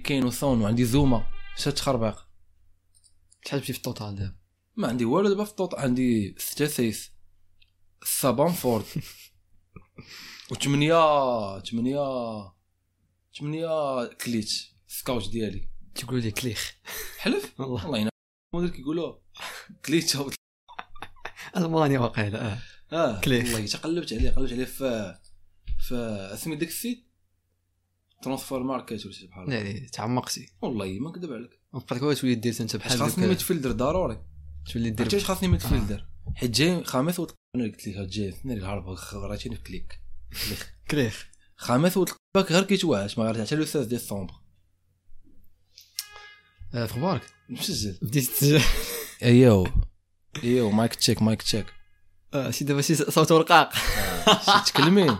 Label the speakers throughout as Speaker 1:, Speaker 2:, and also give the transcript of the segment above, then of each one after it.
Speaker 1: كاين وصون وعندي زوما شات تخربيق
Speaker 2: شحال بشي في التوتال دابا
Speaker 1: ما عندي والو دابا في الطوط عندي ستة سيس سبعة فورد وثمانية ثمانية ثمانية كليت سكاوت ديالي
Speaker 2: تقول لي كليخ
Speaker 1: حلف
Speaker 2: والله
Speaker 1: الله ينعم المدير كيقولوا كليت هبط.
Speaker 2: المانيا واقيلا اه
Speaker 1: اه
Speaker 2: كليت.
Speaker 1: والله تقلبت عليه قلبت عليه في في اسمي داك السيت ترانسفور ماركت ولا شي بحال هكا.
Speaker 2: يعني تعمقتي
Speaker 1: والله ما نكذب عليك
Speaker 2: نقدرك هو تولي دير انت
Speaker 1: حيت
Speaker 2: بحال
Speaker 1: خاصني
Speaker 2: دوك-
Speaker 1: ميدفيلدر ضروري
Speaker 2: تولي دير
Speaker 1: عرفتي واش خاصني ميدفيلدر آه. حيت جاي خامس وت- انا قلت لك جاي اثنين الهرب خراتيني في كليك
Speaker 2: كليخ
Speaker 1: خامس وتلقاك غير كيتوهش ما غير حتى لو 16 ديسمبر
Speaker 2: آه، في غبارك
Speaker 1: مسجل
Speaker 2: بديت تسجل
Speaker 1: ايوا ايوا مايك تشيك مايك تشيك
Speaker 2: آه، شي دابا شي صوت رقاق
Speaker 1: شتي تكلمين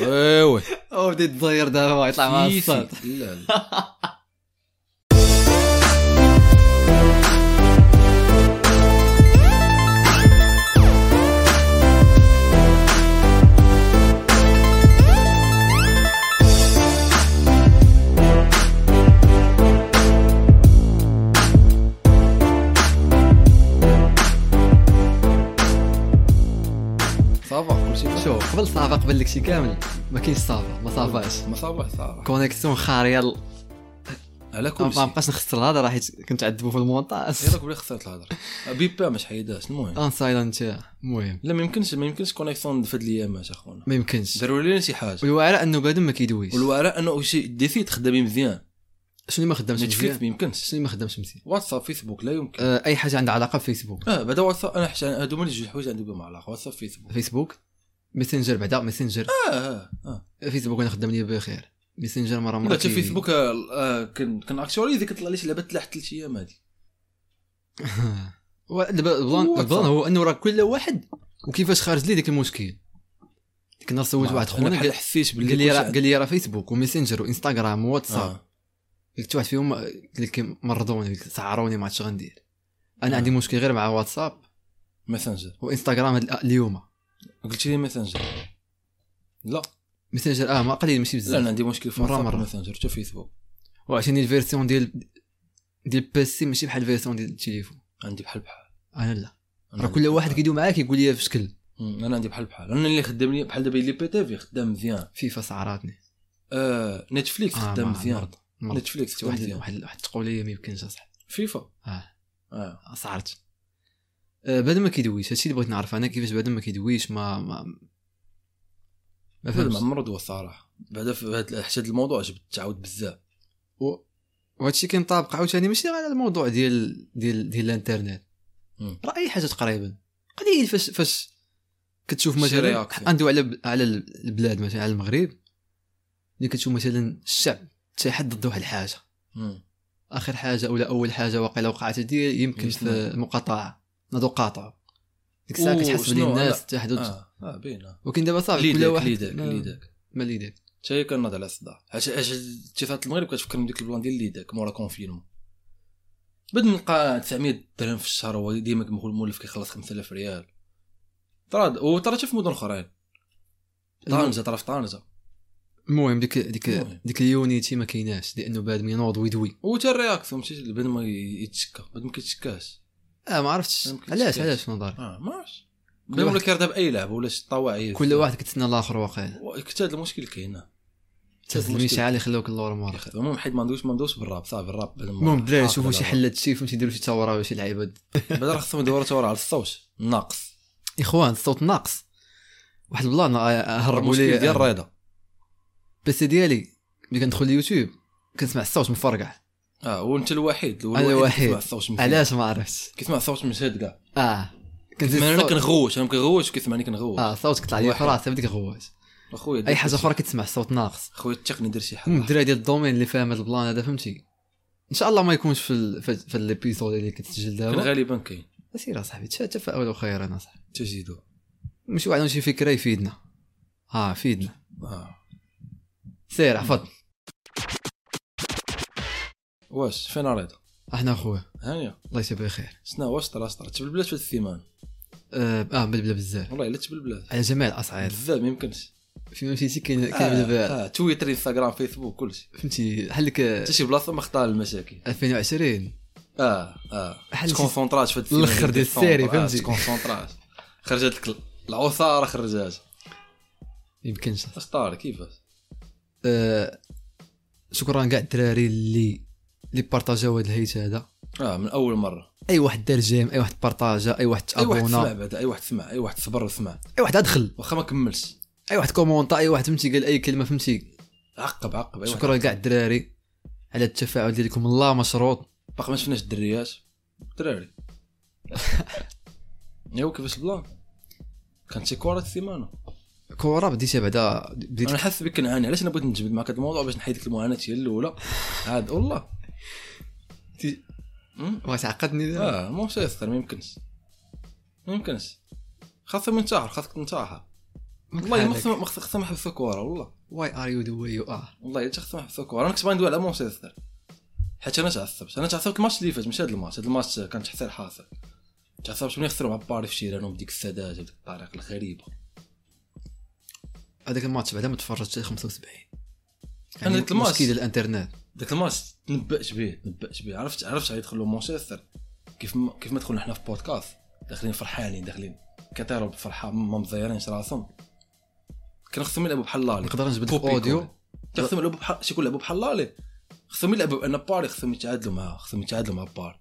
Speaker 1: وي وي
Speaker 2: او بديت تضير دابا يطلع مع
Speaker 1: سيسي.
Speaker 2: الصوت
Speaker 1: لا لا صافا كلشي مشى.
Speaker 2: شوف قبل صافا قبل لك شي كامل ما كاينش صافا ما صافاش
Speaker 1: ما صافا صافا
Speaker 2: كونيكسيون خاريه ال-
Speaker 1: على
Speaker 2: ما
Speaker 1: كل شيء
Speaker 2: بقاش نخسر الهضره حيت كنت عذبو في المونتاج
Speaker 1: يلا كولي خسرت الهضره بيبا ما حيداش المهم
Speaker 2: ان سايلنت المهم
Speaker 1: لا ما يمكنش ما يمكنش كونيكسيون في هاد الايامات اخونا
Speaker 2: ما يمكنش
Speaker 1: داروا لنا شي حاجه
Speaker 2: والوعره انه بنادم ما كيدويش
Speaker 1: والوراء انه شي ديسيت خدامي مزيان
Speaker 2: شنو اللي ما خدامش
Speaker 1: نتفليكس
Speaker 2: مزيان
Speaker 1: ما يمكنش
Speaker 2: شنو اللي ما خدامش مزيان
Speaker 1: واتساب فيسبوك لا يمكن
Speaker 2: آه، اي حاجه عندها علاقه بفيسبوك
Speaker 1: اه بعدا واتساب انا حش... هادو هما اللي جوج حوايج عندي بهم علاقه واتساب فيسبوك
Speaker 2: فيسبوك ميسنجر بعدا ميسنجر
Speaker 1: اه اه اه
Speaker 2: فيسبوك انا خدام ليا بخير ميسنجر مره مره
Speaker 1: لا حتى
Speaker 2: كي-
Speaker 1: فيسبوك آه، آه، كان كان اكشوالي كتطلع لي شي لعبه تلاح ثلاث ايام هادي
Speaker 2: هو دابا البلان
Speaker 1: واتساب.
Speaker 2: البلان هو انه راه كل واحد وكيفاش خارج ليه ديك المشكل ديك النهار سولت واحد خونا
Speaker 1: انا بحال
Speaker 2: قال
Speaker 1: حسيت باللي
Speaker 2: قال لي
Speaker 1: كلشي
Speaker 2: راه
Speaker 1: عندي.
Speaker 2: قال لي راه فيسبوك وميسنجر وانستغرام وواتساب
Speaker 1: آه.
Speaker 2: قلت واحد فيهم قال لك مرضوني قلت سعروني ما عرفتش غندير انا
Speaker 1: آه.
Speaker 2: عندي مشكل غير مع واتساب
Speaker 1: ماسنجر
Speaker 2: وانستغرام هاد الأ- اليوم
Speaker 1: قلت لي ماسنجر لا
Speaker 2: ميسنجر اه ما قليل ماشي
Speaker 1: لا انا
Speaker 2: بزاف
Speaker 1: عندي مشكل في
Speaker 2: مرة
Speaker 1: واتساب
Speaker 2: مرة.
Speaker 1: ماسنجر حتى فيسبوك
Speaker 2: وعشان الفيرسيون ديال ديال بيسي ماشي بحال الفيرسيون ديال التليفون
Speaker 1: عندي بحال بحال
Speaker 2: انا لا
Speaker 1: أنا
Speaker 2: راه
Speaker 1: عندي
Speaker 2: كل
Speaker 1: بحال
Speaker 2: واحد
Speaker 1: بحال.
Speaker 2: كيدوي معاك يقول لي في شكل
Speaker 1: مم، انا عندي بحال بحال انا اللي خدام لي بحال دابا اللي بي تي في خدام مزيان
Speaker 2: فيفا سعراتني
Speaker 1: آه نتفليكس
Speaker 2: آه،
Speaker 1: خدام
Speaker 2: ما-
Speaker 1: مزيان
Speaker 2: مرض. مرض.
Speaker 1: نتفليكس خدام
Speaker 2: واحد
Speaker 1: مزيان
Speaker 2: واحد واحد التقوليه ما يمكنش اصاحبي
Speaker 1: فيفا
Speaker 2: اه
Speaker 1: اه
Speaker 2: سعرت آه بعد ما كيدويش هادشي اللي بغيت نعرف انا كيفاش بعد ما كيدويش ما ما ما
Speaker 1: هذا مع
Speaker 2: فهمتش
Speaker 1: مرض هو الصراحه بعدا في هاد- حيت هاد الموضوع جبت تعاود بزاف
Speaker 2: و- وهادشي كينطابق عاوتاني ماشي غير على الموضوع ديال ديال ديال الانترنت
Speaker 1: مم.
Speaker 2: راه اي حاجه تقريبا قليل فاش فاش كتشوف
Speaker 1: شي
Speaker 2: مثلا
Speaker 1: reaction.
Speaker 2: عنده على على البلاد مثلا على المغرب اللي كتشوف مثلا الشعب تحد ضد واحد الحاجه
Speaker 1: مم.
Speaker 2: اخر حاجه ولا اول حاجه واقيلا وقعت هادي يمكن
Speaker 1: يسمع.
Speaker 2: في المقاطعه نادو قاطعوا ديك الساعه
Speaker 1: أوه،
Speaker 2: كتحس بلي
Speaker 1: شنو؟
Speaker 2: الناس تحدد
Speaker 1: اه اه باينه
Speaker 2: ولكن دابا صافي آه، كل
Speaker 1: ليداك
Speaker 2: واحد
Speaker 1: ليداك
Speaker 2: ما-
Speaker 1: ليداك
Speaker 2: ما ليداك
Speaker 1: حتى هي كنوض على الصداع عش عش اتصالات المغرب كتفكرني بديك البلان ديال ليداك مورا كونفينمون بعد نلقى 900 درهم في الشهر هو ديما كنقول المولف كيخلص 5000 ريال طراد وطرا حتى في مدن اخرين طنجه طرا في طنجه
Speaker 2: المهم ديك ديك
Speaker 1: المهم.
Speaker 2: ديك اليونيتي ما كايناش لانه بعد ما ينوض ويدوي
Speaker 1: هو حتى الرياكسيون ماشي بعد ما يتشكى بعد ما كيتشكاش
Speaker 2: اه ما عرفتش
Speaker 1: ممكن
Speaker 2: علاش
Speaker 1: تشكاش.
Speaker 2: علاش في نظرك
Speaker 1: اه ما عرفتش
Speaker 2: كل
Speaker 1: بدا ولا
Speaker 2: واحد
Speaker 1: كيرضى باي لعبه ولا شي طواعي
Speaker 2: كل واحد كتسنى الاخر واقيلا
Speaker 1: حتى هذا المشكل كاين آه.
Speaker 2: تهز
Speaker 1: المشكل.
Speaker 2: المشعل يخلوك اللور مورا
Speaker 1: ياخذ. المهم حيت ما ندوش ما ندوش بالراب صافي الراب بعد ما-
Speaker 2: المهم الدراري
Speaker 1: حاقد
Speaker 2: شوفوا شي
Speaker 1: الراب.
Speaker 2: حل هادشي فهمتي يديروا شي ثوره ولا شي لعيبه
Speaker 1: بعدا راه خصهم يدوروا تورا على الصوت ناقص
Speaker 2: اخوان الصوت ناقص واحد البلان آه، هربوا
Speaker 1: المشكل ديال
Speaker 2: لي
Speaker 1: الرضا
Speaker 2: البيسي ديالي ملي كندخل اليوتيوب كنسمع الصوت مفرقع
Speaker 1: اه وانت الوحيد
Speaker 2: أنا الوحيد.
Speaker 1: كيسمع الصوت من فين.
Speaker 2: علاش ما عرفتش
Speaker 1: كيسمع الصوت من شاد كاع
Speaker 2: اه كنزيد
Speaker 1: كيسمعني انا
Speaker 2: الصوت.
Speaker 1: كنغوت انا ما كنغوتش كيسمعني كنغوت
Speaker 2: اه صوتك طلع لي في
Speaker 1: واحد.
Speaker 2: راسي بديك غواش
Speaker 1: اخويا
Speaker 2: اي حاجه اخرى كتسمع صوت ناقص
Speaker 1: اخويا التقني دير شي
Speaker 2: المهم
Speaker 1: حاجه
Speaker 2: الدراري ديال الدومين اللي فاهم هاد البلان هذا فهمتي ان شاء الله ما يكونش في ال... في, في الابيسود اللي كتسجل
Speaker 1: كان
Speaker 2: دابا
Speaker 1: غالبا كاين
Speaker 2: سير اصاحبي تشا- تفاؤل وخير انا صاحبي
Speaker 1: تجدو
Speaker 2: مش واحد عنده شي فكره يفيدنا اه فيدنا
Speaker 1: اه
Speaker 2: سير عفط
Speaker 1: واش فين الرضا
Speaker 2: احنا خويا
Speaker 1: هانيه
Speaker 2: الله يجيب خير
Speaker 1: شنو واش طرا طرا تبلبلات في هاد الثمان
Speaker 2: اه آه، بلبله بزاف
Speaker 1: والله الا تبلبلات
Speaker 2: على جميع الاصعاد
Speaker 1: بزاف ما يمكنش
Speaker 2: فين مشيتي كاين كاين دابا
Speaker 1: آه. آه. تويتر انستغرام فيسبوك كلشي
Speaker 2: فهمتي بحال لك آه،
Speaker 1: حتى شي بلاصه ما اختار المشاكل
Speaker 2: 2020
Speaker 1: اه اه
Speaker 2: بحال
Speaker 1: تكونسونطراش في هاد
Speaker 2: الآخر
Speaker 1: السيمانة
Speaker 2: ديال
Speaker 1: ديسمبر،
Speaker 2: السيري،
Speaker 1: آه،
Speaker 2: فهمتي؟
Speaker 1: تكونسونطراش خرجت لك ال- العصاره خرجات
Speaker 2: يمكنش
Speaker 1: اش طار كيفاش
Speaker 2: آه، شكرا كاع الدراري اللي اللي بارطاجاو هذا الهيت هذا
Speaker 1: اه من اول مره
Speaker 2: اي واحد دار جيم اي واحد بارطاجا اي واحد
Speaker 1: اي واحد سمع
Speaker 2: تابونا
Speaker 1: بعدا اي واحد سمع اي واحد صبر وسمع
Speaker 2: اي واحد ادخل
Speaker 1: واخا ما كملش
Speaker 2: اي واحد كومونطا اي واحد فهمتي قال اي كلمه فهمتي
Speaker 1: عقب عقب أي واحد
Speaker 2: شكرا كاع الدراري على التفاعل ديالكم الله مشروط
Speaker 1: باقي ما شفناش الدريات الدراري ايوا كيفاش البلان كانت شي كره السيمانه
Speaker 2: كوره بديتها بعدا بديت
Speaker 1: انا حاسس بك كنعاني علاش انا بغيت نجبد معك هذا الموضوع باش نحيدك المعاناه هي الاولى عاد والله
Speaker 2: تي-
Speaker 1: أمم.
Speaker 2: بغيت تعقدني دابا
Speaker 1: اه مو سيستر ما يمكنش ما يمكنش خاصك منتحر خاصك تنتحر والله ما خصهم ما خص- خصهم يحبسوا كوره والله
Speaker 2: واي ار يو ذا واي يو ار
Speaker 1: والله الا خصهم يحبسوا كوره انا كنت باغي ندوي على مانشستر حيت انا تعصبت انا تعصبت الماتش اللي فات مش هذا الماتش هذا الماتش كان تحصيل حاصل تعصبت ملي خسروا مع باري في شيرانهم بديك السادات بديك الطريقه الغريبه
Speaker 2: هذاك الماتش بعدا ما تفرجتش 75
Speaker 1: أنا
Speaker 2: يعني
Speaker 1: قلت الماتش.
Speaker 2: مشكل ديال الانترنت
Speaker 1: ذاك الماتش تنبأت به تنبأت به عرفت عرفت غيدخلوا مانشستر كيف ما كيف ما دخلنا حنا في بودكاست داخلين فرحانين داخلين كتيروا بالفرحه ما مزيرينش راسهم كان خصهم يلعبوا بحال لالي
Speaker 2: نقدر نجبد
Speaker 1: كوبي
Speaker 2: الاوديو
Speaker 1: كورة. كان خصهم يلعبوا بحال شي يلعبوا بحال لالي خصهم يلعبوا بان باري خصهم يتعادلوا معاه خصهم يتعادلوا مع باري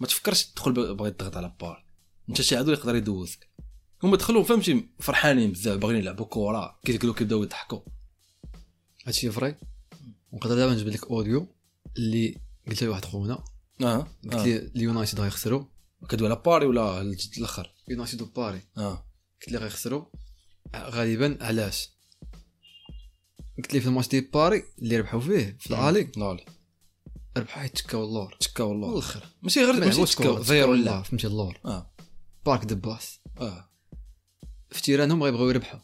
Speaker 1: ما تفكرش تدخل ب- باغي تضغط على باري انت شي عدو يقدر يدوزك هما دخلوا فهمتي فرحانين بزاف باغيين يلعبوا كوره كيتقلوا كيبداو يضحكوا
Speaker 2: هادشي فري ونقدر دابا نجبد لك اوديو اللي قلت لواحد خونا
Speaker 1: اه
Speaker 2: قلت لي اليونايتد غيخسروا
Speaker 1: كدوا على باري ولا الجد الاخر
Speaker 2: يونايتد وباري
Speaker 1: اه
Speaker 2: قلت لي غيخسروا غالبا علاش قلت لي في الماتش ديال باري اللي ربحوا فيه في الالي
Speaker 1: لالي
Speaker 2: ربحوا حيت تكاو اللور
Speaker 1: تكا والله
Speaker 2: والاخر
Speaker 1: ماشي غير ماشي تكا زيرو اللعب
Speaker 2: فهمتي اللور
Speaker 1: اه
Speaker 2: بارك دباس
Speaker 1: اه
Speaker 2: في تيرانهم غيبغيو يربحوا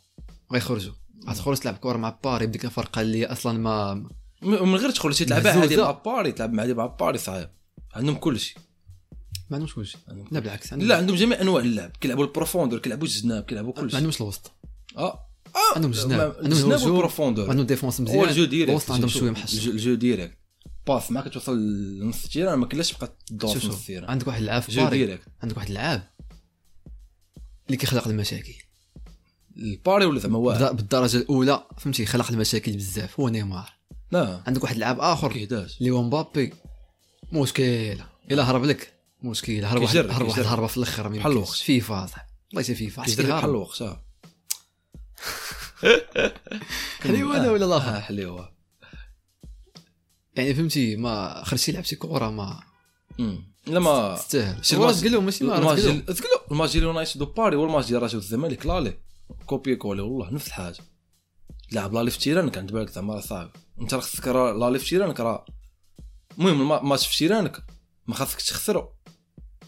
Speaker 2: غيخرجوا غتخرج تلعب كوره مع باري بديك الفرقه اللي اصلا ما
Speaker 1: م- من غير تدخل شي تلعب
Speaker 2: مهزوزة.
Speaker 1: عادي مع باري تلعب مع مع باري صعيب عندهم كلشي
Speaker 2: ما عندهمش وجه
Speaker 1: عندهم
Speaker 2: لا بالعكس عندهم
Speaker 1: لا عندهم جميع انواع اللعب كيلعبوا البروفوندور كيلعبوا الجناب كيلعبوا
Speaker 2: ما
Speaker 1: كلشي
Speaker 2: عندهمش الوسط
Speaker 1: اه
Speaker 2: عندهم الجناب عندهم
Speaker 1: الجناب
Speaker 2: الهجوم
Speaker 1: والبروفوندور
Speaker 2: عندهم ديفونس
Speaker 1: هو Oh, الجو
Speaker 2: مزيان
Speaker 1: ديريكت
Speaker 2: الوسط عندهم
Speaker 1: شوف،
Speaker 2: شويه محشر
Speaker 1: الجو- الجو ديريكت باس معك توصل لنص التيران ما كلاش تبقى تدور
Speaker 2: شوف
Speaker 1: في نص
Speaker 2: شوف
Speaker 1: التيران
Speaker 2: عندك واحد اللعاب في
Speaker 1: جو
Speaker 2: باري
Speaker 1: ديريكت
Speaker 2: عندك واحد اللعاب اللي كيخلق المشاكل
Speaker 1: الباري ولا زعما واحد
Speaker 2: بدا- بالدرجه الاولى فهمتي خلق المشاكل بزاف هو نيمار
Speaker 1: لا
Speaker 2: عندك واحد اللعاب اخر
Speaker 1: كيهداش
Speaker 2: اللي هو مبابي مشكله الا هرب لك مشكله هرب واحد
Speaker 1: كيجرب،
Speaker 2: هرب واحد
Speaker 1: كيجرب.
Speaker 2: الهربه في الاخر ما
Speaker 1: بحال
Speaker 2: يمكنش.
Speaker 1: الوقت.
Speaker 2: فيفا صاحبي والله حتى فيفا حتى
Speaker 1: كيهدر بحال
Speaker 2: هرب
Speaker 1: الوقت اه
Speaker 2: حليوه هذا ولا
Speaker 1: آه،
Speaker 2: الاخر
Speaker 1: حليوه
Speaker 2: يعني فهمتي ما خرجتي لعب شي كره ما
Speaker 1: أمم. لما
Speaker 2: تستاهل
Speaker 1: شي
Speaker 2: هو
Speaker 1: الماتش-
Speaker 2: راه تقول لهم ماشي ما راه
Speaker 1: الماتش
Speaker 2: تقول لهم.
Speaker 1: ديال- تقول له الماتش ديال يونايتد وباري هو الماتش ديال رجاء الزمالك لالي كوبي كولي والله نفس الحاجه لعب لالي في تيرانك عند بالك زعما راه صعب انت راه خصك راه لالي في تيرانك راه المهم الما- الماتش في تيرانك ما خاصك تخسرو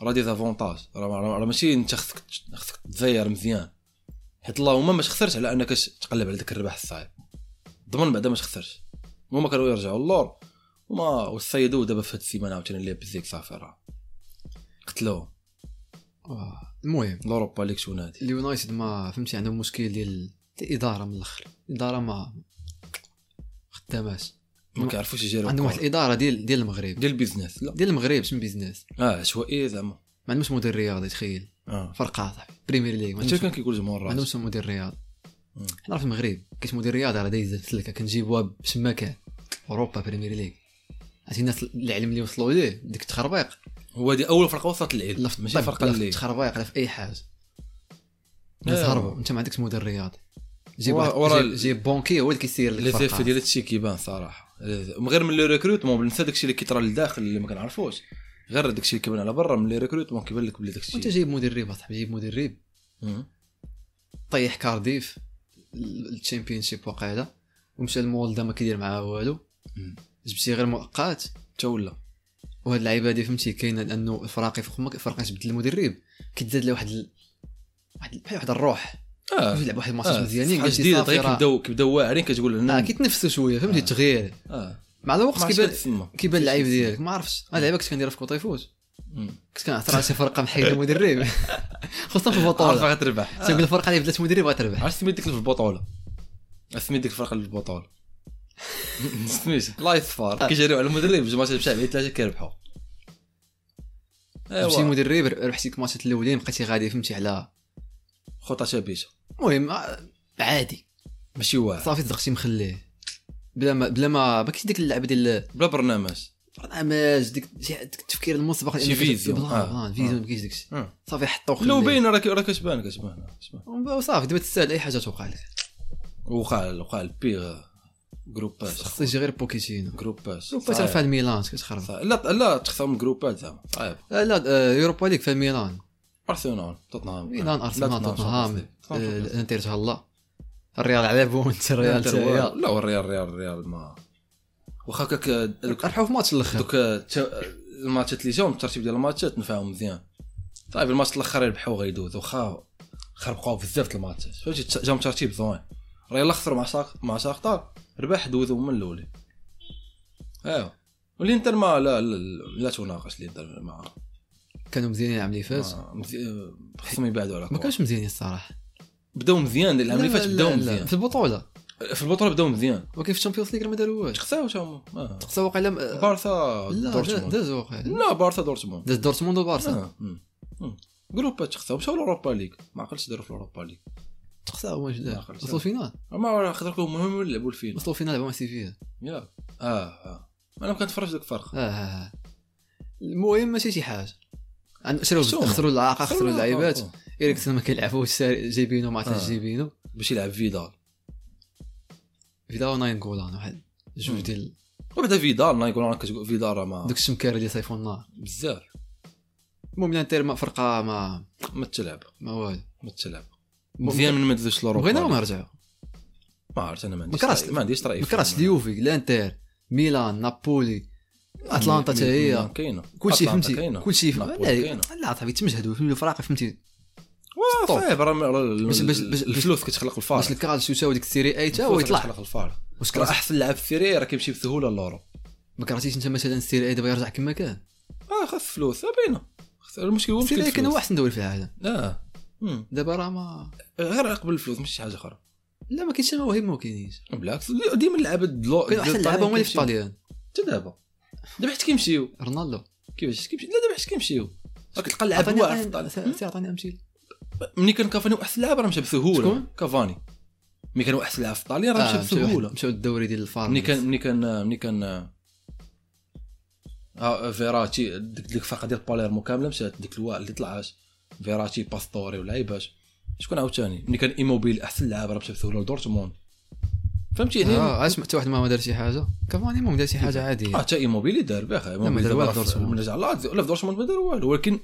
Speaker 1: راه ديزافونتاج راه راه- راه ماشي انت خصك تش- خصك تزير مزيان حيت اللهم ما تخسرش على انك ش- تقلب على ذاك الربح الصعيب ضمن بعدا ما تخسرش هما كانوا يرجعوا اللور وما وصيدوه دابا في هاد السيمانه عاوتاني اللي بزيك صافي راه قتلوه
Speaker 2: آه، المهم
Speaker 1: الاوروبا ليك شو نادي
Speaker 2: اليونايتد ما فهمتي عندهم مشكل ديال الاداره من الاخر الاداره ما خداماش
Speaker 1: ما كيعرفوش يجيروا
Speaker 2: عندهم واحد
Speaker 1: الكرة.
Speaker 2: الاداره ديال ديال المغرب
Speaker 1: ديال البيزنس لا
Speaker 2: ديال المغرب شنو بيزنس
Speaker 1: اه عشوائيه زعما
Speaker 2: ما عندهمش مدير رياضي تخيل
Speaker 1: اه
Speaker 2: فرقه صاحبي بريمير ليغ ما
Speaker 1: حتى
Speaker 2: عندهمش-
Speaker 1: كان كيقول جمهور
Speaker 2: ما
Speaker 1: الراس
Speaker 2: عندهمش مدير رياضي
Speaker 1: مم.
Speaker 2: حنا في المغرب كاين مدير رياضي راه دايز سلكه كنجيبوها بشما كان اوروبا بريمير ليغ عرفتي الناس العلم اللي وصلوا ليه ديك التخربيق
Speaker 1: هو دي اول فرقه وصلت للعيد
Speaker 2: لا في
Speaker 1: ماشي
Speaker 2: الطب
Speaker 1: فرقه
Speaker 2: لا في
Speaker 1: اللي
Speaker 2: التخربيق لا في اي حاجه الناس
Speaker 1: آه.
Speaker 2: هربوا انت ما عندكش مدير رياضي جيب
Speaker 1: ورا-
Speaker 2: واحد-
Speaker 1: ورا
Speaker 2: جيب-
Speaker 1: ال-
Speaker 2: جيب بونكي هو اللي كيسير لك
Speaker 1: لي
Speaker 2: الفرقة.
Speaker 1: زيفي ديال هادشي كيبان صراحه من غير من لي ريكروتمون بنسى داكشي اللي كيطرى للداخل اللي ما كنعرفوش غير داكشي اللي كيبان على برا من لي ريكروتمون كيبان لك بلي
Speaker 2: وانت
Speaker 1: داكشي
Speaker 2: جايب مدرب اصاحبي جايب مدرب
Speaker 1: مم.
Speaker 2: طيح كارديف الشامبيون شيب وقيلا ومشى لمولدا ما كيدير معاها والو
Speaker 1: مم.
Speaker 2: جبتي غير مؤقات
Speaker 1: حتى ولا
Speaker 2: وهاد اللعيبه هادي فهمتي كاينه لانه الفراقي فوق ما فرقه تبدل المدرب كتزاد لها واحد ال... واحد بحال واحد الروح
Speaker 1: اه
Speaker 2: آه. يلعب واحد الماتش
Speaker 1: آه،
Speaker 2: مزيانين
Speaker 1: صفحة
Speaker 2: قلتي
Speaker 1: جديده
Speaker 2: صافي
Speaker 1: طيب
Speaker 2: راه-
Speaker 1: كيبداو كيبداو واعرين كتقول
Speaker 2: اه
Speaker 1: لنا
Speaker 2: كيتنفسوا شويه فهمتي
Speaker 1: آه.
Speaker 2: التغيير
Speaker 1: اه
Speaker 2: مع
Speaker 1: ما
Speaker 2: الوقت
Speaker 1: عرفتش
Speaker 2: كيبان
Speaker 1: كتسمى.
Speaker 2: كيبان اللعيب ديالك ما عرفتش
Speaker 1: آه.
Speaker 2: انا اللعيبه كنت كنديرها في كوطيفوز
Speaker 1: مم.
Speaker 2: كنت كنعثر على شي فرقه محيد المدرب خصوصا في
Speaker 1: عارفه
Speaker 2: البطوله
Speaker 1: غتربح آه.
Speaker 2: تنقول الفرقه اللي بدلت مدرب غتربح
Speaker 1: عرفت سميت ديك في البطوله اسمي ديك الفرقه للبطوله سميتها لايف
Speaker 2: آه.
Speaker 1: فار كيجريو على المدرب جوج ماتشات بشعب ثلاثه كيربحوا
Speaker 2: شي
Speaker 1: ايوا
Speaker 2: مدرب ربحتي الماتشات الاولين بقيتي غادي فهمتي على
Speaker 1: خطه شبيشه
Speaker 2: المهم آه، عادي
Speaker 1: ماشي واعر
Speaker 2: صافي تزغتي مخليه بلا ما بلا ما ما كاينش ديك اللعبه ديال
Speaker 1: بلا برنامج
Speaker 2: البرنامج ديك شي- ديك التفكير المسبق
Speaker 1: شي
Speaker 2: لأنك كت-
Speaker 1: فيزيون،
Speaker 2: بلا
Speaker 1: آه،
Speaker 2: بلا
Speaker 1: آه.
Speaker 2: فيزيون ما كاينش داكشي
Speaker 1: آه.
Speaker 2: صافي حطو
Speaker 1: لو
Speaker 2: وخليه.
Speaker 1: باين راه كي- راه كتبان كتبان كتبان
Speaker 2: وصافي دابا تستاهل اي حاجه توقع لك
Speaker 1: وقع وقع البيغ جروبات
Speaker 2: خصك تجي غير بوكيتينو
Speaker 1: جروبات
Speaker 2: شوف فاش
Speaker 1: صعيب.
Speaker 2: رفع الميلان كتخرب
Speaker 1: صعيب. لا لا تخصم جروبات زعما صعيب
Speaker 2: آه، لا آه، يوروبا ليك في ميلان
Speaker 1: ارسنال توتنهام
Speaker 2: ميلان
Speaker 1: لا،
Speaker 2: ارسنال إيه، توتنهام آه،
Speaker 1: توتنهام.
Speaker 2: الانتر تهلا الريال عذابو وانت الريال
Speaker 1: الانتر هو-
Speaker 2: تهلا
Speaker 1: لا هو الريال الريال الريال ما واخا كاك دوك
Speaker 2: ربحوا في ماتش الاخر
Speaker 1: دوك تا- الماتشات اللي جاو الترتيب ديال الماتشات نفعهم مزيان صعيب الماتش الاخر يربحوا غيدوز واخا خربقوا بزاف د الماتشات فهمتي تس- جاهم ترتيب زوين الريال خسروا مع ساق مع شاختار ربح دوزو من الاولي ايوا والانتر ما لا لا, لا تناقش الانتر ما
Speaker 2: كانوا مزيانين العام اللي فات
Speaker 1: ما- مزي- آه، خصهم يبعدوا على
Speaker 2: ما
Speaker 1: كاش
Speaker 2: كانوش مزيانين الصراحه
Speaker 1: بداو مزيان العام اللي
Speaker 2: لا،
Speaker 1: فات
Speaker 2: لا،
Speaker 1: بداو
Speaker 2: لا،
Speaker 1: مزيان
Speaker 2: في البطوله
Speaker 1: في البطوله بداو مزيان
Speaker 2: ولكن في الشامبيونز ليغ ما داروهاش
Speaker 1: تخساو تاهم آه.
Speaker 2: تقصى واقيلا م-
Speaker 1: بارسا
Speaker 2: لا دا-
Speaker 1: دورتموند
Speaker 2: داز واقيلا
Speaker 1: لا بارسا دورتموند
Speaker 2: داز دورتموند وبارسا
Speaker 1: آه، مم. مم. جروبات تخساو مشاو لوروبا ليغ ما عقلتش داروا في لوروبا ليغ
Speaker 2: تقصى واش
Speaker 1: ما
Speaker 2: دار
Speaker 1: خرجت.
Speaker 2: وصلوا فينال
Speaker 1: ما راه خاطر كانوا مهم يلعبوا الفيلم
Speaker 2: وصلوا فينال لعبوا مع سيفيا
Speaker 1: ياك اه اه انا ما كنتفرج ديك الفرق
Speaker 2: آه، آه، آه. المهم ماشي شي حاجه عن- شراو
Speaker 1: خسروا.
Speaker 2: خسروا العاقه خسروا اللعيبات
Speaker 1: آه، آه.
Speaker 2: ايريكسون ما كيلعبوش ساري- جيبينو ما عرفتش
Speaker 1: آه.
Speaker 2: جيبينو
Speaker 1: باش يلعب فيدال
Speaker 2: فيداو ناين جولان واحد جوج
Speaker 1: مم.
Speaker 2: ديال
Speaker 1: وبعدا فيدال ما يقول انا كتقول فيدال راه ما
Speaker 2: دوك الشمكاره اللي صيفوا النار
Speaker 1: بزاف
Speaker 2: المهم الانتر ما فرقه ما
Speaker 1: ما تلعب
Speaker 2: ما والو
Speaker 1: ما تلعب
Speaker 2: مم.
Speaker 1: مزيان من ما دوزش لوروبا
Speaker 2: بغينا ما
Speaker 1: ليغ.
Speaker 2: رجعوا
Speaker 1: ما عرفت انا ما عنديش
Speaker 2: ما كرهتش-
Speaker 1: رأي- ما عنديش راي
Speaker 2: ما كرهتش اليوفي الانتر ميلان نابولي اتلانتا حتى هي
Speaker 1: كاينه
Speaker 2: كلشي
Speaker 1: أتلانتا
Speaker 2: فهمتي
Speaker 1: كاينه
Speaker 2: كلشي
Speaker 1: نابولي كاينة.
Speaker 2: فهمتي لا صاحبي تمجهدوا في الفراقه فهمتي
Speaker 1: واه
Speaker 2: طوب.
Speaker 1: صعيب راه راه
Speaker 2: باش- باش- باش-
Speaker 1: الفلوس كتخلق الفار
Speaker 2: باش الكالسيو تساوي ديك السيري اي تا هو
Speaker 1: الفلوس
Speaker 2: يطلع
Speaker 1: كتخلق الفار
Speaker 2: واش
Speaker 1: راه
Speaker 2: كرهت
Speaker 1: احسن لاعب في السيري راه كيمشي بسهوله لورو
Speaker 2: ما كرهتيش انت مثلا السيري اي دابا يرجع كما كان
Speaker 1: اه خاص فلوس آه، باينه خاص- المشكل هو
Speaker 2: السيري
Speaker 1: مشكل
Speaker 2: اي كان هو
Speaker 1: الفلوس
Speaker 2: احسن دوري في العالم
Speaker 1: اه مم.
Speaker 2: دابا راه ما
Speaker 1: غير قبل الفلوس ماشي شي حاجه اخرى
Speaker 2: لا ما كاينش مواهب ما كاينينش
Speaker 1: بالعكس ديما اللعابه دلو
Speaker 2: كاين احسن لعابه هما اللي في
Speaker 1: كيمشيو.
Speaker 2: الطاليان
Speaker 1: حتى دابا دابا حيت كيمشيو
Speaker 2: رونالدو
Speaker 1: كيفاش كيمشيو لا دابا حيت كيمشيو راك تلقى اللعاب
Speaker 2: عطيني-
Speaker 1: واعر في
Speaker 2: عطيني-
Speaker 1: الطاليان
Speaker 2: سير عطيني امثله
Speaker 1: ملي كان كافاني هو احسن لاعب راه مشى بسهوله
Speaker 2: شكون؟
Speaker 1: كافاني ملي كان هو احسن لاعب في الطاليان راه
Speaker 2: آه،
Speaker 1: مشى بسهوله
Speaker 2: واحد- مشاو الدوري ديال الفار
Speaker 1: ملي كان ملي كان ملي كان ها فيراتي ديك ديك الفرقه ديال باليرمو كامله مشات ديك الوا اللي طلعات فيراتي باستوري ولعيبات شكون عاوتاني ملي كان ايموبيل احسن لاعب راه مشى بسهوله لدورتموند فهمتي يعني اه
Speaker 2: اه عاد سمعت واحد ما دار شي حاجه كافاني ما دار شي حاجه عاديه
Speaker 1: حتى ايموبيل آه، دار باخا ايموبيل
Speaker 2: دار
Speaker 1: دابا راه
Speaker 2: والو في
Speaker 1: في-
Speaker 2: دورتموند.
Speaker 1: من رجع لاتزيو لا في دورتموند ما دار والو ولكن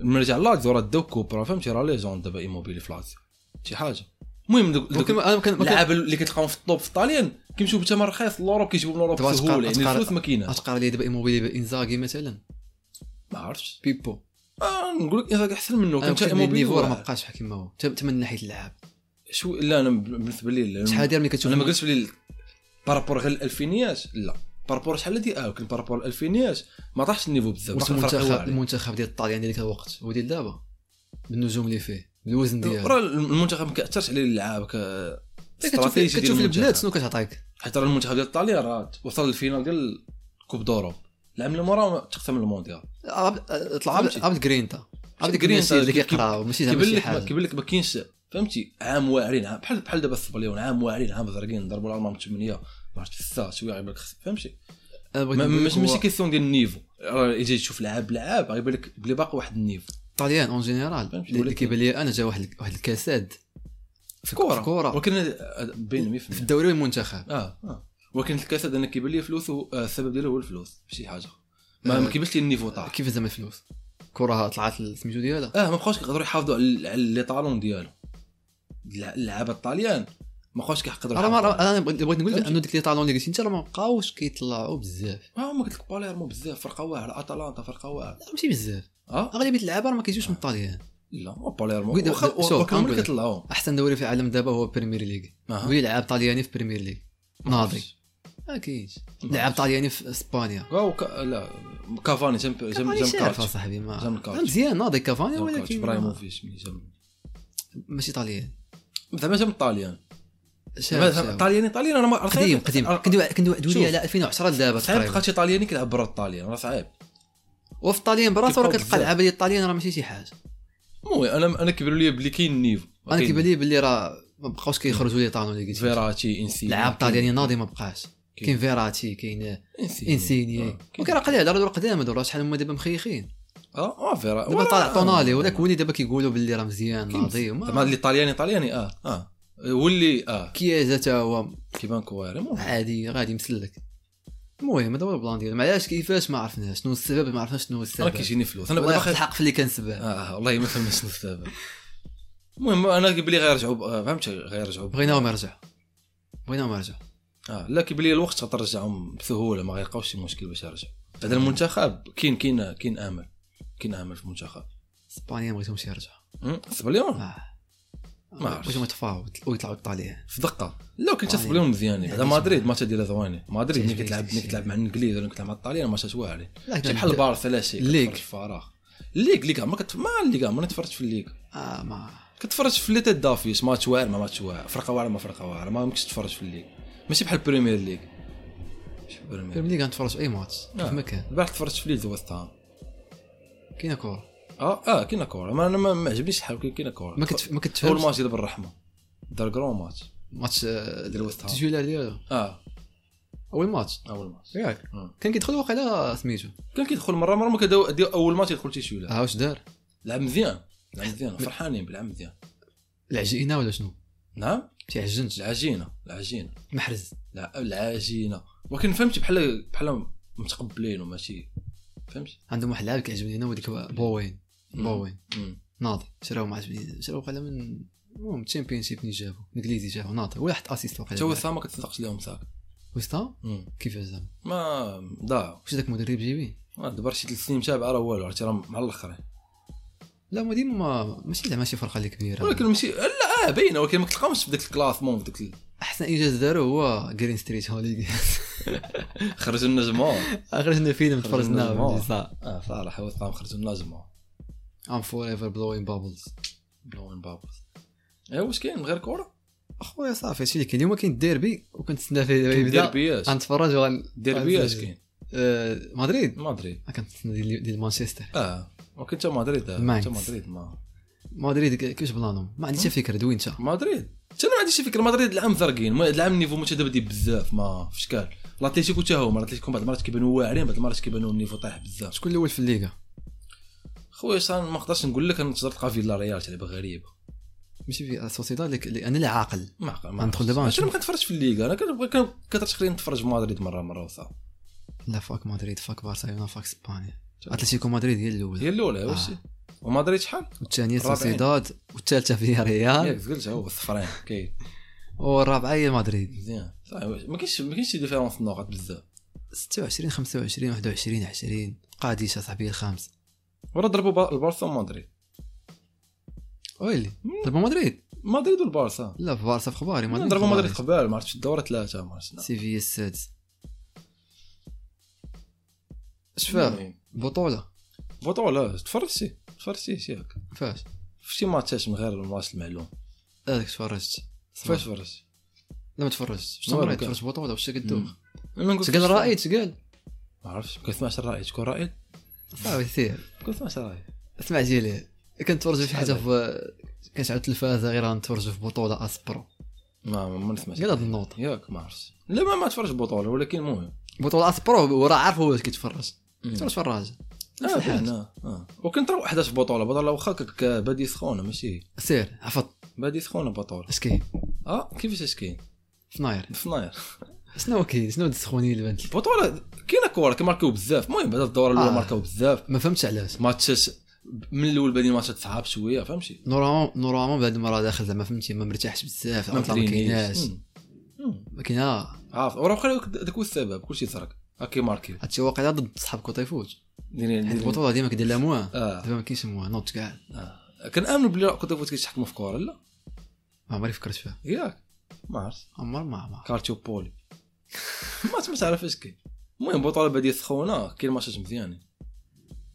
Speaker 1: من رجع لاتزيو راه داو كوب راه فهمتي راه ليجوند دابا ايموبيل في لاتزيو شي حاجه المهم دوك دوك
Speaker 2: ولكن ما- انا ما كان ما كان-
Speaker 1: اللعابه اللي كتلقاهم في الطوب في طاليان كيمشيو بثمن رخيص لوروب كيجيبوا من لوروب
Speaker 2: دابا أتقر-
Speaker 1: بسهوله يعني
Speaker 2: أتقر-
Speaker 1: الفلوس ما كايناش
Speaker 2: اتقرا لي دابا ايموبيلي بانزاغي مثلا
Speaker 1: ما عرفتش
Speaker 2: بيبو
Speaker 1: آه نقول لك انزاك احسن منه
Speaker 2: انا
Speaker 1: كان
Speaker 2: كنت
Speaker 1: تا
Speaker 2: النيفو راه ما
Speaker 1: موبيل
Speaker 2: بقاش بحال كيما هو تا- تا من ناحيه اللعب
Speaker 1: شو لا انا بالنسبه لي
Speaker 2: شحال هادي ملي كتشوف
Speaker 1: انا ما قلتش بلي بارابور غير الالفينيات لا بارابور شحال هادي اه ولكن بارابور الالفينيات ما طاحش النيفو بزاف
Speaker 2: وقت
Speaker 1: بصح الفرق هو
Speaker 2: المنتخب
Speaker 1: عالي.
Speaker 2: المنتخب ديال الطاليان ديال ذاك الوقت هو ديال دابا بالنجوم اللي فيه بالوزن ديالو إيه،
Speaker 1: راه المنتخب ما كيأثرش عليه اللعاب ك
Speaker 2: كتشوف
Speaker 1: استراتيجي
Speaker 2: كتشوف
Speaker 1: ديال
Speaker 2: البلاد
Speaker 1: المنتخب.
Speaker 2: شنو كتعطيك
Speaker 1: حيت راه المنتخب ديال ايطاليا راه وصل للفينال ديال كوب دوروب العام اللي مورا تختم المونديال
Speaker 2: عبد- طلع عبد
Speaker 1: فهمتي؟
Speaker 2: عبد جرينتا عبد
Speaker 1: شي
Speaker 2: جرينتا
Speaker 1: جرينتا
Speaker 2: اللي
Speaker 1: كيف-
Speaker 2: كيقرا ماشي زعما
Speaker 1: كيبان
Speaker 2: شي
Speaker 1: لك ما
Speaker 2: حاجه
Speaker 1: كيبان لك ما كاينش فهمتي عام واعرين عام بحال بحال دابا الصبليون عام واعرين عام زرقين ضربوا الالمان بثمانيه ما عرفتش سته شويه غيبان لك خس- فهمتي
Speaker 2: أنا بغيت
Speaker 1: ما-
Speaker 2: نقول لك
Speaker 1: ماشي
Speaker 2: هو
Speaker 1: ماشي كيسيون ديال النيفو راه يجي تشوف لعاب لعاب غيبان لك بلي باقي واحد النيفو
Speaker 2: الطاليان اون جينيرال
Speaker 1: فهمتي؟
Speaker 2: اللي
Speaker 1: ولكن-
Speaker 2: كيبان لي انا جا واحد واحد الكساد
Speaker 1: في
Speaker 2: في كورة.
Speaker 1: ولكن آه، بين
Speaker 2: في
Speaker 1: 100%
Speaker 2: الدوري والمنتخب
Speaker 1: اه اه ولكن الكاسد انا كيبان لي فلوسه آه، السبب ديالو هو الفلوس ماشي حاجه
Speaker 2: آه.
Speaker 1: ما ما كيبانش لي النيفو طاح
Speaker 2: كيف زعما الفلوس كره طلعت سميتو ديالها
Speaker 1: اه ما بقاوش كيقدروا يحافظوا على ال- على لي طالون ديالو الع- اللعابه الطاليان ما بقاوش كيقدروا
Speaker 2: راه ما-
Speaker 1: يحافظوا
Speaker 2: راه- انا بغيت بغيت نقول لك
Speaker 1: فهمتي؟
Speaker 2: انه ديك لي طالون اللي قلتي انت راه ما بقاوش كيطلعوا بزاف
Speaker 1: اه ما قلت لك باليرمو بزاف فرقه واعره اتلانتا فرقه واعره
Speaker 2: لا ماشي بزاف
Speaker 1: اه
Speaker 2: اغلبيه اللعابه راه ما كيجيوش من الطاليان
Speaker 1: لا ما باليرمو
Speaker 2: قلت-
Speaker 1: واخا
Speaker 2: شوف،
Speaker 1: واخا هما
Speaker 2: أنقول
Speaker 1: اللي
Speaker 2: لك.
Speaker 1: كيطلعوهم
Speaker 2: احسن دوري في العالم دابا هو بريمير ليغ
Speaker 1: أها.
Speaker 2: وي لعاب طالياني في بريمير ليغ
Speaker 1: ما
Speaker 2: ناضي
Speaker 1: عرفتش.
Speaker 2: ما كاينش
Speaker 1: ما
Speaker 2: لعاب
Speaker 1: عرفتش.
Speaker 2: طالياني في اسبانيا
Speaker 1: واو كا- لا كافاني جنب جنب
Speaker 2: كافاني
Speaker 1: جنب
Speaker 2: شارف
Speaker 1: كارتش
Speaker 2: اصاحبي ما
Speaker 1: جنب كارتش.
Speaker 2: مزيان ناضي كافاني
Speaker 1: جنب كارتش
Speaker 2: ولكن
Speaker 1: ابراهيموفيتش ملي جنب
Speaker 2: ماشي طاليان
Speaker 1: زعما جنب الطاليان
Speaker 2: شاب
Speaker 1: مثلا
Speaker 2: شاب.
Speaker 1: طالياني طالياني انا ما راه
Speaker 2: قديم
Speaker 1: صعيب.
Speaker 2: قديم
Speaker 1: راه-
Speaker 2: كندوي كندوي
Speaker 1: طيب، شوف.
Speaker 2: ادويه على 2010 لدابا
Speaker 1: صعيب
Speaker 2: تقريبا
Speaker 1: تلقى شي طالياني كيلعب برا الطاليان راه صعيب
Speaker 2: وفي الطاليان براسو راه
Speaker 1: كيبقاو
Speaker 2: كتلقى
Speaker 1: بزاف.
Speaker 2: العابه ديال الطاليان راه ماشي شي حاجه
Speaker 1: المهم انا انا كيبان لي بلي كاين نيفو
Speaker 2: انا كيبان لي باللي راه ما بقاوش كيخرجوا لي طانو اللي قلت لك.
Speaker 1: فيراتي انسي
Speaker 2: لعاب طالياني ناضي ما بقاش
Speaker 1: كاين. آه،
Speaker 2: كاين فيراتي كاين
Speaker 1: انسي
Speaker 2: انسيني ولكن راه قليل هادو راه قدام هادو راه شحال هما دابا مخيخين
Speaker 1: اه فيرا آه،
Speaker 2: دابا طالع طونالي وذاك ولي دابا كيقولوا باللي راه مزيان
Speaker 1: كاين
Speaker 2: ناضي وما-
Speaker 1: زعما اللي طالياني طالياني اه اه واللي اه
Speaker 2: كيازا تا هو
Speaker 1: كيبان كواري المهم.
Speaker 2: عادي غادي مسلك المهم هذا هو البلان ديالو معلاش كيفاش ما عرفناش شنو السبب ما عرفناش شنو هو
Speaker 1: انا
Speaker 2: السبب
Speaker 1: كيجيني فلوس انا
Speaker 2: انا
Speaker 1: بدا
Speaker 2: باخذ
Speaker 1: باخي
Speaker 2: الحق في اللي كان سبب
Speaker 1: اه والله ما فهمتش شنو السبب المهم انا كيبان لي غيرجعوا ب- آه، فهمت غيرجعوا ب-
Speaker 2: بغيناهم يرجعوا بغيناهم يرجعوا
Speaker 1: اه لا كيبان لي الوقت غترجعهم بسهوله ما غيلقاوش شي مشكل باش يرجعوا هذا المنتخب كاين كاين كاين امل كاين امل في المنتخب
Speaker 2: اسبانيا ما بغيتهمش يرجعوا
Speaker 1: أم، سبليون
Speaker 2: آه.
Speaker 1: ما عرفتش.
Speaker 2: بغيتهم يتفاوض ويطلعوا الطاليان
Speaker 1: في دقه لا كنت
Speaker 2: والله.
Speaker 1: سبليون مزيانين هذا
Speaker 2: يعني
Speaker 1: مدريد ماتش ديالها زوينين مدريد ملي
Speaker 2: تعجبني
Speaker 1: كتلعب
Speaker 2: داكشي.
Speaker 1: ملي كتلعب مع الانجليز ولا كتلعب مع الطاليان ماتشات واعرين
Speaker 2: لا
Speaker 1: كتجي بحال البارسا لا شي
Speaker 2: الليغ.
Speaker 1: كتفرج في الفراغ الليغ الليغ ما كت... ما الليغ ما تفرجت في الليغ
Speaker 2: اه ما
Speaker 1: كتفرج في اللي تدافيس ماتش واعر ما ماتش واعر فرقه واعره ما فرقه واعره ما يمكنش تتفرج في الليغ ماشي بحال البريمير ليغ ماشي بحال البريمير
Speaker 2: بريمير ليغ غنتفرج في اي ماتش
Speaker 1: آه.
Speaker 2: كيف ما كان
Speaker 1: البارح تفرجت في ليدز ويست هام
Speaker 2: كاينه كوره
Speaker 1: اه اه كاينه كوره ما انا ما ما عجبنيش الحال كاين- كاينه كوره
Speaker 2: ما كتف... ما
Speaker 1: اول
Speaker 2: كتفهمش
Speaker 1: ماتش ديال بالرحمه دار كرون ماتش
Speaker 2: ماتش آه،
Speaker 1: ديال ويست هام.
Speaker 2: التسجيلات ديالو
Speaker 1: اه
Speaker 2: اول ماتش
Speaker 1: اول ماتش
Speaker 2: ياك
Speaker 1: آه.
Speaker 2: كان كيدخل واقيلا سميتو
Speaker 1: كان كيدخل مره مره ما كداو ديال اول ماتش يدخل تيشويلا
Speaker 2: ها واش دار
Speaker 1: لعب مزيان لعب مزيان فرحانين بلعب مزيان
Speaker 2: العجينه ولا شنو
Speaker 1: نعم
Speaker 2: شي عجنت
Speaker 1: العجينه العجينه
Speaker 2: محرز
Speaker 1: لا العجينه ولكن فهمت بحال بحال متقبلين وماشي فهمت
Speaker 2: عندهم واحد اللاعب كيعجبني انا وديك بوين بوين
Speaker 1: مم.
Speaker 2: ناضي شراو مع عجبني شراو قال من المهم تشامبيون شيب اللي جابو الانجليزي جابو ناضي ولا حتى اسيست
Speaker 1: حتى
Speaker 2: وقيلا
Speaker 1: وسام ما كتصدقش لهم ساك
Speaker 2: وسطا
Speaker 1: مم.
Speaker 2: كيفاش زعما
Speaker 1: ما ضاعوا
Speaker 2: واش داك المدرب جيبي
Speaker 1: ما دابا شي ثلاث سنين متابعه راه والو عرفتي راه مع الاخرين
Speaker 2: لا ما ديما ما- ماشي زعما شي فرقه اللي كبيره
Speaker 1: ولكن ماشي لا اه باينه ولكن ما كتلقاهمش في داك الكلاسمون في داك
Speaker 2: احسن انجاز دارو هو جرين ستريت هوليدي
Speaker 1: ال- خرجوا لنا جمهور
Speaker 2: اخرجنا فيلم
Speaker 1: خرجنا
Speaker 2: تفرجنا
Speaker 1: جمهور.
Speaker 2: فهمتي صح
Speaker 1: اه صراحه وسام خرجوا لنا جمهور
Speaker 2: ام فور ايفر بلوين بابلز
Speaker 1: بلوين بابلز ايوا إيه، واش كاين غير كره
Speaker 2: اخويا صافي هادشي اللي كاين اليوم كاين الديربي وكنتسنى فيه دابا يبدا
Speaker 1: ديربيات
Speaker 2: غنتفرج وغن
Speaker 1: ديربيات كاين
Speaker 2: آه، مدريد
Speaker 1: مدريد
Speaker 2: كنتسنى ديال ديال مانشستر
Speaker 1: اه ولكن حتى مدريد آه،
Speaker 2: ماينز.
Speaker 1: حتى مدريد ما
Speaker 2: مدريد ك- كيفاش بلانهم ما
Speaker 1: أه؟
Speaker 2: عندي حتى فكره دوين انت
Speaker 1: مدريد حتى انا ما عنديش شي فكره مدريد العام زرقين ما- العام النيفو متدبدي بزاف ما في شكال الاتليتيكو حتى هما الاتليتيكو بعض المرات كيبانوا واعرين بعض المرات كيبانوا النيفو طايح بزاف
Speaker 2: شكون الاول في الليغا
Speaker 1: خويا صار ما نقدرش نقول لك انا تقدر تلقى فيلا ريال تلعب غريبه
Speaker 2: ماشي في سوسيداد لك اللي انا اللي عاقل
Speaker 1: ما عقل- ما
Speaker 2: غندخل دابا
Speaker 1: عرفتش. انا
Speaker 2: نشوف.
Speaker 1: ما كنتفرجش في الليغا انا كنبغي كان- كترش خليني نتفرج في مدريد مره مره وصافي
Speaker 2: لا فاك مدريد فاك برشلونه فاك اسبانيا اتلتيكو مدريد هي
Speaker 1: هي
Speaker 2: الاولى
Speaker 1: الاولى واش
Speaker 2: آه.
Speaker 1: ومدريد شحال
Speaker 2: والثانيه
Speaker 1: الرابعين.
Speaker 2: سوسيداد والثالثه فيها ريال
Speaker 1: ياك قلت هو الصفرين كاين
Speaker 2: والرابعه هي مدريد
Speaker 1: مزيان صافي واش- ما كاينش ما كاينش شي ديفيرونس النقط بزاف
Speaker 2: 26 25 21 20 قاديش صاحبي الخامس
Speaker 1: ورا ضربوا با- البارسا ومدريد
Speaker 2: ويلي ضربوا مدريد
Speaker 1: مدريد والبارسا
Speaker 2: لا في بارسا في خباري مدريد
Speaker 1: ضربوا
Speaker 2: في
Speaker 1: مدريد
Speaker 2: خباري.
Speaker 1: قبال ما عرفتش الدوره ثلاثه ما عرفتش
Speaker 2: سيفيا السادس شفا
Speaker 1: المهم،
Speaker 2: بطوله
Speaker 1: بطوله تفرجتي تفرجتي ياك
Speaker 2: فاش
Speaker 1: شفتي ماتشات من غير الماتش المعلوم
Speaker 2: هذاك تفرجت
Speaker 1: فاش تفرجتي
Speaker 2: لا ما تفرجتش شنو
Speaker 1: والو
Speaker 2: مريض
Speaker 1: كان.
Speaker 2: تفرجت بطوله واش كدوخ
Speaker 1: أنا نقول
Speaker 2: تقال
Speaker 1: فاش-
Speaker 2: الراي تقال
Speaker 1: ما عرفتش ما كنسمعش الراي تكون راي
Speaker 2: صافي سير
Speaker 1: ما كنسمعش الراي
Speaker 2: اسمع جيلي كنتفرجوا في
Speaker 1: شحال
Speaker 2: حاجه في كانت على التلفازه غير غنتفرجوا في بطوله اسبرو
Speaker 1: ما ما ما نسمعش
Speaker 2: قال هاد النوطه
Speaker 1: ياك ما عرفتش لا ما ما تفرجش بطوله ولكن المهم
Speaker 2: بطوله اسبرو وراه عارف هو واش كيتفرج
Speaker 1: تفرج.
Speaker 2: تفرج في الراجل نفس
Speaker 1: اه
Speaker 2: الحاجة.
Speaker 1: باين، آه، اه وكنت راه وحده في بطوله بطوله واخا كك- بادي سخونه ماشي
Speaker 2: سير عفط
Speaker 1: بادي سخونه بطوله
Speaker 2: اش كاين
Speaker 1: اه كيفاش اش كاين
Speaker 2: فناير
Speaker 1: فناير
Speaker 2: شنو كاين شنو هاد السخونيه اللي بانت لك؟
Speaker 1: البطوله كاينه كوره كماركاو بزاف المهم بعد الدوره الاولى
Speaker 2: آه.
Speaker 1: ماركاو بزاف
Speaker 2: ما فهمتش علاش
Speaker 1: ماتشات من الاول بادين ماتشات صعاب شويه فهمتي
Speaker 2: نورمالمون نورمالمون بهاد المره داخل زعما فهمتي ما مرتاحش بزاف
Speaker 1: ما
Speaker 2: العطلة ما كايناش
Speaker 1: مم. مم.
Speaker 2: ما كاين ها،
Speaker 1: عارف وراه بقى داك- داك هو السبب كلشي ترك هاكي ماركيو
Speaker 2: هادشي واقيلا ضد صحابك وطيفوت
Speaker 1: ديرين-
Speaker 2: هاد
Speaker 1: ديرين-
Speaker 2: البطوله ديما كدير لها موان
Speaker 1: اه
Speaker 2: دابا ما كاينش موان نوض كاع
Speaker 1: آه. كنامنوا بلي راه كنت فوت كيتحكموا في كوره لا
Speaker 2: ما عمري فكرت فيها
Speaker 1: ياك ما عرفت
Speaker 2: عمر ما عمر
Speaker 1: كارتيو بولي ما ما تعرف اش كاين المهم بطوله باديه سخونه كاين ماتشات مزيانين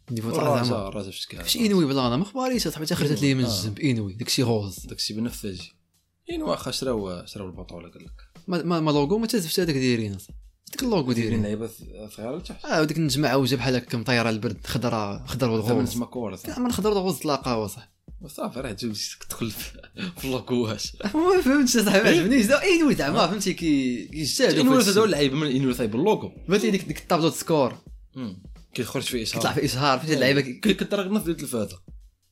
Speaker 2: ديما طلع
Speaker 1: الراجا
Speaker 2: زعما
Speaker 1: الراجا في شكل
Speaker 2: فاش انوي بلا انا ما خباريش صاحبي حتى خرجت لي من
Speaker 1: آه.
Speaker 2: الجنب انوي داكشي غوز
Speaker 1: داكشي بنفسجي يعني واخا شراو شراو البطوله قال لك
Speaker 2: ما ما, ما لوغو ما تزفتش هذاك دايرين أصاحبي. ديك اللوغو
Speaker 1: دايرين
Speaker 2: دايرين
Speaker 1: لعيبه صغيره لتحت
Speaker 2: اه وديك النجمه عوجه بحال هكا مطيره البرد خضراء خضر
Speaker 1: زعما
Speaker 2: والغوز
Speaker 1: تسمى كوره
Speaker 2: لا من خضر والغوز تلاقاو صح
Speaker 1: صافي راه تجوز تدخل في في اللاكواش
Speaker 2: ما فهمتش صاحبي عجبني زعما اي نوع زعما فهمتي كي يجتهدوا
Speaker 1: انورس هذا هو
Speaker 2: فهمتي
Speaker 1: اللعيب من انورس طيب اللوغو
Speaker 2: ديك ديك الطابلو سكور
Speaker 1: مم. كيخرج فيه
Speaker 2: كيطلع
Speaker 1: اشهار
Speaker 2: في اشهار فهمتي اللعيبه كي-
Speaker 1: كي- كتطرق نفس ديال التلفازه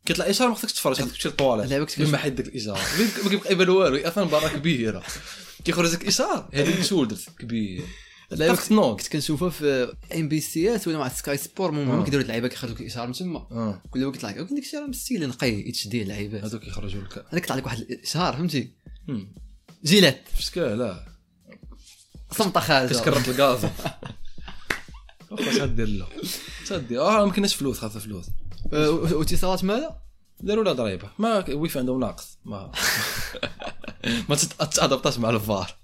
Speaker 1: كيطلع اشهار ما خصكش تتفرج خاصك تمشي للطواليت
Speaker 2: اللعيبه كتكون
Speaker 1: لما حيد ديك الاشهار ما كيبقى يبان والو اصلا برا كبيره كيخرج لك اشهار هذيك شولدرز كبير
Speaker 2: اللعيبه
Speaker 1: تاخد نوك
Speaker 2: كنت كنشوفها في ام بي سي اس ولا مع سكاي سبور المهم هما
Speaker 1: آه.
Speaker 2: كيديروا اللعيبه كيخرجوا لك الاشهار من تما
Speaker 1: اه
Speaker 2: كل واحد كيطلع لك ولكن داكشي راه مستيل نقي يتشدي اللعيبه
Speaker 1: هذوك يخرجوا لك
Speaker 2: انا كيطلع لك واحد الاشهار فهمتي
Speaker 1: مم.
Speaker 2: جيلات
Speaker 1: فشكا لا
Speaker 2: صمطه خارجه
Speaker 1: كتكرب الغاز واخا شحال دير له شحال دير اه ما كناش فلوس خاصه فلوس
Speaker 2: آه، و- واتصالات ماذا؟
Speaker 1: داروا لها ضريبه ما ويفي عندهم ناقص ما ما تت- تادبطاش مع الفار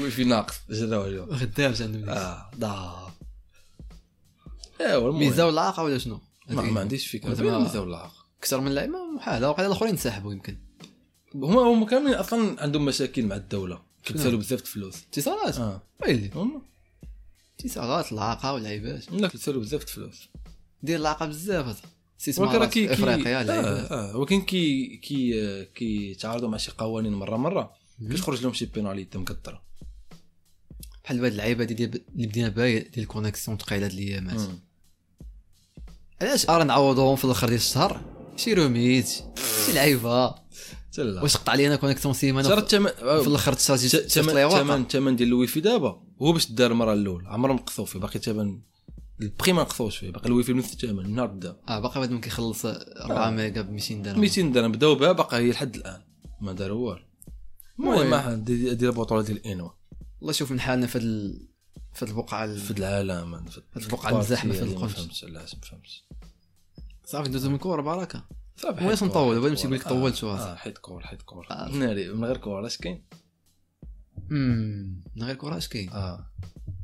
Speaker 1: ويفي ناقص جراو اليوم
Speaker 2: خدامش عندهم
Speaker 1: اه دا ايوا
Speaker 2: ميزه
Speaker 1: المهم
Speaker 2: ولا عاقه ولا شنو؟
Speaker 1: يعني. ما, ما عنديش فكره
Speaker 2: زعما-
Speaker 1: زعما ميزه ولا عاق.
Speaker 2: اكثر من اللعيبه محال وقال الاخرين انسحبوا يمكن
Speaker 1: هما هما كاملين اصلا عندهم مشاكل مع الدوله
Speaker 2: يعني؟
Speaker 1: كيتسالوا بزاف د الفلوس
Speaker 2: اتصالات
Speaker 1: اه
Speaker 2: ويلي
Speaker 1: هما
Speaker 2: اتصالات العاقه واللعيبات
Speaker 1: لا كيتسالوا بزاف د الفلوس
Speaker 2: دير العاقه بزاف هذا.
Speaker 1: ولكن راه
Speaker 2: استثمارات
Speaker 1: كي كي-
Speaker 2: افريقيا لعيبات.
Speaker 1: اه اه ولكن كي كي كيتعارضوا مع شي قوانين مره مره كتخرج لهم شي بيناليتي مكثره
Speaker 2: بحال هاد اللعيبه دي ديال- اللي بدينا بها هي ديال الكونيكسيون ثقيله هاد الايامات
Speaker 1: مم.
Speaker 2: علاش ارا نعوضوهم في الاخر ديال الشهر شي روميت شي لعيبه
Speaker 1: حتى لا
Speaker 2: واش قطع لينا كونيكسيون سيمانه
Speaker 1: ترى
Speaker 2: في
Speaker 1: الثمن
Speaker 2: في الاخر تشارجي
Speaker 1: الثمن الثمن ديال الويفي دابا هو باش دار المره الاولى عمرهم نقصوا فيه باقي الثمن البخي ما نقصوش فيه باقي الويفي بنفس الثمن النهار بدا
Speaker 2: اه باقي بعد ما كيخلص 4 ميجا ب 200 درهم
Speaker 1: 200 درهم بداو بها باقا هي لحد الان ما دار والو المهم
Speaker 2: المهم.
Speaker 1: ما دي- ديال البطوله ديال انوا
Speaker 2: الله شوف من حالنا في هاد ال... في هاد البقعه ال-
Speaker 1: في العالم أنا في
Speaker 2: في البقعة المزاحمة في
Speaker 1: البارتي
Speaker 2: القدس.
Speaker 1: ما فهمتش علاش ما فهمتش
Speaker 2: صافي ندوزو من كوره بركه
Speaker 1: صافي
Speaker 2: ويش
Speaker 1: حيد
Speaker 2: نطول،
Speaker 1: كور،
Speaker 2: بغيت
Speaker 1: حيد
Speaker 2: نمشي
Speaker 1: كور.
Speaker 2: نقول لك طولت
Speaker 1: آه،
Speaker 2: واصل.
Speaker 1: اه حيد كور حيد كور
Speaker 2: آه.
Speaker 1: ناري من غير كور اش كاين
Speaker 2: امم من غير كره اش كاين
Speaker 1: اه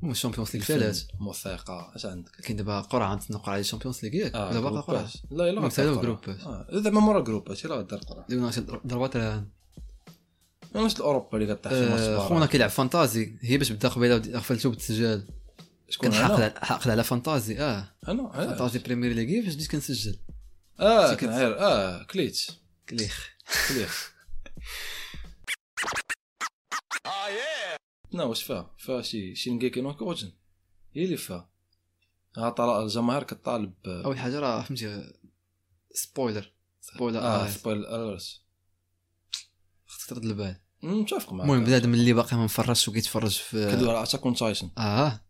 Speaker 2: هما الشامبيونز ليغ فلات
Speaker 1: موسيقى اش عندك
Speaker 2: كاين دابا قرعه نتنقر على الشامبيونز ليغ ياك ولا باقا قرعه
Speaker 1: جروباج. لا الا
Speaker 2: مكتبة
Speaker 1: غدار
Speaker 2: وجروباج.
Speaker 1: قرعة. آه، زعما مورا جروباج الا غدار قرعه
Speaker 2: دونا شي ضربات الآن.
Speaker 1: انا شفت الاوروبا اللي كطيح في الماتش
Speaker 2: آه،
Speaker 1: برا.
Speaker 2: خونا كيلعب فانتازي هي باش بدا قبيله ودي- غفلتو بالتسجيل
Speaker 1: شكون
Speaker 2: كنت
Speaker 1: انا
Speaker 2: حاقد حاقد على فانتازي اه
Speaker 1: انا آه.
Speaker 2: فانتازي بريمير ليغ فاش بديت كنسجل
Speaker 1: اه
Speaker 2: كنت-
Speaker 1: كان عير اه كليتش
Speaker 2: كليخ
Speaker 1: كليخ لا واش فيها فيها شي شي نكيكي نوك اوجن هي اللي فيها ها طلع الجماهير كطالب ب-
Speaker 2: اول حاجه راه فهمتي سبويلر سبويلر
Speaker 1: اه
Speaker 2: آه.
Speaker 1: سبويل اليرت
Speaker 2: خصك ترد البال
Speaker 1: متفق معك
Speaker 2: المهم بنادم اللي باقي ما مفرجش وكيتفرج في
Speaker 1: كدوي على اتاك اون تايتن
Speaker 2: اه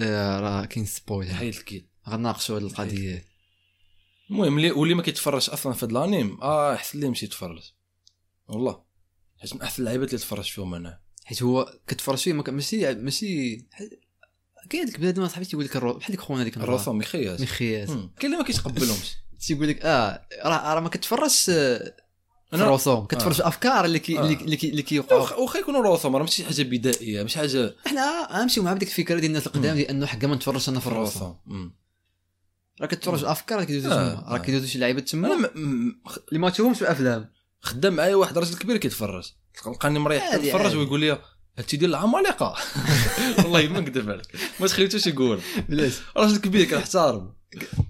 Speaker 2: آه، راه كاين سبويلر
Speaker 1: حيد الكيد
Speaker 2: غناقشوا هذه القضيه
Speaker 1: المهم اللي واللي ما كيتفرجش اصلا في هاد الانيم اه احسن ليه يمشي يتفرج والله حيت من احسن اللعيبات اللي تفرجت فيهم انا
Speaker 2: حيت هو كتفرج فيه ما كان- ماشي ماشي كاين هذيك بنادم صاحبي تيقول لك الرو- بحال ديك خونا ديك المرأة.
Speaker 1: الرسم يخياس
Speaker 2: مخيات
Speaker 1: مم. كاين اللي ما كيتقبلهمش
Speaker 2: تيقول لك اه راه راه ما كتفرجش آه، في
Speaker 1: انا
Speaker 2: الرسوم كتفرج في الافكار اللي كي
Speaker 1: آه.
Speaker 2: اللي- اللي كي- اللي كيوقعوا
Speaker 1: واخا واخا يكونوا رسوم راه ماشي حاجه بدائيه ماشي حاجه
Speaker 2: احنا غنمشيو مع بديك الفكره ديال الناس القدام
Speaker 1: مم.
Speaker 2: ديال انه حكا ما نتفرجش انا في الرسوم
Speaker 1: الرسم مم.
Speaker 2: راه كتفرج في الافكار راه كيدوزو
Speaker 1: آه،
Speaker 2: تما راه
Speaker 1: آه.
Speaker 2: كيدوزو شي لعيبه
Speaker 1: انا
Speaker 2: تما
Speaker 1: م- م- خ-
Speaker 2: اللي ما تشوفهمش في الافلام
Speaker 1: خدام معايا واحد راجل كبير كيتفرج لقاني مريح
Speaker 2: عادي،
Speaker 1: كيتفرج
Speaker 2: عادي.
Speaker 1: ويقول لي هادشي ديال العمالقه والله ما نكذب عليك ما تخليتوش يقول
Speaker 2: بلاش
Speaker 1: راجل كبير كنحتارم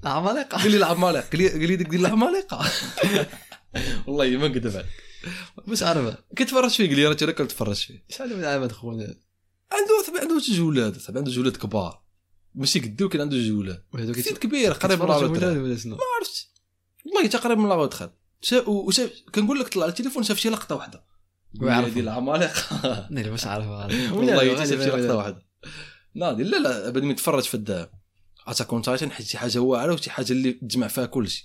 Speaker 2: العمالقه
Speaker 1: قال لي العمالقه قال لي قال لي ديك ديال العمالقه والله ما نكذب عليك
Speaker 2: مش عارفه
Speaker 1: كيتفرج فيه قال لي راه تي راه كنتفرج فيه
Speaker 2: شحال من عام خونا
Speaker 1: عنده صاحبي عنده جوج ولاد صاحبي عنده جوج ولاد كبار ماشي قدو كان عنده جوج ولاد
Speaker 2: وهذوك
Speaker 1: سيد كبير قريب من العمر تاعو.
Speaker 2: ولا شنو
Speaker 1: ما عرفتش والله تقريبا من لابد خد شا... وشاف كنقول لك طلع التليفون شاف شي لقطه واحده
Speaker 2: ويعرفهم.
Speaker 1: هذه العمالقه
Speaker 2: انا باش
Speaker 1: آه.
Speaker 2: عارفها
Speaker 1: والله حتى شاف شي لقطه واحده ناضي لا لا ابدا ما يتفرج في الدهب حتى كون تايتن حيت شي حاجه واعره وشي حاجه اللي تجمع فيها كل شيء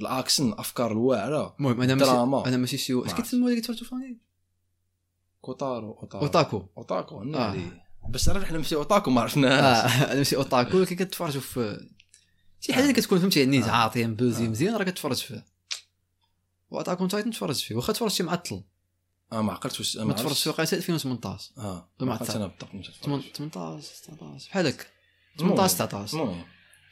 Speaker 1: الاكشن الافكار الواعره
Speaker 2: المهم انا
Speaker 1: دراما. آه.
Speaker 2: ماشي انا ماشي شي واش
Speaker 1: عرفت.
Speaker 2: كيتسموا هذيك تفرجوا فاني
Speaker 1: كوتارو اوتارو
Speaker 2: اوتاكو
Speaker 1: اوتاكو
Speaker 2: آه.
Speaker 1: نادي. بس عرفنا حنا ماشي اوتاكو ما
Speaker 2: اه
Speaker 1: عرفناهاش
Speaker 2: انا ماشي اوتاكو ولكن كتفرجوا في شي حاجه اللي كتكون فهمتي يعني
Speaker 1: آه.
Speaker 2: عاطيه مبوزي
Speaker 1: آه.
Speaker 2: مزيان راه كتفرج فيها واتاكون تايتن تفرجت فيه واخا تفرجت شي مع الطل
Speaker 1: اه ما عقلتش واش
Speaker 2: ما تفرجتش فيه
Speaker 1: عرفتش.
Speaker 2: قيس 2018
Speaker 1: اه
Speaker 2: ما
Speaker 1: ما
Speaker 2: عرفت.
Speaker 1: عقلتش انا بالضبط مش عارف.
Speaker 2: 18 19 بحال هكا 18 19
Speaker 1: المهم.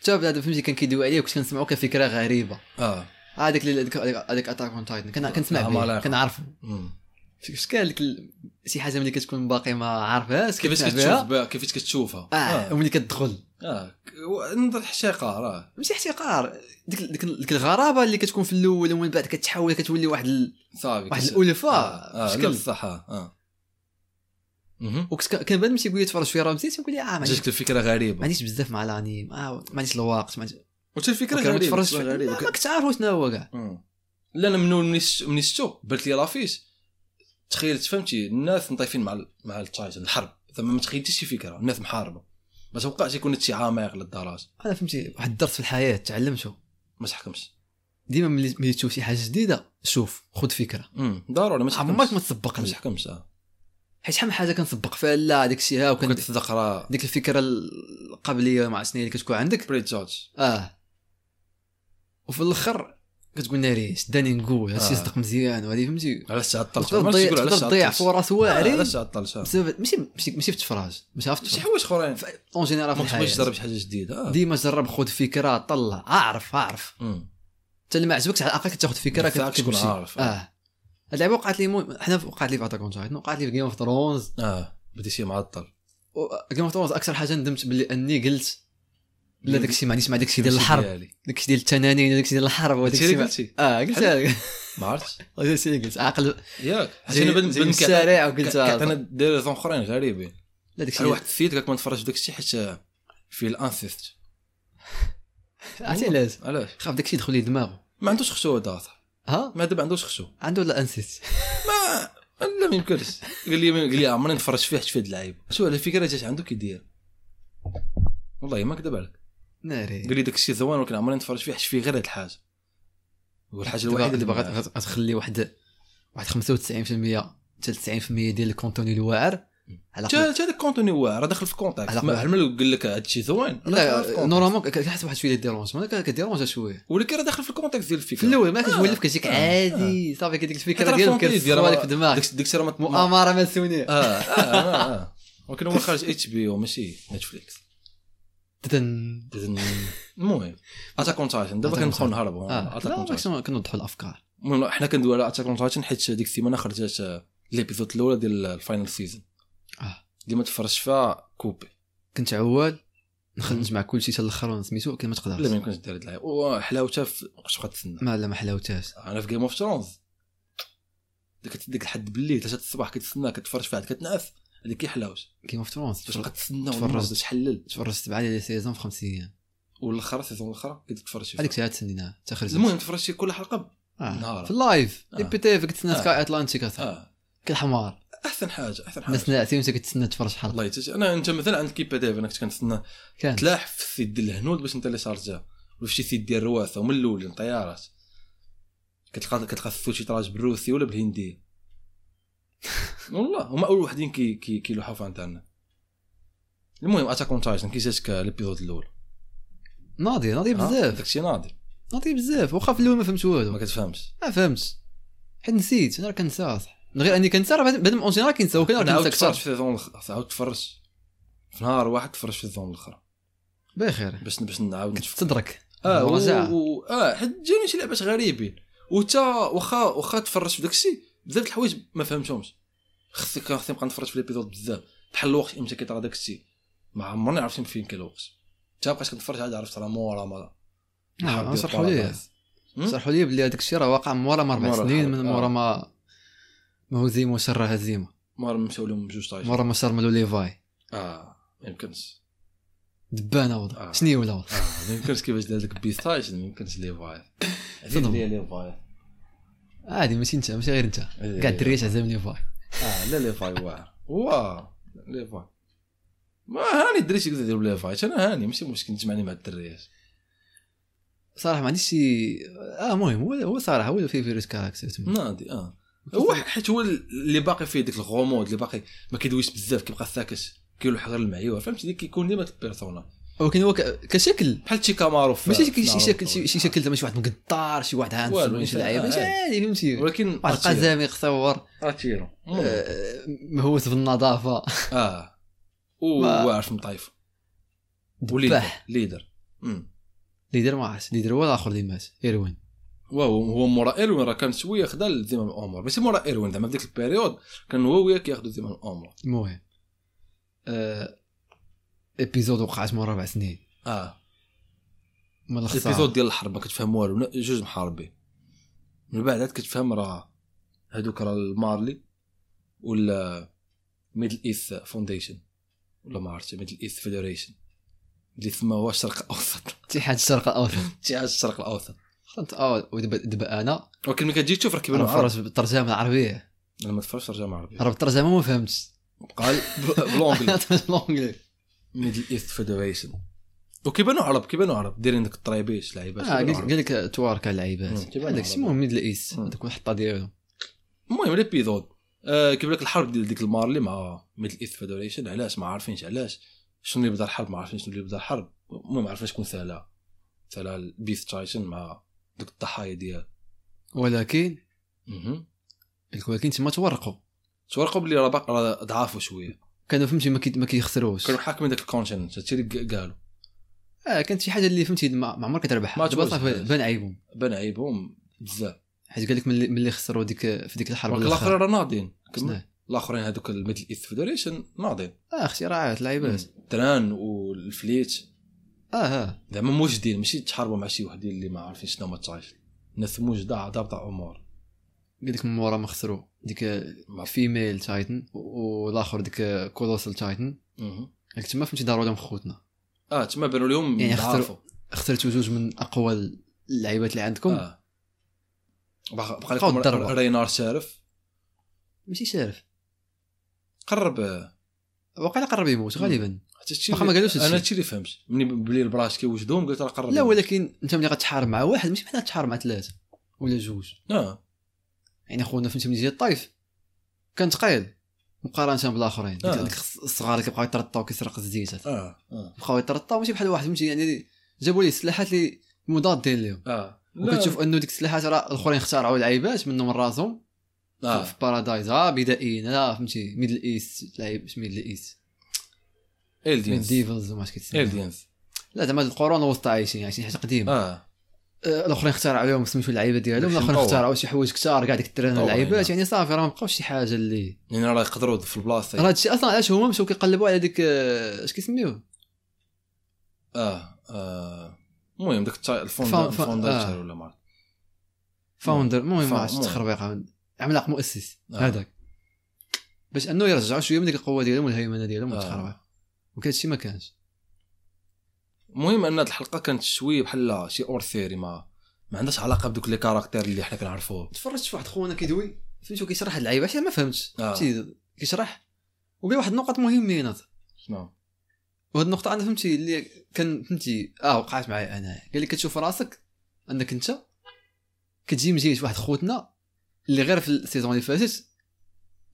Speaker 2: حتى بنادم فهمتي كان كيدوي عليه وكنت كنسمعو كفكره غريبه
Speaker 1: اه
Speaker 2: هذاك اللي- هذاك هذاك اتاك اون تايتن كنسمع
Speaker 1: آه،
Speaker 2: به
Speaker 1: مالك.
Speaker 2: كنعرفو
Speaker 1: مم.
Speaker 2: شفت كاع ديك ال- شي حاجه ملي كتكون باقي ما عارفهاش
Speaker 1: كيفاش
Speaker 2: كتسمع
Speaker 1: كتشوف
Speaker 2: بها
Speaker 1: بها كيفاش كتشوفها
Speaker 2: اه
Speaker 1: اه,
Speaker 2: وملي كتدخل
Speaker 1: آه. ك- و- نظر الحشيقه راه
Speaker 2: ماشي احتقار ديك ديك, ديك الغرابه اللي كتكون في الاول ومن بعد كتحول كتولي واحد ال...
Speaker 1: صافي
Speaker 2: واحد
Speaker 1: كت-
Speaker 2: الالفه
Speaker 1: اه آه، لا
Speaker 2: بشكل
Speaker 1: بصح اه آه. مهم.
Speaker 2: وكنت ك- كان بعد مشي يقول لي تفرج شويه راه مزيان تنقول لي اه ما عنديش
Speaker 1: جاتك الفكره
Speaker 2: ما
Speaker 1: غريبه
Speaker 2: عنديش بزاف مع الانيم اه ما عنديش الوقت ما عنديش
Speaker 1: وتا الفكره
Speaker 2: وكان
Speaker 1: غريبه
Speaker 2: متفرجش
Speaker 1: الفكرة
Speaker 2: فيه.
Speaker 1: غريبة.
Speaker 2: ما ما كنت عارف شنو هو كاع
Speaker 1: مم. لا انا من أول ملي ش- ملي شفتو بلت لي لافيش تخيلت فهمتي الناس مطيفين مع ال- مع التايتن الحرب زعما ما تخيلتش شي فكره الناس محاربه ما توقعش يكون هادشي عميق للدرجه
Speaker 2: انا فهمتي واحد الدرس في الحياه تعلمته
Speaker 1: ما تحكمش
Speaker 2: ديما ملي ملي تشوف شي حاجه جديده شوف خذ فكره
Speaker 1: مم، ضروري ما تحكمش
Speaker 2: عمرك ما تسبق
Speaker 1: ما
Speaker 2: لها.
Speaker 1: تحكمش اه
Speaker 2: حيت شحال من حاجه كنسبق فيها لا داك الشيء ها وكان
Speaker 1: كنت تصدق راه
Speaker 2: ديك الفكره القبليه مع شنو اللي كتكون عندك
Speaker 1: بريت جورج
Speaker 2: اه وفي الاخر كتقول ناري شداني نقول
Speaker 1: آه.
Speaker 2: هادشي صدق مزيان وهذه فهمتي
Speaker 1: علاش تعطلت
Speaker 2: تقدر
Speaker 1: ما عرفتش يقولوا
Speaker 2: تضيع تقدر
Speaker 1: علاش
Speaker 2: تضيع
Speaker 1: تعطلت.
Speaker 2: فرص
Speaker 1: آه،
Speaker 2: واعرين
Speaker 1: علاش تعطلت آه.
Speaker 2: بسبب ماشي ماشي ماشي في التفراج ماشي عرفت
Speaker 1: شي حوايج اخرين
Speaker 2: اون جينيرال في
Speaker 1: ما تبغيش
Speaker 2: الحياه
Speaker 1: تجرب شي حاجه جديده آه.
Speaker 2: ديما جرب خذ فكره طلع اعرف اعرف
Speaker 1: مم.
Speaker 2: حتى اللي ما عجبكش على الاقل كتاخذ فكره
Speaker 1: ما ينفعكش تكون
Speaker 2: كتمشي.
Speaker 1: عارف.
Speaker 2: اه هاد اللعبه وقعت لي مو... حنا وقعت لي في اتاك اون تايتن وقعت لي في جيم اوف ثرونز
Speaker 1: اه بدي شي معطل
Speaker 2: جيم اوف ثرونز اكثر حاجه ندمت باللي اني قلت لا داك الشيء ما عنديش مع داك الشيء ديال الحرب
Speaker 1: ديالي.
Speaker 2: داك الشيء ديال التنانين وداك الشيء ديال الحرب وداك
Speaker 1: هادشي اللي
Speaker 2: الشيء ما-
Speaker 1: قلتي
Speaker 2: اه قلت
Speaker 1: ما عرفتش
Speaker 2: هذا الشيء اللي قلت عاقل
Speaker 1: ياك حيت
Speaker 2: جاي
Speaker 1: انا بن
Speaker 2: جاي من
Speaker 1: بن
Speaker 2: الشارع وقلت آه،
Speaker 1: كان داير زون اخرين غريبين
Speaker 2: لا داك
Speaker 1: على
Speaker 2: الشيء
Speaker 1: واحد السيد قالك ما نتفرجش داك الشيء حيت في الانسيست
Speaker 2: عرفتي علاش
Speaker 1: علاش
Speaker 2: خاف داك الشيء يدخل لي دماغه
Speaker 1: ما عندوش خشو هذا أصاحبي.
Speaker 2: ها
Speaker 1: ما هذا ما عندوش خشو
Speaker 2: عنده ولا انسيت
Speaker 1: ما لا ما يمكنش قال لي قال لي عمري نتفرج فيه حتى في هاد اللعيب شو على الفكره جات عنده كيدير والله ما كذب عليك
Speaker 2: ناري
Speaker 1: قال لي داك الشيء زوين ولكن عمري نتفرج فيه حتى فيه غير هاد الحاجه والحاجه الوحيده
Speaker 2: اللي
Speaker 1: اللي
Speaker 2: باغا
Speaker 1: باغا
Speaker 2: غت- غتخلي واحد واحد 95% حتى 90% ديال الكونتوني الواعر على الأقل.
Speaker 1: حتى هذا الكونتوني واعر راه داخل في كونتاكت
Speaker 2: على
Speaker 1: ما
Speaker 2: قبل.
Speaker 1: بحال ما قال لك هاد الشيء زوين راه داخل في
Speaker 2: لا
Speaker 1: context.
Speaker 2: نورمالمون كتحس واحد شويه ديرونج انا كديرونج شويه
Speaker 1: ولكن راه داخل في الكونتاكت ديال الفكره
Speaker 2: في الاول ما
Speaker 1: آه،
Speaker 2: كتولف كتجيك
Speaker 1: آه،
Speaker 2: عادي صافي كديك
Speaker 1: حتى
Speaker 2: الفكره
Speaker 1: راه
Speaker 2: ديالك
Speaker 1: فونتيزي، راه
Speaker 2: كتصور لك في دماغك
Speaker 1: داك داك الشيء راه ما- ما-
Speaker 2: مؤامره ماسونيه
Speaker 1: اه اه اه آه. ولكن هو خارج اتش بي او ماشي نتفليكس
Speaker 2: تدن.
Speaker 1: المهم اتاك اون تايتن دابا
Speaker 2: Attack on
Speaker 1: كنبقاو
Speaker 2: Titan.
Speaker 1: نهربوا
Speaker 2: اه
Speaker 1: اتاك
Speaker 2: لا
Speaker 1: اون تايتن
Speaker 2: باش كنوضحوا الافكار
Speaker 1: المهم حنا كندويو على اتاك اون تايتن حيت ديك السيمانه خرجت آه، ليبيزود الاولى ديال الفاينل سيزون
Speaker 2: اه
Speaker 1: اللي ما تفرجش فيها كوبي
Speaker 2: كنت عوال نخرج مع كل شيء حتى الاخر سميتو كي ما
Speaker 1: Mm. لا ما
Speaker 2: تقدرش
Speaker 1: يمكنش دير هاد العيب وحلاوتها في وقت تبقى تسنى
Speaker 2: آه. ما لا ما حلاوتهاش
Speaker 1: انا في جيم اوف ثرونز ديك ديك الحد بالليل 3 الصباح كتسنى كتفرج فيها عاد كتنعس هذيك هي حلاوتها
Speaker 2: كيما في ترونس
Speaker 1: باش تبقى تسنى
Speaker 2: تفرجت.
Speaker 1: ونوض تحلل
Speaker 2: تفرجت سبعه ديال السيزون في خمس ايام
Speaker 1: والاخر السيزون الاخر كتفرج فيها
Speaker 2: هذيك الساعه تسنيناها تخرج
Speaker 1: المهم تفرجت شي كل حلقه
Speaker 2: آه.
Speaker 1: نهار.
Speaker 2: في اللايف
Speaker 1: آه.
Speaker 2: اي بي تي كتسنى
Speaker 1: آه.
Speaker 2: سكاي اتلانتيك أصاحبي.
Speaker 1: اه
Speaker 2: كالحمار
Speaker 1: احسن حاجه احسن حاجه
Speaker 2: الناس ناعسين وانت كتسنى تفرج حلقه
Speaker 1: الله يتج... انا انت مثلا عندك كيبا ديف انا كنت كنتسنى
Speaker 2: كان
Speaker 1: تلاح في السيد ديال الهنود باش انت اللي شارجها ولا في شي سيد ديال الرواثه ومن الاول الطيارات كتلقى كتلقى السوشي تراج بالروسي ولا بالهنديه والله هما اول وحدين كي كي كيلوحوا في انترنت المهم اتاك اون تايتن كي جاتك ليبيزود الاول
Speaker 2: ناضي ناضي إيه، بزاف
Speaker 1: داكشي ناضي
Speaker 2: ناضي بزاف واخا في الاول ما فهمت والو
Speaker 1: ما كتفهمش
Speaker 2: ما فهمتش حيت نسيت انا راه كنسى صح من غير اني كنسى راه بعد- بعد ما اون جينيرال كنسى وكان
Speaker 1: انا
Speaker 2: راه
Speaker 1: عاود
Speaker 2: كنسى
Speaker 1: تفرج في
Speaker 2: كثر
Speaker 1: السيزون الأخ- عاود تفرج في نهار واحد تفرج في السيزون الاخر
Speaker 2: بخير
Speaker 1: باش باش نعاود نشوف
Speaker 2: كتستدرك
Speaker 1: اه و...
Speaker 2: مراجعة.
Speaker 1: و... اه حيت جاني شي لعبات غريبين وتا واخا واخا تفرجت في داكشي بزاف د الحوايج ما فهمتهمش خصك خصني نبقى نتفرج في ليبيزود بزاف بحال الوقت امتى كيطرا داكشي ما عمرني عرفت فين كاين الوقت تا بقيت كنتفرج عاد عرفت راه مورا ما
Speaker 2: نعم، صرحوا لي.
Speaker 1: مم؟
Speaker 2: صرحوا لي بلي هذاك الشيء راه واقع من ورا ما اربع
Speaker 1: مورا
Speaker 2: سنين
Speaker 1: الحرب،
Speaker 2: من
Speaker 1: آه.
Speaker 2: ورا ما ما هزيمه وشر هزيمه
Speaker 1: مورا مشاو لهم بجوج طايش
Speaker 2: ورا ما شرملو ليفاي
Speaker 1: اه ما يمكنش
Speaker 2: دبانه
Speaker 1: آه.
Speaker 2: وضع شنو ولا وضع
Speaker 1: اه ما يمكنش كيفاش دار داك البيس طايش ما يمكنش لي فاير
Speaker 2: صدمة.
Speaker 1: لي فاير
Speaker 2: عادي ماشي انت ماشي غير انت
Speaker 1: إيه.
Speaker 2: كاع الدريات عزام ليفاي
Speaker 1: اه لا ليفاي واعر واه ليفاي ما هاني الدريش يقدر يديروا ليفاي انا هاني ماشي مشكل نجمعني مع الدريات
Speaker 2: صراحه ما عنديش شي اه المهم هو هو صراحه هو في فيروس كاركتر
Speaker 1: ناضي اه هو حيت هو اللي باقي فيه ديك الغموض اللي باقي ما كيدويش بزاف كيبقى ساكت كيلوح غير المعيوه فهمتي ديك كيكون ديما البيرسونا
Speaker 2: ولكن هو ك- كشكل
Speaker 1: بحال شي كامارو في-
Speaker 2: ماشي
Speaker 1: في
Speaker 2: شي- شي
Speaker 1: ناروتو.
Speaker 2: شكل شي شي شكل زعما شي واحد مقطار شي واحد
Speaker 1: والو،
Speaker 2: هانسون ولا شي
Speaker 1: إنسان-
Speaker 2: لعيب
Speaker 1: آه،
Speaker 2: ماشي
Speaker 1: آه.
Speaker 2: عادي فهمتي واحد
Speaker 1: ولكن اتيرو.
Speaker 2: القزامي خصور
Speaker 1: اتيرو مم.
Speaker 2: آه، مهوس بالنظافه
Speaker 1: اه
Speaker 2: ما-
Speaker 1: وعارف مطايف وليدر
Speaker 2: دباح
Speaker 1: ليدر مم.
Speaker 2: إيه، اللي دار ما عرفتش اللي دار هو الاخر اللي مات ايروين
Speaker 1: واو هو مورا ايروين راه كان شويه خدا زمام الامور ماشي مورا ايروين زعما في ديك البيريود كان هو وياه كياخذوا زمام الامور
Speaker 2: المهم آه... ابيزود وقعت من ربع سنين
Speaker 1: اه
Speaker 2: من
Speaker 1: الابيزود
Speaker 2: الخساره
Speaker 1: ديال الحرب ما كتفهم والو لا، جوج محاربين من بعد عاد كتفهم راه هادوك راه المارلي ولا ميدل ايث فونديشن ولا ما عرفتش ميدل ايث فيدريشن اللي تما هو الشرق الاوسط
Speaker 2: اتحاد الشرق الاوسط
Speaker 1: شي حاجه الشرق الاوسط
Speaker 2: خلط اه ودابا دابا انا
Speaker 1: ولكن ملي كتجي تشوف راه كيبان
Speaker 2: انا
Speaker 1: عرب
Speaker 2: فرجت بالترجمه العربيه
Speaker 1: انا ما تفرجش ترجمه عربيه
Speaker 2: راه بالترجمه ما فهمتش
Speaker 1: قال بالونجلي
Speaker 2: بالانجلي
Speaker 1: ميدل ايث فيدريشن وكيبانوا عرب كيبانوا عرب دايرين ديك الطريبيش لعيبات
Speaker 2: آه،
Speaker 1: كيبانوا
Speaker 2: قال
Speaker 1: عرب.
Speaker 2: قال لك تواركا اللعيبات
Speaker 1: مم.
Speaker 2: هذاك الشيء المهم ميدل ايست
Speaker 1: مم.
Speaker 2: هذيك الحطه ديالهم
Speaker 1: المهم ليبيزود آه كيبان لك الحرب ديال ديك المارلي مع ميدل ايث فيدريشن علاش ما عارفينش علاش شنو اللي بدا الحرب ما عارفين شنو اللي بدا الحرب المهم عارفين شكون سالا سالا البيث تايسون مع دوك الضحايا ديال
Speaker 2: ولكن ولكن تما تورقوا
Speaker 1: تورقوا بلي راه باق- راه ضعافوا شويه
Speaker 2: كانوا فهمتي ما كي- ما كيخسروش
Speaker 1: كانوا حاكمين داك الكونتيننت هادشي اللي ق- قالوا
Speaker 2: اه كانت شي حاجه اللي فهمتي ما ما عمرك تربح
Speaker 1: ما
Speaker 2: دابا
Speaker 1: تفوز.
Speaker 2: صافي بان عيبهم
Speaker 1: بان عيبهم بزاف
Speaker 2: حيت قال لك ملي ملي خسروا ديك في ديك الحرب
Speaker 1: ولكن
Speaker 2: الأخيرة.
Speaker 1: الاخرين راه ناضين كمل.
Speaker 2: شناهي؟
Speaker 1: الاخرين هذوك الميدل ايث فيدريشن ناضين
Speaker 2: اه اختراعات لعيبات
Speaker 1: تران والفليت
Speaker 2: اه اه
Speaker 1: زعما موجدين ماشي تحاربوا مع شي وحدين اللي ما عارفين شنو ما تعيش الناس موجده ضابطه امور
Speaker 2: قال لك من مورا ما خسروا ديك
Speaker 1: مع-
Speaker 2: فيميل تايتن والاخر ديك كولوسال تايتن
Speaker 1: مهم.
Speaker 2: قال لك تما فهمتي داروا لهم خوتنا
Speaker 1: اه تما بانوا اليوم
Speaker 2: يعني
Speaker 1: يعني
Speaker 2: اختروا
Speaker 1: ضعفوا
Speaker 2: خسرتوا جوج من اقوى اللعيبات اللي عندكم آه.
Speaker 1: آه. بقى بقى
Speaker 2: بقاو
Speaker 1: لكم
Speaker 2: الضربة.
Speaker 1: رينار شارف
Speaker 2: ماشي شارف
Speaker 1: قرب
Speaker 2: وقيلا قرب يموت
Speaker 1: مم.
Speaker 2: غالبا
Speaker 1: حتى هادشي
Speaker 2: واخا ما
Speaker 1: اللي-
Speaker 2: قالوش هادشي.
Speaker 1: انا هادشي اللي فهمت ملي بلي البراش كيوجدوهم قلت راه قرب
Speaker 2: لا ولكن انت ملي غتحارب مع واحد ماشي بحال تحارب مع ثلاثه ولا جوج
Speaker 1: اه
Speaker 2: يعني خونا فهمتي ملي جا الطايف كان ثقيل مقارنه بالاخرين ديك-
Speaker 1: آه.
Speaker 2: ديك الص- الصغار اللي كيبقاو يترطاو كيسرق الزيت
Speaker 1: اه اه
Speaker 2: بقاو يترطاو ماشي بحال واحد فهمتي يعني جابوا ليه السلاحات اللي مضادين لهم
Speaker 1: اه لا.
Speaker 2: وكتشوف انه ديك السلاحات راه الاخرين اخترعوا لعيبات منهم راسهم
Speaker 1: اه
Speaker 2: في بارادايز اه بدائيين لا فهمتي ميدل ايست لعيب مش ميدل ايست ميد
Speaker 1: الدينز
Speaker 2: ديفلز وما عرفت كيتسمى
Speaker 1: الدينز
Speaker 2: لا زعما هاد القرون الوسطى عايشين عايشين حاجه قديمه
Speaker 1: اه
Speaker 2: آه، الاخرين اخترعوا لهم سميتو اللعيبه ديالهم
Speaker 1: ماشي
Speaker 2: الاخرين
Speaker 1: مطور.
Speaker 2: اخترعوا شي حوايج كثار كاع ديك الترانه
Speaker 1: مطور،
Speaker 2: اللعيبات
Speaker 1: نعم.
Speaker 2: يعني صافي راه ما بقاوش شي حاجه اللي
Speaker 1: يعني راه يقدروا في
Speaker 2: راه
Speaker 1: البلاصه
Speaker 2: هادشي اصلا علاش هما مشاو كيقلبوا على ديك آه، اش كيسميوه
Speaker 1: اه اه المهم داك التا-
Speaker 2: فا-
Speaker 1: الفوندر
Speaker 2: فا-
Speaker 1: الفوندر
Speaker 2: آه.
Speaker 1: شارف ولا ما عرفت.
Speaker 2: فاوندر المهم
Speaker 1: فا-
Speaker 2: ما عرفتش
Speaker 1: المهم.
Speaker 2: التخربيقه عملاق مؤسس
Speaker 1: آه.
Speaker 2: هذاك باش انه يرجعوا شويه من ديك القوه ديالهم والهيمنه ديالهم
Speaker 1: آه.
Speaker 2: والتخربيق وكان هادشي ما كانش
Speaker 1: المهم ان هاد الحلقه كانت شويه بحال شي اور ثيري ما ما عندهاش علاقه بدوك لي كاركتير اللي حنا كنعرفوه
Speaker 2: تفرجت في واحد خونا كيدوي فهمتو كيشرح هاد اللعيبه عشان ما فهمتش
Speaker 1: آه.
Speaker 2: فهمتي كيشرح وقال واحد النقط مهمين
Speaker 1: شنو
Speaker 2: وهاد النقطة أنا فهمتي اللي كان فهمتي أه وقعت معايا أنا قال لي كتشوف راسك أنك أنت كتجي من جهة واحد خوتنا اللي غير في السيزون اللي فاتت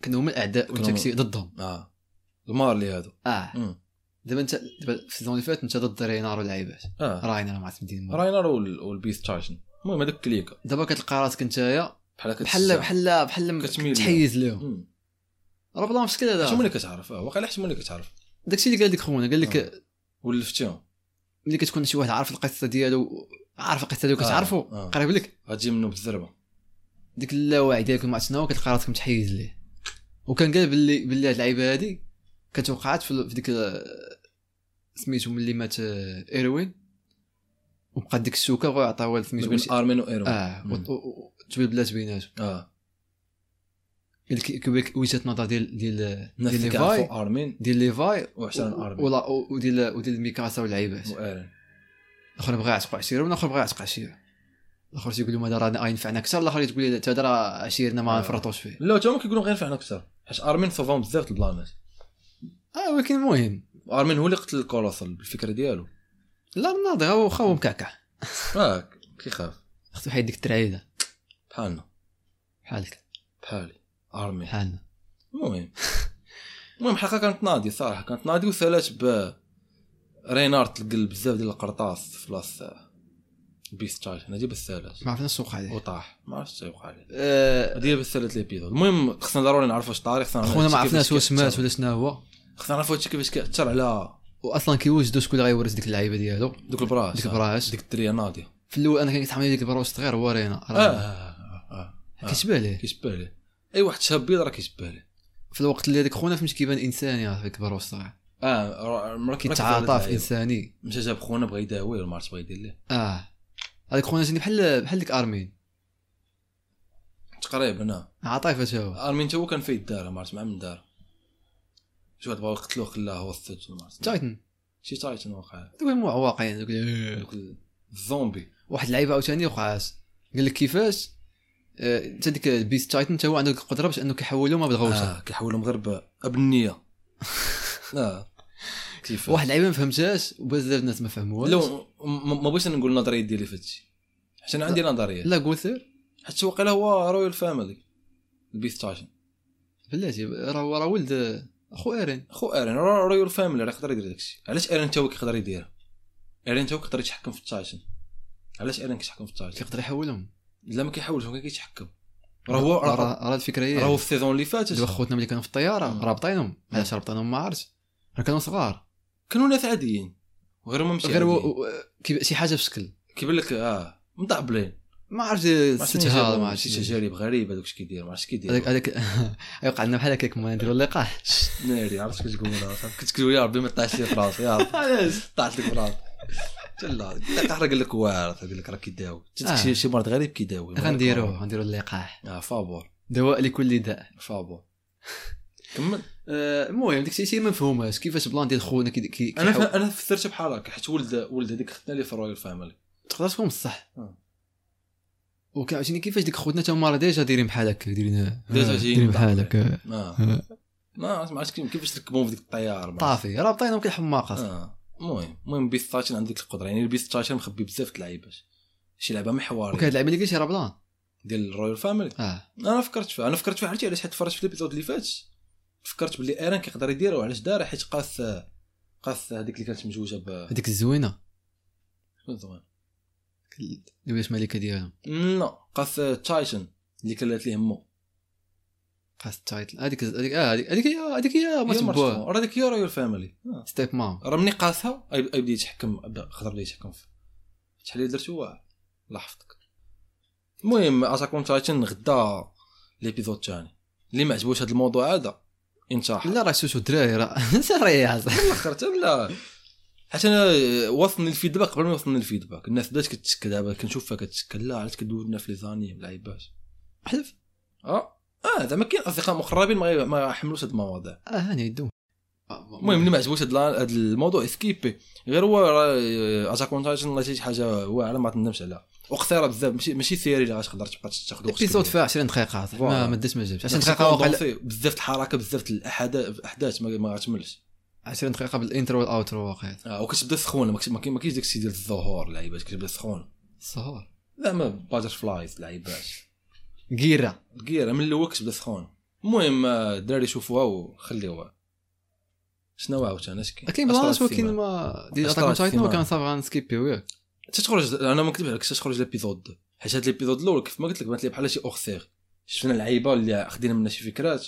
Speaker 2: كانوا هما الأعداء وأنت
Speaker 1: كانوا-
Speaker 2: كنتي ضدهم
Speaker 1: اه المارلي هادو
Speaker 2: أه
Speaker 1: مم.
Speaker 2: دابا أنت دابا في السيزون اللي فات أنت ضد رينار واللعيبات
Speaker 1: اه
Speaker 2: راينر مع سمدين
Speaker 1: راينر وال- والبيث تايتن المهم هذاك كليكا
Speaker 2: دابا كتلقى راسك أنتيا
Speaker 1: بحال هكا
Speaker 2: بحال بحال بحال
Speaker 1: كتميل
Speaker 2: تحيز لهم
Speaker 1: مم.
Speaker 2: راه بلا مشكل
Speaker 1: شمون
Speaker 2: هذا
Speaker 1: اللي كتعرف اه واقيلا حتى شمون اللي كتعرف
Speaker 2: داكشي اللي قال لك خونا قال لك
Speaker 1: آه. ولفتهم
Speaker 2: ملي كتكون شي واحد عارف القصه ديالو عارف القصه ديالو
Speaker 1: آه،
Speaker 2: كتعرفو
Speaker 1: آه.
Speaker 2: قريب لك
Speaker 1: غتجي منه بالزربه
Speaker 2: ديك اللاوعي ديالك مع شنو كتلقى راسك متحيز ليه وكان قال باللي باللي هاد اللعيبه هادي كانت وقعت في ال- في ديك ال- سميتو ملي مات آه، ايروين وبقى ديك الشوكه بغاو يعطيوها
Speaker 1: ما
Speaker 2: سميتو
Speaker 1: بين
Speaker 2: شي-
Speaker 1: ارمين وايرون
Speaker 2: اه
Speaker 1: مم.
Speaker 2: وت- و- و- وتبدل بلات بيناتهم يعني
Speaker 1: اه
Speaker 2: قال لك- قال لك وجهه نظر ديال ديال
Speaker 1: الناس
Speaker 2: ديال
Speaker 1: اللي
Speaker 2: ليفاي
Speaker 1: كيعرفوا ارمين
Speaker 2: ديال ليفاي
Speaker 1: وعشرين
Speaker 2: و-
Speaker 1: ارمين
Speaker 2: ولا- و- وديال وديال ميكاسا واللعيبات
Speaker 1: وايرون
Speaker 2: الاخر بغى يعتق عشيره والاخر بغى يعتق عشيره الاخر تيقول لهم هذا راه ينفعنا اكثر الاخر تقول لي لا، حتى هذا راه عشيرنا ما
Speaker 1: آه.
Speaker 2: نفرطوش فيه
Speaker 1: لا تا هما كيقولوا غير فعلا اكثر حيت ارمين صوفاهم بزاف د البلانات
Speaker 2: اه ولكن المهم
Speaker 1: ارمين هو اللي قتل الكولوسال بالفكره ديالو
Speaker 2: لا الناضي هو واخا هو مكعكع
Speaker 1: اه كيخاف
Speaker 2: خصو يحيد ديك الترعيده
Speaker 1: بحالنا
Speaker 2: بحالك
Speaker 1: بحالي ارمين
Speaker 2: بحالنا
Speaker 1: المهم المهم الحلقه كانت ناضيه صراحه كانت ناضيه وسالات ب رينار تلقى بزاف ديال القرطاس في لاس بيس تشارج انا جيب السالات
Speaker 2: ما عرفناش شنو وقع ليه
Speaker 1: وطاح ما عرفتش شنو وقع ليه
Speaker 2: أه،
Speaker 1: هذه هي بس ثلاث ليبيدود المهم خصنا ضروري نعرفوا واش الطريق خصنا نعرفوا
Speaker 2: خونا ما
Speaker 1: هادشي كيفاش
Speaker 2: عرفناش واش مات
Speaker 1: كيأثر.
Speaker 2: ولا شنو هو
Speaker 1: خصنا نعرفوا هادشي كيفاش كيأثر على
Speaker 2: واصلا كيوجدوا شكون اللي غيورث ديك اللعيبه ديالو
Speaker 1: دوك البراش
Speaker 2: ديك البراش
Speaker 1: ديك الدريه ناضيه
Speaker 2: في الاول انا كان كيتحمل ديك البروس صغير هو رينا
Speaker 1: اه
Speaker 2: راه
Speaker 1: آه، آه.
Speaker 2: كيشبه ليه
Speaker 1: كيشبه ليه اي واحد شاب بيض راه كيشبه ليه
Speaker 2: في الوقت اللي هذاك خونا فهمت كيبان انساني راه ديك البروس صغير
Speaker 1: اه را- مركب
Speaker 2: كيتعاطى في انساني
Speaker 1: مشى جاب خونا بغا يداويه ولا ما عرفتش بغا يدير ليه
Speaker 2: اه هذاك خونا جاني بحال بحال ديك ارمين
Speaker 1: تقريبا اه
Speaker 2: عطاه فاش هو
Speaker 1: ارمين تو كان فيه الدار ما عرفت مع من دار شو واحد بغاو يقتلوه خلاه هو السجن ما عرفت
Speaker 2: تايتن
Speaker 1: شي تايتن وقع
Speaker 2: دوك المعوق يعني دوك-
Speaker 1: دوك الزومبي
Speaker 2: واحد اللعيبه عاوتاني وقعات قال لك كيفاش آه، انت ديك البيست تايتن حتى هو عنده ديك القدره باش انه كيحولو ما بالغوصه
Speaker 1: اه كيحولوا مغرب ابنيه اه كيف
Speaker 2: واحد اللعيبه ما فهمتهاش وبزاف الناس ما فهموهاش
Speaker 1: لو ما ما بغيتش أنا نقول النظريه ديالي في هادشي حيت انا عندي نظريه
Speaker 2: لا غوثر
Speaker 1: حيت واقيلا هو رويال فاميلي البيست تايتن
Speaker 2: بلاتي راه هو راه ولد آه، خو ارين
Speaker 1: خو ارين راه رويال فاميلي راه يقدر يدير داكشي علاش ارين تا هو كيقدر يديرها ارين تا هو كيقدر يتحكم في التايتن علاش ارين كيتحكم في التايتن
Speaker 2: كيقدر يحولهم
Speaker 1: لا ما كيحاولش هو كيتحكم راه هو راه
Speaker 2: راه راه الفكره هي
Speaker 1: راه هو في السيزون اللي فاتت
Speaker 2: دابا خوتنا ملي كانوا في الطياره
Speaker 1: مم.
Speaker 2: رابطينهم علاش رابطينهم ما عرفتش راه كانوا صغار
Speaker 1: كانوا ناس عاديين وغير هما ماشي
Speaker 2: غير
Speaker 1: غير
Speaker 2: هو- هو- كيف- شي حاجه في شكل
Speaker 1: كيبان لك اه مدعبلين
Speaker 2: ما عرفتش
Speaker 1: ستها
Speaker 2: ستها ما
Speaker 1: مع شي
Speaker 2: عرفتش
Speaker 1: تجارب غريبه داكشي كيدير ما عرفتش كيدير
Speaker 2: هذاك هذاك يوقع لنا بحال هكاك ما نديرو اللقاح
Speaker 1: ناري عرفت كنت تقول أنا، عرفت كنت تقول يا ربي ما طلعش لي في راسي يا ربي
Speaker 2: علاش
Speaker 1: طلعت لك في راسي لا القحرة قال لك واعر قال لك راه كيداوي شفت
Speaker 2: آه.
Speaker 1: شي- شي مرض غريب كيداوي
Speaker 2: غنديروه غنديرو اللقاح
Speaker 1: اه فابور
Speaker 2: دواء لكل داء
Speaker 1: فابور كمل
Speaker 2: آه، المهم ديك الشيء ما مفهوماش كيفاش بلان ديال خونا كي كي
Speaker 1: انا
Speaker 2: كيحاول-
Speaker 1: ف... انا فسرت بحال هكا حيت ولد ولد هذيك ختنا لي في الرويال فاميلي
Speaker 2: تقدر تكون بصح
Speaker 1: آه.
Speaker 2: وكان عاوتاني كيفاش ديك خوتنا تا هما راه ديجا دايرين بحال هكا دايرين
Speaker 1: ديجا
Speaker 2: آه،
Speaker 1: جايين
Speaker 2: دايرين بحال
Speaker 1: طاقة.
Speaker 2: هكا
Speaker 1: اه ما ما عرفتش كيفاش ركبوهم في ديك الطياره ما عرفتش.
Speaker 2: طافي راه بطينهم كالحماقه
Speaker 1: اه المهم المهم بيس تاشن عندك القدره يعني البيس تاشن مخبي بزاف د اللعيبات شي لعبه
Speaker 2: وكان
Speaker 1: محوريه
Speaker 2: اللعيبه اللي قلتي راه بلان
Speaker 1: ديال الرويال فاميلي
Speaker 2: اه
Speaker 1: انا فكرت فيها انا فكرت فيها عرفتي علاش حيت تفرجت في الابيزود اللي فات فكرت باللي ايران كيقدر يديرها وعلاش دارها حيت قاس قاس هذيك اللي كانت مزوجه ب
Speaker 2: هذيك الزوينه
Speaker 1: شكون زمان
Speaker 2: اللي بغيت ملكه ديالهم
Speaker 1: لا قاس تايتن اللي كلات ليه مو
Speaker 2: خاص التايتل هذيك هذيك اه هذيك هذيك هي هذيك هي ما تبوها
Speaker 1: راه هذيك هي رويال فاميلي آه.
Speaker 2: ستيب مام
Speaker 1: راه ملي قاسها أي- أي بدا يتحكم بدا- خضر بدا يتحكم فيه شحال اللي درت هو لاحظتك المهم اتاك اون تايتن غدا ليبيزود الثاني اللي ما عجبوش هذا الموضوع هذا انتحر
Speaker 2: لا راه سوسو الدراري راه سريع
Speaker 1: الاخر لا حتى انا وصلني الفيدباك قبل ما يوصلني الفيدباك الناس بدات كتشكل دابا كنشوفها كتشكل لا علاش كدورنا في لي زانيم لعيبات
Speaker 2: حلف
Speaker 1: اه اه زعما كاين اصدقاء مقربين ما غي- ما حملوش هاد المواضيع
Speaker 2: اه هاني يدو
Speaker 1: المهم اللي ما عجبوش هاد لا- هاد الموضوع سكيبي غير هو راه آه، اتاك اون تايتن والله شي حاجه واعره ما تندمش عليها وقصيره بزاف ماشي ماشي سيري اللي غتقدر تبقى تاخذ وقت
Speaker 2: الابيسود
Speaker 1: كبير.
Speaker 2: فيها 20 دقيقه عطاك. ما
Speaker 1: فوالا.
Speaker 2: ما داش ما جابش 20
Speaker 1: عشان
Speaker 2: دقيقه وقال
Speaker 1: تلقى بزاف الحركه بزاف الاحداث الاحداث ما ما غتملش
Speaker 2: 20 دقيقه بالاintro والاوترو واقيلا
Speaker 1: اه وكتبدا سخونه ما كت- ما كاين- ما كاينش داك الشيء ديال الظهور لعيبات كتبدا سخونه
Speaker 2: السهور
Speaker 1: زعما باتر فلايز لعيبات
Speaker 2: كيرا
Speaker 1: كير من الاول كتبدا سخون المهم آه، الدراري شوفوها وخليوها شنو عاوتاني اش كاين
Speaker 2: كاين بلاص ولكن ما ديال
Speaker 1: أشطر
Speaker 2: اتاك تايتن ما
Speaker 1: السيمان.
Speaker 2: كان صافي غنسكيبي وياك
Speaker 1: تخرج انا ما نكذبش عليك تخرج لابيزود حيت هاد لابيزود الاول كيف ما قلت لك بانت لي بحال شي اوخسيغ شفنا لعيبه اللي خدينا منها شي فكرات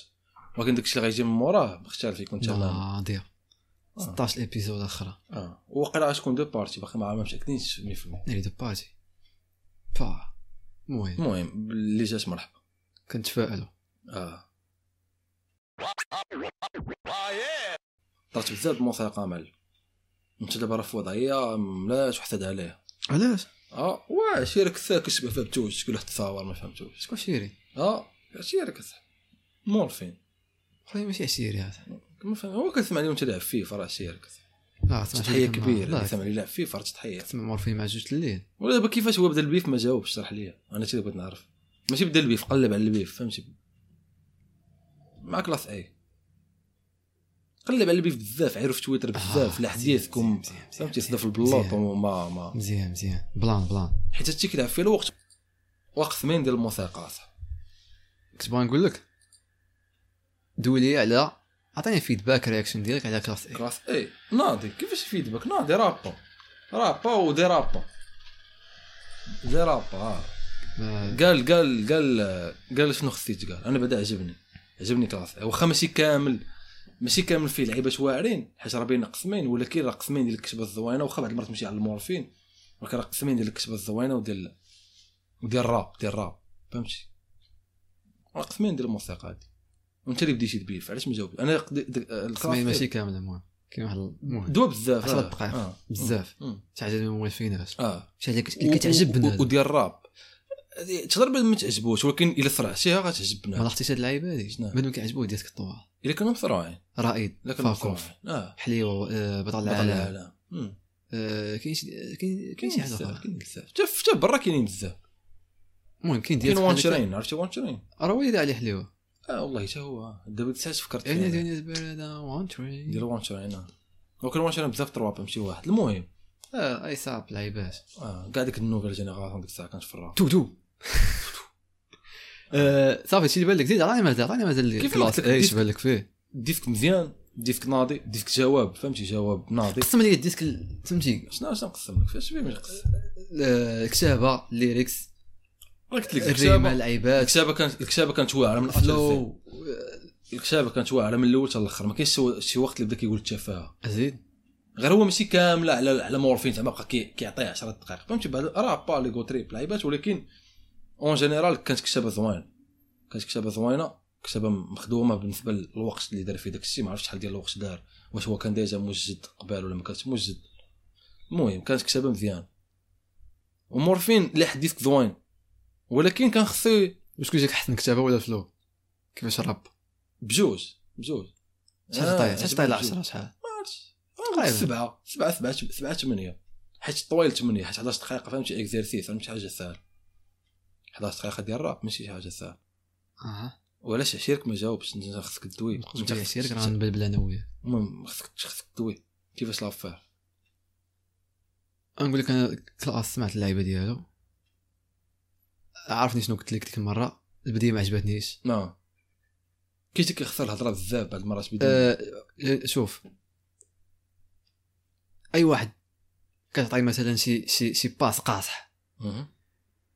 Speaker 1: ولكن داكشي اللي غيجي من موراه مختلف يكون تماما
Speaker 2: ناضيه
Speaker 1: آه.
Speaker 2: 16 ابيزود اخرى
Speaker 1: اه وقيلا غتكون دو بارتي باقي ما ما مشاكلينش 100%
Speaker 2: ناري دو بارتي با المهم
Speaker 1: المهم اللي جات مرحبا
Speaker 2: كنتفائلوا
Speaker 1: اه طرت بزاف الموسيقى معلم انت دابا راه في وضعيه ملاش وحسد عليها
Speaker 2: علاش
Speaker 1: اه واه شي ركثه كتشبه فهمتوش شكون واحد تصاور ما فهمتوش
Speaker 2: شكون شيري
Speaker 1: اه شي ركثه مورفين
Speaker 2: خلي ماشي عشيري هذا
Speaker 1: ما فهم هو كنسمع اليوم تلعب فيفا راه شي ركثه
Speaker 2: اه سمعت
Speaker 1: تضحيه
Speaker 2: لك مع-
Speaker 1: كبيره
Speaker 2: لا،
Speaker 1: كنسمع اللي يلعب فيفا راه تضحيه
Speaker 2: تسمع مورفين مع جوج الليل
Speaker 1: ولا دابا كيفاش هو بدا البيف ما جاوبش شرح لي انا شي بغيت نعرف ماشي بدا البيف قلب على البيف فهمتي مع كلاس اي قلب على البيف بزاف عيرو في تويتر بزاف
Speaker 2: آه،
Speaker 1: الاحداثكم
Speaker 2: مزيان، مزيان،
Speaker 1: فهمتي
Speaker 2: مزيان،
Speaker 1: صدا في البلاط
Speaker 2: مزيان.
Speaker 1: وما ما
Speaker 2: مزيان مزيان بلان بلان
Speaker 1: حيت هادشي كيلعب فيه الوقت وقسمين ديال الموسيقى صح
Speaker 2: كنت باغي نقول لك دولي على عطيني فيدباك رياكشن ديالك على كلاس اي
Speaker 1: كلاس اي ناضي كيفاش فيدباك ناضي رابا رابا ودي رابا دي رابا آه.
Speaker 2: ما-
Speaker 1: قال قال قال قال شنو خصيت قال انا بعدا عجبني عجبني كلاس واخا ماشي كامل ماشي كامل فيه لعيبات واعرين حيت راه بين قسمين ولكن راه قسمين ديال الكتبه الزوينه واخا بعض المرات تمشي على المورفين راك راه قسمين ديال الكتابه الزوينه وديال وديال الراب ديال الراب فهمتي راه قسمين ديال الموسيقى هادي وانت اللي بديتي تبيل فعلاش ما جاوبتش انا قد- د-
Speaker 2: القسمين
Speaker 1: الخاص
Speaker 2: ماشي كامله المهم كاين واحد المهم
Speaker 1: دوا بزاف
Speaker 2: عشرة
Speaker 1: آه.
Speaker 2: دقائق.
Speaker 1: آه.
Speaker 2: بزاف
Speaker 1: مم.
Speaker 2: تعجبني المؤلفينات
Speaker 1: اه
Speaker 2: شي حاجه كت- اللي كتعجبنا
Speaker 1: و- و- وديال الراب هذه تقدر بعد ما تعجبوش ولكن الا صرعتيها
Speaker 2: ما
Speaker 1: غتعجبنا
Speaker 2: لاحظتيش هاد اللعيبه هادي
Speaker 1: شنو؟
Speaker 2: بنو كيعجبوه ديسك الطوال
Speaker 1: الا كانوا مصروعين
Speaker 2: رائد
Speaker 1: الا كانوا
Speaker 2: فاكوف
Speaker 1: مصروعين اه
Speaker 2: حليوه آه، بطل
Speaker 1: بطل
Speaker 2: العالم
Speaker 1: العالم مم.
Speaker 2: آه، كاين شي كاين كاين شي
Speaker 1: كاين
Speaker 2: حاجه
Speaker 1: بزاف
Speaker 2: اخرى
Speaker 1: كاين بزاف حتى في- حتى برا كاينين بزاف
Speaker 2: المهم كاين ديال
Speaker 1: كاين وانشرين عرفتي وانشرين
Speaker 2: راه وايد عليه يعني حليوه
Speaker 1: اه والله حتى هو دابا ساعات فكرت
Speaker 2: عيني
Speaker 1: فيه.
Speaker 2: دنيا بارده وان تري
Speaker 1: ديال وانشرين اه وكان وانشرين بزاف تروابا ماشي واحد المهم
Speaker 2: اه اي صعب لعيبات
Speaker 1: اه كاع ديك النوفيل جينيراسيون ديك الساعه كانت في الراب
Speaker 2: تو تو آه، صافي هادشي اللي بان لك زيد عطاني مازال عطاني مازال
Speaker 1: كيف قلت
Speaker 2: كلاس
Speaker 1: لك
Speaker 2: ايش
Speaker 1: ديسك؟
Speaker 2: بان لك فيه
Speaker 1: ديسك مزيان ديسك ناضي ديسك جواب فهمتي جواب ناضي
Speaker 2: قسم لي الديسك ال- فهمتي
Speaker 1: شنو شنو نقسم لك فاش فيه باش نقسم
Speaker 2: آه، الكتابه الليركس
Speaker 1: راه قلت لك
Speaker 2: الريمه
Speaker 1: الكتابه
Speaker 2: اللعيبات
Speaker 1: الكتابه كانت الكتابه كانت واعره من الفلو
Speaker 2: الفلو آه،
Speaker 1: الكتابه كانت واعره من الاول حتى الاخر ما كاينش شي- شي وقت اللي بدا كيقول التفاهه
Speaker 2: زيد
Speaker 1: غير هو ماشي كامله على على مورفين زعما بقى كي- كيعطيها 10 دقائق فهمتي بعد راه با ليغو تريب لعيبات ولكن اون جينيرال كانت كتابه زوين كانت كتابه زوينه كتابه مخدومه بالنسبه للوقت اللي دار فيه داك الشيء ما عرفتش شحال ديال الوقت دار واش هو كان ديجا مجد قبل ولا ما كانش مجد المهم كانت كتابه مزيان ومورفين ليه حديث زوين ولكن كان خصو
Speaker 2: واش كيجيك احسن كتابه ولا فلو كيفاش الراب
Speaker 1: بجوج بجوج
Speaker 2: شحال
Speaker 1: آه،
Speaker 2: طايح شحال طايح
Speaker 1: بجوج.
Speaker 2: 10 شحال
Speaker 1: عرفتش
Speaker 2: طيب.
Speaker 1: سبعة سبعة سبعة سبعة ثمانية حيت طويل ثمانية حيت 11 دقيقة فهمتي اكزرسيس فهمتي حاجة ساهلة 11 دقيقة ديال الراب ماشي شي حاجة ساهلة
Speaker 2: اها
Speaker 1: وعلاش عشيرك ما جاوبش انت خصك تدوي
Speaker 2: نقص بيه سيرك راه نبلبل انا وياه
Speaker 1: المهم خصك خصك تدوي كيفاش لافير
Speaker 2: نقول لك انا كلاس سمعت اللعيبه ديالو عرفني شنو قلت لك ديك المره البدايه ما عجبتنيش
Speaker 1: نعم كيجي كيخسر الهضرة بزاف بعد المرات بدا
Speaker 2: أه شوف اي واحد كتعطي مثلا شي شي شي باس قاصح
Speaker 1: مهم.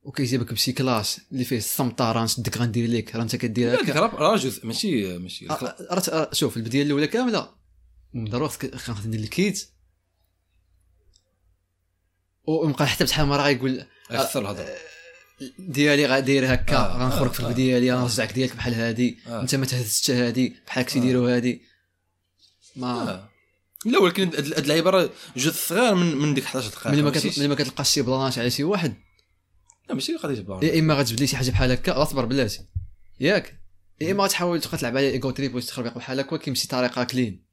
Speaker 2: وكيجيبك بشي كلاس اللي فيه السمطه راه نشدك غندير ليك راه انت كدير
Speaker 1: لا، ديك
Speaker 2: هكا
Speaker 1: راه راه جزء ماشي ماشي
Speaker 2: آه، آه، راه- آه، شوف البدايه الاولى كامله من ضروري خصك خاصك ندير الكيت ونبقى حتى بشحال مره غيقول
Speaker 1: يخسر الهضرة
Speaker 2: أه، ديالي غادير هكا
Speaker 1: آه،
Speaker 2: غنخرج
Speaker 1: آه،
Speaker 2: في
Speaker 1: آه.
Speaker 2: البدايه ديالي غنرجعك ديالك بحال هادي
Speaker 1: آه.
Speaker 2: انت ما تهزتش هادي بحال كنتي
Speaker 1: آه.
Speaker 2: ديرو هادي ما
Speaker 1: آه. لا ولكن هاد- هاد اللعيبة راه جزء صغير من من ديك 11 دقيقة
Speaker 2: ملي ما
Speaker 1: ماشي-
Speaker 2: كت- ملي ما كتلقاش شي بلانات على شي واحد
Speaker 1: لا، ماشي قضية بلان
Speaker 2: يا اما غتبدل شي حاجه بحال هكا غتصبر بلاتي ياك يا اما غتحاول تبقى تلعب على ايجو تريب واش تخربق بحال هكا ولكن بشي طريقه كلين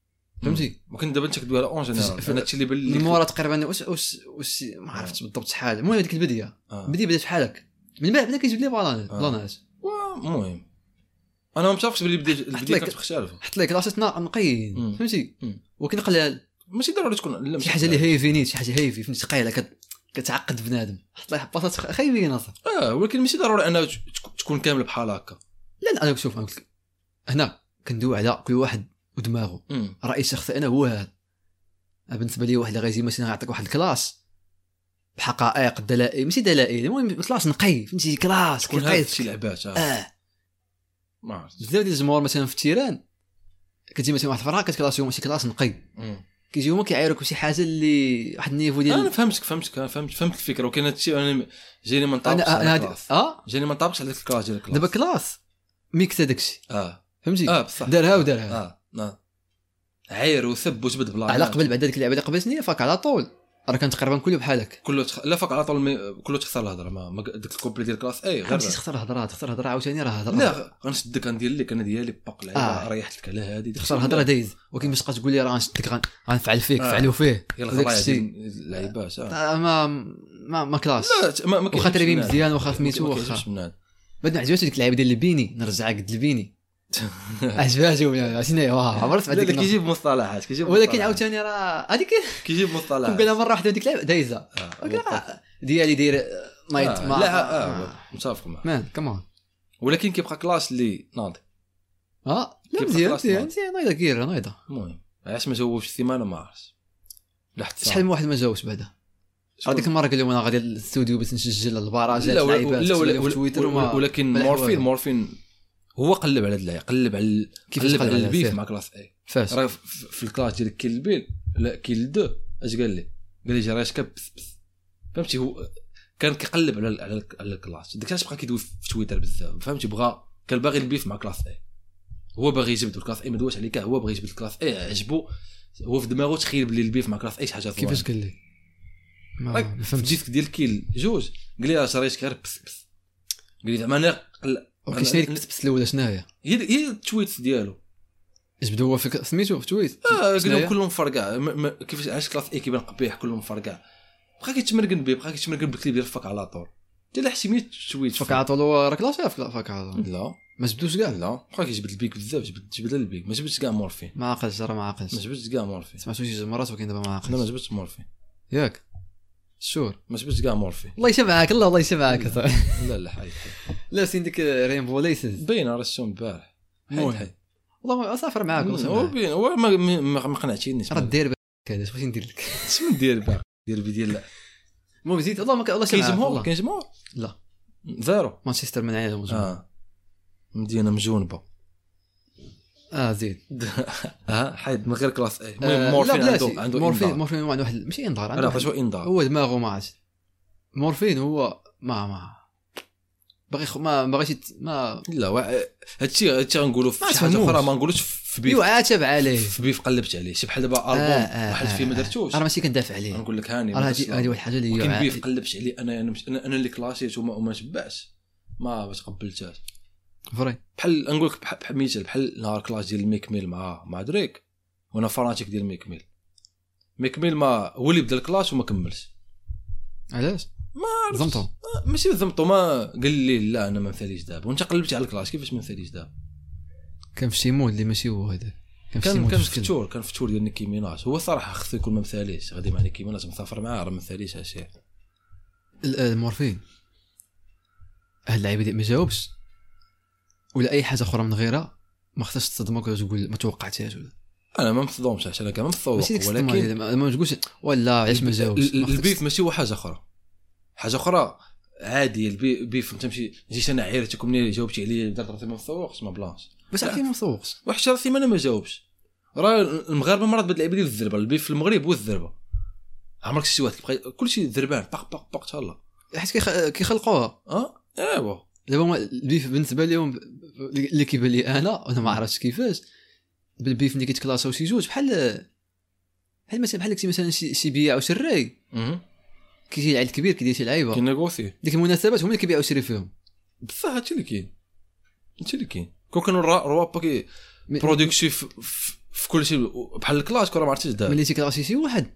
Speaker 2: فهمتي
Speaker 1: ممكن دابا انت كدوي على اون
Speaker 2: فش-
Speaker 1: جينيرال انا هادشي اللي آه. بان
Speaker 2: من
Speaker 1: لي
Speaker 2: مورا تقريبا واش واش واش ما عرفتش بالضبط شحال المهم هذيك البديه
Speaker 1: آه.
Speaker 2: البديه بدات بحال هكا من بعد بدا كيجيب لي بلانات
Speaker 1: آه.
Speaker 2: بلانات
Speaker 1: المهم انا ما متفقش باللي بديت البدايه
Speaker 2: لك-
Speaker 1: كانت مختلفه
Speaker 2: حط لك لاشتنا نقيين
Speaker 1: مم.
Speaker 2: فهمتي
Speaker 1: مم.
Speaker 2: ولكن قلال
Speaker 1: ماشي ضروري تكون لا
Speaker 2: شي حاجه اللي هيفي نيت شي حاجه هيفي فهمتي ثقيله كت... كتعقد بنادم حط ليه حباطات خ- خايبين اصلا
Speaker 1: اه ولكن ماشي ضروري انها ت- تك- تكون كامله بحال هكا
Speaker 2: لا لا انا شوف أنا قلت لك هنا كندوي على كل واحد ودماغه
Speaker 1: أمم.
Speaker 2: رايي الشخصي انا هو هذا بالنسبه لي واحد اللي غيجي مثلا يعطيك واحد الكلاس بحقائق دلائل ماشي دلائل المهم كلاس نقي فهمتي كلاس
Speaker 1: تكون هاد
Speaker 2: كيقيد
Speaker 1: شي لعبات آه.
Speaker 2: اه
Speaker 1: ما عرفتش
Speaker 2: بزاف ديال الجمهور مثلا في التيران كتجي مثلا واحد الفرقه كتكلاسيهم شي كلاس نقي
Speaker 1: أمم.
Speaker 2: كيجيو هما كيعايروك بشي حاجه اللي واحد النيفو
Speaker 1: انا
Speaker 2: ديال
Speaker 1: فهمتك فهمتك انا فهمت فهمت الفكره ولكن هادشي انا م- جاني ما نطابقش
Speaker 2: انا
Speaker 1: على
Speaker 2: انا هاد...
Speaker 1: الكلاس.
Speaker 2: اه
Speaker 1: جاني ما نطابقش على ديك الكلاس ديال الكلاس
Speaker 2: دابا كلاس ميكس هذاك الشيء
Speaker 1: اه
Speaker 2: فهمتي
Speaker 1: اه بصح
Speaker 2: دارها ودارها
Speaker 1: اه اه عير وسب وجبد بلا
Speaker 2: على قبل بعد هذيك اللعبه اللي قبل سنين فاك على طول راه كان تقريبا كله بحالك
Speaker 1: كله تخ... لا فوق على طول مي... كله تخسر الهضره ما ما- ديك الكوبل ديال الكلاس اي غير
Speaker 2: فهمتي تختار هضره تختار هضره عاوتاني راه هضره
Speaker 1: لا غنشدك غندير لك انا ديالي باق لعيبه
Speaker 2: آه.
Speaker 1: آه. ريحت لك على هذه
Speaker 2: تختار هضره دايز ولكن باش تبقى تقول لي راه غنشدك غن- غنفعل فيك
Speaker 1: آه.
Speaker 2: فعلوا فيه
Speaker 1: هي
Speaker 2: داك
Speaker 1: الغلايا
Speaker 2: الشيء
Speaker 1: ديال اللعيبات آه.
Speaker 2: آه، ما ما ما كلاس
Speaker 1: لا ت- ما ما
Speaker 2: واخا تريبي
Speaker 1: من هاد.
Speaker 2: مزيان واخا
Speaker 1: ما
Speaker 2: سميتو واخا
Speaker 1: كيعجبش من هاد.
Speaker 2: بعد ما عجباتو ديك اللعيبه ديال البيني نرجعك قد البيني عجباتو ولا لا، عرفتي واه عمرت
Speaker 1: لا
Speaker 2: بعد
Speaker 1: لا
Speaker 2: ديك النهار.
Speaker 1: كيجيب مصطلحات كيجيب
Speaker 2: ولكن
Speaker 1: مصطلحات.
Speaker 2: عاوتاني راه هذيك
Speaker 1: كيجيب مصطلحات
Speaker 2: قلنا مره واحده ديك اللعبه دايزه
Speaker 1: آه،
Speaker 2: ولكن
Speaker 1: وقف.
Speaker 2: راه ديالي داير نايت
Speaker 1: آه،
Speaker 2: ما
Speaker 1: لا اه وقف. متفق معك
Speaker 2: مان كمان
Speaker 1: ولكن كيبقى كلاس اللي ناضي
Speaker 2: اه لا
Speaker 1: كيف
Speaker 2: مزيان
Speaker 1: خلاص
Speaker 2: مزيان
Speaker 1: ما-
Speaker 2: مزيان نايضه كير نايضه
Speaker 1: المهم علاش ما جاوبش الثمانه ما عرفتش لا حتى
Speaker 2: شحال من واحد ما جاوبش بعدا راه ديك المره قال لهم انا غادي للاستوديو باش نسجل البراجات
Speaker 1: لا ولا
Speaker 2: اللعيبات
Speaker 1: لا
Speaker 2: تسولف في تويتر
Speaker 1: ولا
Speaker 2: وما
Speaker 1: ولكن
Speaker 2: ما لحقوها.
Speaker 1: مورفين مورفين هو قلب على هاد اللعيبه قلب على ال-
Speaker 2: كيف
Speaker 1: قلب
Speaker 2: تقلب
Speaker 1: على
Speaker 2: على
Speaker 1: البيف
Speaker 2: فيه؟
Speaker 1: مع كلاس اي
Speaker 2: فاش
Speaker 1: راه ف- ف- في الكلاس ديال كيل بيل لا كيل دو اش قال لي؟ قال لي جي راه كبس بس فهمتي هو كان كيقلب على ال- على ال- على الكلاس ديك الساعه بقى كيدوي في تويتر بزاف فهمتي بغا كان باغي البيف مع كلاس اي هو باغي يجبد الكلاس اي ما دواش عليك هو باغي يجبد الكلاس اي عجبو هو في دماغه تخيل بلي البيف مع كلاس اي شي حاجه
Speaker 2: كيفاش قال آه، لي ما
Speaker 1: راك
Speaker 2: ما
Speaker 1: في
Speaker 2: فهمتش
Speaker 1: الديسك ديال كيل جوج قال لي راه شريت غير بس بس قال لي زعما انا قل-
Speaker 2: اوكي شنو هي ديك البسبس الاولى شنو هي؟
Speaker 1: هي هي التويت ديالو
Speaker 2: جبد هو فيك سميتو في تويت
Speaker 1: آه، قال
Speaker 2: شنو
Speaker 1: لهم
Speaker 2: هي؟
Speaker 1: كلهم فرقع ما- ما- كيفاش علاش كلاس اي كيبان قبيح كلهم فرقع بقى كيتمرقن به بقى كيتمرقن بالكليب ديال فك على طول حتى لا حسيمية التويت
Speaker 2: فك عطول هو راك لا شاف فك عطول
Speaker 1: لا
Speaker 2: ما جبدوش كاع
Speaker 1: لا بقى كيجبد البيك بزاف جبد جبد البيك ما جبدش كاع مورفين
Speaker 2: ما عاقلش راه ما
Speaker 1: ما
Speaker 2: عاقلش
Speaker 1: جبدش كاع مورفين
Speaker 2: سمعتو شي جوج مرات ولكن دابا ما
Speaker 1: انا ما
Speaker 2: عاقلش
Speaker 1: جبدش مورفين
Speaker 2: ياك شور
Speaker 1: ما جبدش كاع مورفين
Speaker 2: الله يشبعك الله الله يشبعك أصاحبي.
Speaker 1: لا لا حيد حيد.
Speaker 2: لابسين ديك رينبو ليسز
Speaker 1: باينه رسوم البارح حيد
Speaker 2: المهم.
Speaker 1: حيد
Speaker 2: والله ما صافر معاك والله
Speaker 1: هو
Speaker 2: صافر معاك.
Speaker 1: باين هو ما- ما ما- ما قنعتينيش
Speaker 2: راه دير بالك هذا بغيتي ندير لك
Speaker 1: شنو ندير باقي ديال الفيديو لا
Speaker 2: المهم زيد والله ما كان- الله
Speaker 1: كاين
Speaker 2: يشبعك
Speaker 1: جمهور
Speaker 2: والله
Speaker 1: كاين جمهور
Speaker 2: لا
Speaker 1: زيرو
Speaker 2: مانشستر من عيالهم جمهور.
Speaker 1: اه مدينه مجونبه
Speaker 2: اه زيد
Speaker 1: اه حيد من غير كلاس اي
Speaker 2: آه،
Speaker 1: المهم مورفين
Speaker 2: لا بلاتي.
Speaker 1: عنده عنده
Speaker 2: مورفين
Speaker 1: مورفين
Speaker 2: مورفين هو عنده واحد ماشي انذار عنده
Speaker 1: لا
Speaker 2: واحد-
Speaker 1: حيت هو انذار
Speaker 2: هو دماغه ما عادش مورفين هو ما ما باغي خ- ما باغيش يت- ما
Speaker 1: لا وا- هادشي هادشي غنقولوا في
Speaker 2: ما
Speaker 1: شي حاجه
Speaker 2: تفهموش.
Speaker 1: اخرى ما نقولوش في بيف
Speaker 2: ايوا عاتب عليه
Speaker 1: في بيف قلبت عليه شي بحال دابا البوم
Speaker 2: آه، آه،
Speaker 1: واحد
Speaker 2: آه،
Speaker 1: فيه ما
Speaker 2: آه.
Speaker 1: درتوش
Speaker 2: راه ماشي كندافع عليه
Speaker 1: نقول لك هاني
Speaker 2: راه
Speaker 1: ما
Speaker 2: هذه
Speaker 1: درتش لا.
Speaker 2: هذه واحد الحاجه اللي
Speaker 1: ولكن
Speaker 2: عا-
Speaker 1: بيف قلبت عليه انا انا مش- انا أنا اللي كلاسيت وما وما شبعش ما ما تقبلتهاش
Speaker 2: فري
Speaker 1: بحال نقول لك بحال بحال مثال بحال نهار كلاش ديال ميك ميل مع مع دريك وانا فرانتيك ديال ميك ميل ميك ميل ما هو اللي بدا الكلاش وما كملش
Speaker 2: علاش
Speaker 1: ما عرفتش.
Speaker 2: زمطو
Speaker 1: ما- ماشي ذمته ما قال لي لا انا ما مثاليش دابا وانت قلبتي على الكلاش كيفاش ما مثاليش دابا
Speaker 2: كان في شي مود اللي ماشي هو هذا كان في شي
Speaker 1: كان
Speaker 2: مود
Speaker 1: كان
Speaker 2: في الشكل.
Speaker 1: فتور كان فتور ديال نيكي ميناج هو صراحه خصو يكون ما مثاليش غادي مع نيكي ميناج مسافر معاه راه ما مثاليش هادشي
Speaker 2: ال- آه، المورفين هاد اللعيبه اللي ما جاوبش ولا اي حاجه اخرى من غيرها ما خصهاش تصدمك ولا تقول ما توقعتهاش ولا
Speaker 1: انا ما مصدومش عشان انا كان ما مصدوم
Speaker 2: ماشي ديك الصدمه
Speaker 1: ولكن
Speaker 2: هذه، ما ما تقولش ولا علاش ما جاوبش
Speaker 1: ال- ال-
Speaker 2: ما خصكش
Speaker 1: البيف ماشي هو حاجه اخرى حاجه اخرى عادي البي- البيف انت مشي جيت انا عيرتك مني جاوبتي عليه درت راسي ما مسوقش ما بلانش
Speaker 2: بس عرفتي ما مسوقش
Speaker 1: وحتى راسي ما انا ما جاوبش راه المغاربه مرات بهاد اللعيبه ديال الزربه البيف في المغرب هو الزربه عمرك شتي واحد كيبقى كلشي ذربان باق باق باق تهلا
Speaker 2: حيت كيخ- كيخلقوها
Speaker 1: اه ايوا
Speaker 2: دابا هما البيف بالنسبه لهم اللي كيبان لي انا انا ما عرفتش كيفاش بالبيف ملي كيتكلاساو شي جوج بحال بحال مثلا بحال داكشي مثلا شي شي بياع او شراي
Speaker 1: مهم.
Speaker 2: كيجي العيد الكبير كيدير شي لعيبه
Speaker 1: كينيغوسي
Speaker 2: ديك المناسبات هما اللي كيبيعوا شري فيهم
Speaker 1: بصح هادشي اللي كاين هادشي اللي كاين كون كانوا الرا- روابا كي
Speaker 2: مي-
Speaker 1: برودكتي في, في, في كل شيء بحال الكلاش كره ما عرفتش دار
Speaker 2: ملي تيكلاسي شي واحد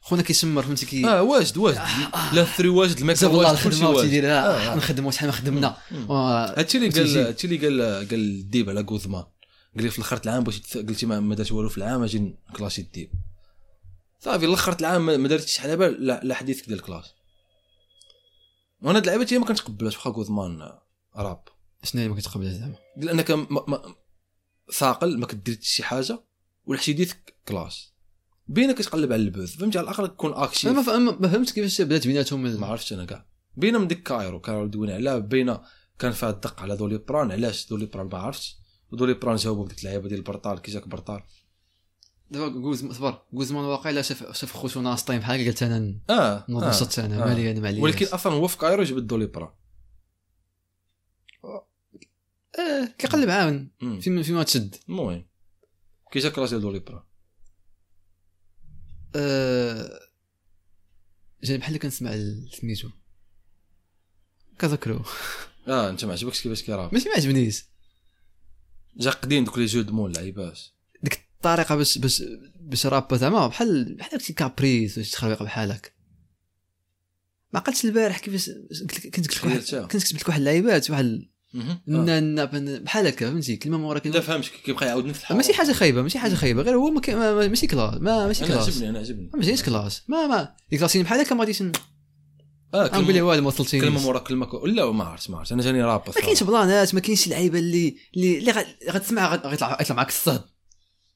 Speaker 2: خونا كيسمر فهمتي كي
Speaker 1: اه واجد واجد
Speaker 2: آه.
Speaker 1: لا ثري واجد الماكله
Speaker 2: زعما والله
Speaker 1: واجد كلشي
Speaker 2: الخدمه
Speaker 1: واجد
Speaker 2: تيديرها
Speaker 1: آه.
Speaker 2: نخدموا شحال ما خدمنا
Speaker 1: مم.
Speaker 2: آه،
Speaker 1: هادشي اللي قال
Speaker 2: وتيجي.
Speaker 1: هادشي اللي قال قال الديب على غوزمان قال لي في الاخر العام بغيتي تس- قلتي ما, ما درت والو في العام اجي نكلاشي الديب صافي الاخر العام ما ما درتش شحال بال لا لا حديثك ديال الكلاش وانا هاد اللعيبه تي ما كنتقبلهاش واخا غوزمان راب
Speaker 2: شنو اللي ما كتقبلها زعما
Speaker 1: لانك ما ما ثاقل ما كدير شي حاجه والحشي ديالك كلاش بينا كتقلب على البوز فهمتي على الاخر تكون
Speaker 2: انا
Speaker 1: اكشيف
Speaker 2: ما فهم- ما فهمتش كيفاش بدات بيناتهم ال-
Speaker 1: ما عرفتش انا كاع بينا من ديك كايرو كايرو دوينا على بينا كان فيها الدق على دولي بران علاش دولي بران ما عرفتش ودولي بران جاوبوا بديك اللعيبه ديال برطال كي جاك برطال
Speaker 2: دابا جوز صبر جوزمان واقع لا شاف شاف خوتو ناسطين بحال هكا قالت انا
Speaker 1: اه, آه.
Speaker 2: نضشت انا
Speaker 1: آه.
Speaker 2: مالي انا معليش
Speaker 1: ولكن اصلا هو في كايرو جبد دولي بران
Speaker 2: آه كيقلب عاون
Speaker 1: مم.
Speaker 2: فيما فيما تشد
Speaker 1: المهم كي جاك راس ديال دولي بران
Speaker 2: آه جاني بحال اللي كنسمع ال- سميتو كذكرو
Speaker 1: اه انت ما عجبكش كيفاش كيراب
Speaker 2: ماشي ما عجبنيش
Speaker 1: جا قديم دوك لي جو دمون لعيباش
Speaker 2: ديك الطريقه باش باش باش رابا زعما بحال بحال شي كابريس ولا شي تخربيقه بحال هكا ما قلتش البارح كيفاش قلت لك- كنت قلت لك
Speaker 1: تخيلتها.
Speaker 2: واحد- كنت كتبت لك واحد اللعيبات واحد
Speaker 1: مهم. آه.
Speaker 2: النا- بن- بحال هكا فهمتي كلمه مورا
Speaker 1: انت
Speaker 2: كلمه
Speaker 1: فهمت كيبقى يعاود نفس الحوار
Speaker 2: ماشي حاجه خايبه ماشي حاجه خايبه غير هو ما كي- ما- ما- ماشي كلاس ما ماشي
Speaker 1: انا
Speaker 2: آه، كلاس آه،
Speaker 1: عجبني انا عجبني
Speaker 2: ما جايش كلاس ما ما ديك كلاسين بحال هكا ما غاديش ن-
Speaker 1: اه
Speaker 2: نقول لي
Speaker 1: كلمه
Speaker 2: والو ما وصلتينيش
Speaker 1: كلمه مورا كلمه كو- لا ما عرفت ما عرفت انا جاني راب
Speaker 2: ما كاينش بلانات ما كاينش لعيبه اللي اللي اللي غا- غتسمع غا- غيطلع غيطلع معاك الصهد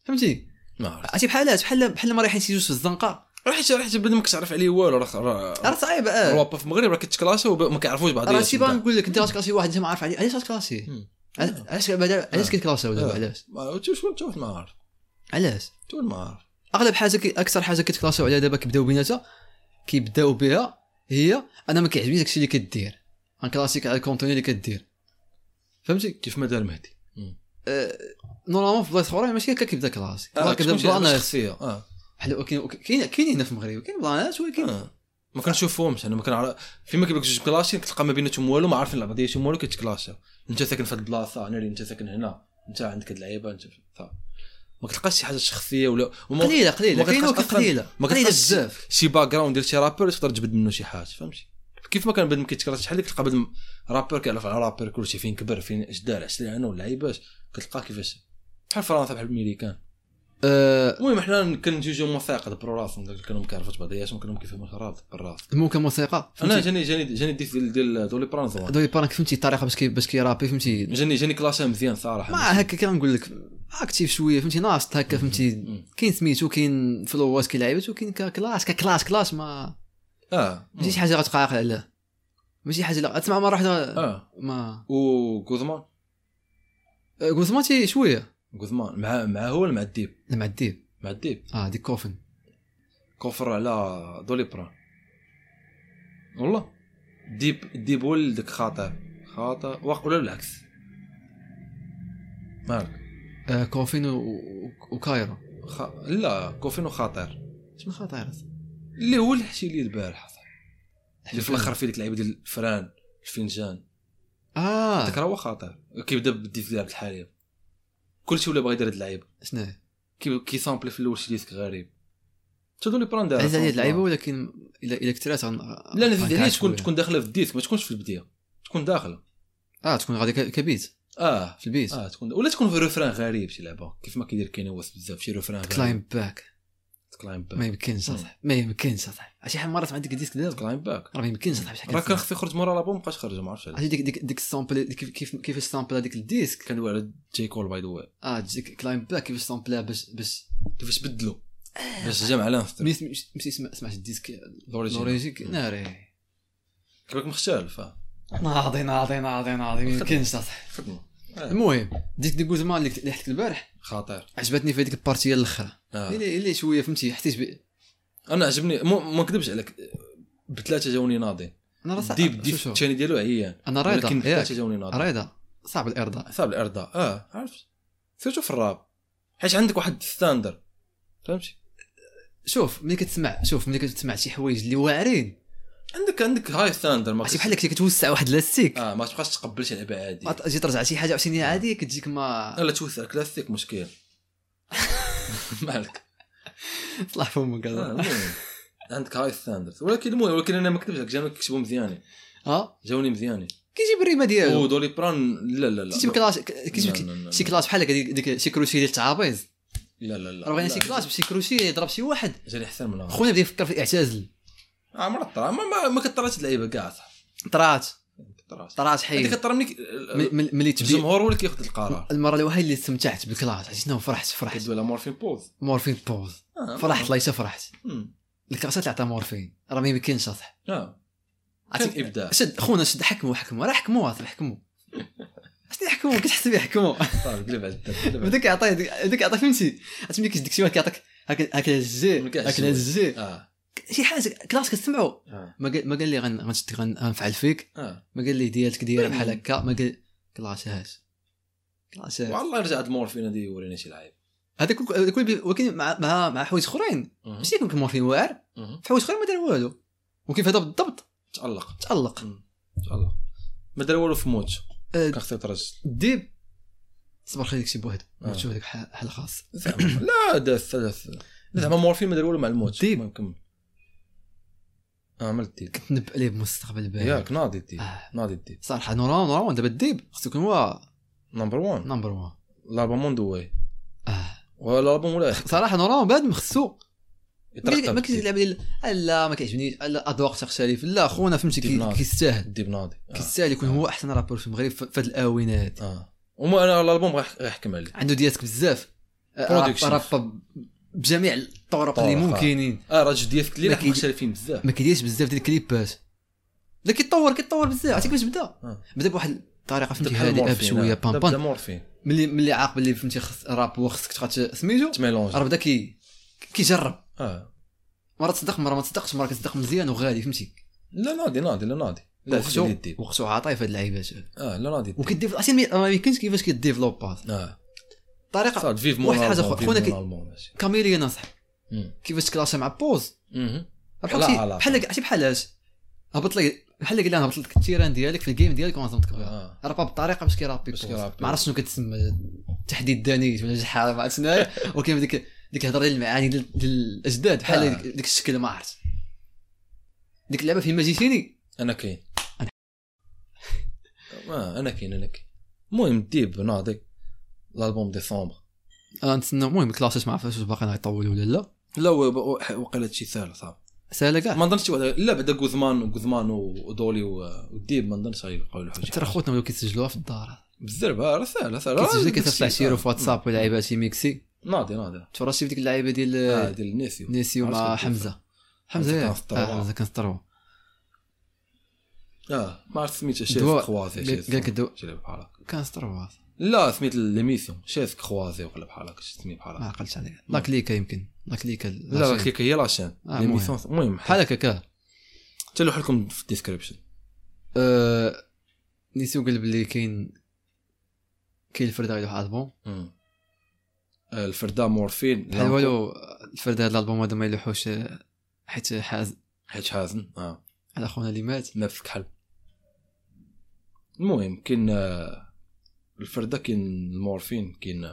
Speaker 2: فهمتي
Speaker 1: ما عرفت
Speaker 2: عرفتي بحالات بحال بحال ما رايحين شي جوج في الزنقه
Speaker 1: راه حتى راه حتى بدا ما كتعرف عليه والو راه راه
Speaker 2: راه صعيب اه
Speaker 1: روابا في المغرب راه كتكلاشا وما كيعرفوش بعضياتهم
Speaker 2: راه شي بان
Speaker 1: كاع.
Speaker 2: نقول لك انت غاتكلاسي واحد انت ما عارف عليه علاش غاتكلاسي
Speaker 1: مم.
Speaker 2: علاش علاش بعدا- علاش كيتكلاساو دابا
Speaker 1: آه.
Speaker 2: علاش
Speaker 1: ما شوف شوف شوف ما عرفت
Speaker 2: علاش
Speaker 1: شوف ما عرفت
Speaker 2: اغلب حاجه كي اكثر حاجه كيتكلاساو عليها دابا كيبداو بيناتها كيبداو بها هي انا ما كيعجبنيش داكشي اللي كدير ان كلاسيك على الكونتوني اللي كدير فهمتي
Speaker 1: كيف ما دار مهدي
Speaker 2: أه... نورمالمون في بلايص اخرين ماشي هكا كيبدا كلاسيك
Speaker 1: آه،
Speaker 2: راه كيبدا
Speaker 1: كتكونش عندها
Speaker 2: بلانات
Speaker 1: شخصيه اه
Speaker 2: حلو كاين كاين كاين هنا في المغرب كاين بلانات ولكن
Speaker 1: آه. ما كنشوفهمش انا ما كنعرف فيما كيبقى جوج كلاشين كتلقى ما بيناتهم والو ما عارفين العبه ديالهم والو كيتكلاشا انت ساكن في هاد البلاصه انا اللي انت ساكن هنا انت عندك هاد اللعيبه انت صافي ما كتلقاش شي حاجه شخصيه ولا وما
Speaker 2: قليله
Speaker 1: ما
Speaker 2: قليله كاين
Speaker 1: كتلقاش
Speaker 2: ولكن
Speaker 1: أصلاً-
Speaker 2: قليله
Speaker 1: ما
Speaker 2: قليله
Speaker 1: كتلقاش شي-
Speaker 2: بزاف
Speaker 1: شي باك جراوند ديال شي رابور تقدر تجبد منه شي حاجه فهمتي كيف ما كان بنادم كيتكرر شحال اللي كتلقى بنادم رابور كيعرف على رابور كلشي فين كبر فين اش دار اش لعنو اللعيبات كتلقاه كيفاش بحال فرنسا بحال الميريكان
Speaker 2: أه... المهم
Speaker 1: المهم حنا كنجوجو موثائق برو راسهم داك اللي كانوا مكعرفات بعضياتهم كانوا كيفهموا الخراب بالراس
Speaker 2: ممكن موسيقى
Speaker 1: انا
Speaker 2: فهمتي
Speaker 1: جاني جاني جاني ديف ديال ديال دولي برانزو
Speaker 2: دوري بارك فهمتي الطريقه باش كي باش كيرابي فهمتي
Speaker 1: جاني جاني كلاسها مزيان صراحه
Speaker 2: ما هكا كنقول لك اكتيف شويه فهمتي ناقص هكا فهمتي
Speaker 1: مم.
Speaker 2: كاين سميتو كاين فلوات كيلعبات وكاين كلاس ككلاس كلاس ما
Speaker 1: اه
Speaker 2: ماشي شي حاجه غتقاقع عليها ماشي حاجه لا تسمع مره واحده
Speaker 1: اه
Speaker 2: ما آه،
Speaker 1: وكوزمان
Speaker 2: غوزمان تي شويه
Speaker 1: كوزمان مع مع هو ولا مع الديب
Speaker 2: مع الديب
Speaker 1: مع الديب
Speaker 2: اه ديك كوفن
Speaker 1: كوفر على دولي بران والله الديب الديب هو اللي داك خاطئ خاطئ واق- ولا العكس مالك
Speaker 2: آه كوفن و- و- وكايرو
Speaker 1: خ... لا كوفين وخاطر
Speaker 2: شنو خطير
Speaker 1: اللي هو الحشي اللي البارح اللي في الاخر في ديك اللعيبه ديال الفران الفنجان
Speaker 2: اه
Speaker 1: هذاك راه هو خاطر كيبدا بالديسك ديال عبد الحليم كلشي ولا بغا يدير هاد اللعيبه
Speaker 2: شنو
Speaker 1: كي كيسامبلي في الاول شي ديسك غريب تدو لي بران دارها
Speaker 2: عزيز عليا اللعيبه
Speaker 1: لا
Speaker 2: ولكن الا الا كثرات غن-
Speaker 1: لا عزيز عليا
Speaker 2: غنكعك
Speaker 1: تكون
Speaker 2: شوية.
Speaker 1: تكون داخله في الديسك ما تكونش في البدايه تكون داخله
Speaker 2: اه تكون غادي ك- كبيت
Speaker 1: اه
Speaker 2: في البيت
Speaker 1: اه تكون ولا تكون في روفران غريب شي لعبه كيف ما كيدير كاين واس بزاف شي روفران غريب
Speaker 2: كلايم
Speaker 1: يعني.
Speaker 2: باك
Speaker 1: كلايم
Speaker 2: ما
Speaker 1: باك
Speaker 2: يمكنش
Speaker 1: مم.
Speaker 2: اصاحبي ما يمكنش اصاحبي عرفتي شحال من مره سمعت ديك الديسك دابا
Speaker 1: كلايم باك
Speaker 2: راه ما يمكنش اصاحبي شحال
Speaker 1: راه كان
Speaker 2: كنسمع.
Speaker 1: خصو يخرج مورا لابو مابقاش خرج ما عرفتش علاش
Speaker 2: عرفتي ديك ديك ديك السامبل ديك- كيف كيفاش السامبل هذيك الديسك
Speaker 1: كندوي على جاي كول باي ذا واي
Speaker 2: اه ديك كلايم باك كيفاش سامبلها باش باش
Speaker 1: كيفاش بدلو باش جمع على نفس
Speaker 2: ملي سم- مشيت سمع- سمعت الديسك
Speaker 1: الاوريجين
Speaker 2: لوريجيك ناري
Speaker 1: كيفاك مختلف اه
Speaker 2: ناضي ناضي ناضي ناضي ما يمكنش اصاحبي
Speaker 1: خدمه
Speaker 2: المهم ديك ديك جوزمان اللي اللي حكيت البارح
Speaker 1: خطير
Speaker 2: عجبتني في هذيك البارتي ديال الاخر
Speaker 1: آه.
Speaker 2: اللي اللي شويه فهمتي حسيت ب...
Speaker 1: انا عجبني مو- ما نكذبش عليك بثلاثه جاوني ناضي
Speaker 2: انا راه صعب
Speaker 1: الديب الديب
Speaker 2: شوف- شوف.
Speaker 1: الثاني ديالو عيان
Speaker 2: انا رايضه
Speaker 1: ولكن
Speaker 2: ياك.
Speaker 1: بثلاثه جاوني ناضي
Speaker 2: رايضه إيه. صعب الارضاء
Speaker 1: صعب الارضاء اه عرفت سيرتو في الراب حيت عندك واحد ستاندر فهمتي
Speaker 2: شوف ملي كتسمع شوف ملي كتسمع شي حوايج اللي واعرين
Speaker 1: عندك عندك هاي ستاندر ما
Speaker 2: عرفتي
Speaker 1: كتبقاش-
Speaker 2: بحال هكا كتوسع واحد لاستيك
Speaker 1: اه ما تبقاش تقبل شي لعبه عاديه
Speaker 2: ما ت- جيت رجع شي حاجه عرفتيني عادي كتجيك ما
Speaker 1: لا توسع كلاسيك مشكل مالك
Speaker 2: طلع فمك
Speaker 1: آه،
Speaker 2: هذا.
Speaker 1: المهم. عندك هاي ستاندر ولكن المهم ولكن انا ما كتبش لك جاوني كتبوا مزيانين
Speaker 2: ها
Speaker 1: جاوني مزيانين
Speaker 2: كيجيب الريمه ديالو
Speaker 1: ودولي بران لا لا لا
Speaker 2: كيجيب كلاس كيجيب
Speaker 1: لا، لا، لا، لا.
Speaker 2: شي كلاس بحال هكا ديك- ديك شي كروشي ديال التعابيز
Speaker 1: لا لا لا
Speaker 2: راه بغينا
Speaker 1: لا،
Speaker 2: شي كلاس بشي كروشي يضرب شي واحد
Speaker 1: جاني احسن من هذا
Speaker 2: خونا بدا يفكر في الاعتزال
Speaker 1: اه مرة طرا ما ما, ما كطراش اللعيبه كاع صح
Speaker 2: طرات
Speaker 1: طراش
Speaker 2: طرات
Speaker 1: هذيك
Speaker 2: حيد
Speaker 1: الطرا ملي
Speaker 2: طيب. م- م- ملي تبدي
Speaker 1: آه، الجمهور هو اللي كياخذ القرار
Speaker 2: المره الوحيده اللي استمتعت بالكلاس عرفتي شنو فرحت فرحت
Speaker 1: كدوي على مورفين بوز
Speaker 2: مورفين بوز
Speaker 1: آه،
Speaker 2: فرحت الله فرحت
Speaker 1: مم.
Speaker 2: الكراسات اللي عطاها مورفين راه ما يمكنش اصاحبي
Speaker 1: اه
Speaker 2: عرفتي-
Speaker 1: كان إبداع.
Speaker 2: شد خونا شد حكموا حكموا راه حكموا اصاحبي حكموا شنو يحكموا كتحسب يحكموا
Speaker 1: طار طيب، قلب على الدرب، قلب على الدرب.
Speaker 2: بداك يعطي بداك يعطي فهمتي عرفتي ملي كيشدك شي واحد كيعطيك هكا هكا الجي
Speaker 1: ملي كيعجز
Speaker 2: هكا الجي
Speaker 1: اه
Speaker 2: شي حاجه كلاس كتسمعوا
Speaker 1: اه
Speaker 2: ما قال ما قال لي غن- غنشد غن- غنفعل فيك
Speaker 1: اه
Speaker 2: ما قال لي ديالتك دايره بحال هكا ما قال كلاس هاش كلاس هاش
Speaker 1: والله رجعت المورفين هذه ورينا شي لعيب
Speaker 2: هذاك كل- هذاك كل بي- ولكن مع مع مع حوايج اخرين
Speaker 1: مهم.
Speaker 2: ماشي يكون مورفين واعر
Speaker 1: مهم.
Speaker 2: في حوايج اخرين ما دار والو وكيف هذا بالضبط
Speaker 1: تالق
Speaker 2: تالق
Speaker 1: تالق ما دار والو في موت
Speaker 2: آه،
Speaker 1: كان خصو يترجل
Speaker 2: الديب صبر خليك شي بوحدو
Speaker 1: آه.
Speaker 2: تشوف هذاك حل حل خاص
Speaker 1: زعما لا داس داس زعما مورفين ما دار والو مع الموت
Speaker 2: ديب.
Speaker 1: المهم كمل اه عملت ديب
Speaker 2: كنت نبأ عليه بمستقبل باهي
Speaker 1: ياك ناضي الديب
Speaker 2: آه.
Speaker 1: ناضي الديب
Speaker 2: صراحه نوران نوران دابا الديب خصو يكون هو
Speaker 1: نمبر 1
Speaker 2: نمبر 1
Speaker 1: لابا موندوي
Speaker 2: اه
Speaker 1: والالبوم ولا
Speaker 2: صراحه نوران بعد مخصو
Speaker 1: يترقب
Speaker 2: ما كاينش اللعبه ديال لا ما كيعجبنيش لا اذواق تختلف لا خونا فهمتي كي-
Speaker 1: ديبلات.
Speaker 2: كيستاهل
Speaker 1: الديب ناضي آه.
Speaker 2: كيستاهل يكون هو احسن رابور في المغرب في في هاد الاونه هادي
Speaker 1: اه وما انا الالبوم غيح- غيحكم عليه
Speaker 2: عنده ديالتك بزاف راب
Speaker 1: Production.
Speaker 2: راب بجميع
Speaker 1: طرق،
Speaker 2: الطرق اللي
Speaker 1: آه.
Speaker 2: ممكنين
Speaker 1: اه راه جديه في
Speaker 2: ما
Speaker 1: الليل حنا
Speaker 2: كيجي-
Speaker 1: مختلفين بزاف
Speaker 2: ما كيديرش بزاف ديال الكليبات لا كيتطور كيتطور بزاف عرفتي كيفاش بدا
Speaker 1: آه.
Speaker 2: بدا بواحد الطريقه فهمتي
Speaker 1: بحال
Speaker 2: هادئه
Speaker 1: مورفين،
Speaker 2: بشويه
Speaker 1: آه.
Speaker 2: بام
Speaker 1: بدا
Speaker 2: بام
Speaker 1: مورفين
Speaker 2: ملي ملي عاق باللي فهمتي خص الراب هو خصك تخات سميتو راه
Speaker 1: تميلونج
Speaker 2: بدا كي كيجرب
Speaker 1: اه
Speaker 2: مره تصدق مره ما تصدقش مره كتصدق مزيان وغالي فهمتي
Speaker 1: لا ناضي ناضي لا ناضي لا
Speaker 2: وقتو
Speaker 1: في الديب
Speaker 2: وقتو عاطي في هاد اللعيبات هادي.
Speaker 1: اه لا ناضي الديب.
Speaker 2: وكديف عرفتي المي- الامريكانز كيفاش كيديفلوبات
Speaker 1: اه
Speaker 2: طريقه
Speaker 1: صاد فيف مون
Speaker 2: واحد الحاجة أخرى، خونا كي-
Speaker 1: خونا
Speaker 2: كاميليان اصاحبي كيفاش تكلاشي مع بوز
Speaker 1: لا،
Speaker 2: بحال
Speaker 1: لا.
Speaker 2: بحال عرفتي بحال اش هبط لك بحال قال انا هبط لك التيران ديالك في الجيم ديالك وما تنطق بها
Speaker 1: اه
Speaker 2: رابا بطريقه باش كيرابي
Speaker 1: باش
Speaker 2: بوز.
Speaker 1: كيرابي.
Speaker 2: ما عرفتش شنو كتسمى تحديد دانيت ولا شحال ما عرفت شناهي. ولكن ديك ديك الهضره ديال المعاني ديال ديال الاجداد بحال
Speaker 1: آه.
Speaker 2: ديك- ديك الشكل ما عرفت ديك اللعبه فين ما جيتيني
Speaker 1: انا كاين
Speaker 2: أنا-
Speaker 1: آه، انا كاين انا كاين المهم الديب ناضي الالبوم ديسمبر
Speaker 2: آه، نتسنى المهم الكلاسيس ما عرفتش واش باقي غيطول ولا لا
Speaker 1: لا هو- وقيلا هادشي ساهل صافي
Speaker 2: سهله كاع
Speaker 1: ما نظنش شي واحد- لا بعدا غوزمان غوزمان ودولي و- والديب ما نظنش غيلقاو له
Speaker 2: حتى
Speaker 1: حاجه
Speaker 2: راه خوتنا ولاو كيتسجلوها في الدار
Speaker 1: بزاف آه، راه ساهله ساهله
Speaker 2: كيتسجل كتصلح سيرو في واتساب ولعيبه شي ميكسي
Speaker 1: ناضي ناضي
Speaker 2: تفرجتي في ديك اللعيبه ديال
Speaker 1: آه، ديال الناس
Speaker 2: آه، نيسيو
Speaker 1: عرفت
Speaker 2: مع
Speaker 1: كيف.
Speaker 2: حمزه حمزه
Speaker 1: حمزة
Speaker 2: ياك؟
Speaker 1: كان سطروة.
Speaker 2: آه، حمزه كان سطروه
Speaker 1: اه ما عرفت سميتها شيف
Speaker 2: دوا-
Speaker 1: خوازي
Speaker 2: قال-
Speaker 1: شيف
Speaker 2: قال لك الدو-
Speaker 1: شي لعبة بحال هكا
Speaker 2: كان سطروه
Speaker 1: لا سميت ليميسيون شيف خوازي ولا بحال هكا شي سميه بحال
Speaker 2: ما
Speaker 1: هكا
Speaker 2: عقلتش عليها لا كليكا يمكن لا كليكا
Speaker 1: لا لا كيك هي لاشين
Speaker 2: آه،
Speaker 1: ليميسيون المهم
Speaker 2: بحال
Speaker 1: بحال
Speaker 2: هكا كا
Speaker 1: تلوح لكم في الديسكريبشن
Speaker 2: آه، نيسيو قال بلي كاين كاين الفرده غير واحد البوم
Speaker 1: مم. آه، الفردا مورفين
Speaker 2: بحال والو الفرده هذا الالبوم هذا ما يلوحوش آه، حيت حاز
Speaker 1: حيت حازن اه
Speaker 2: على خونا اللي مات
Speaker 1: نفس كحل المهم كاين آه، الفرده كاين المورفين كاين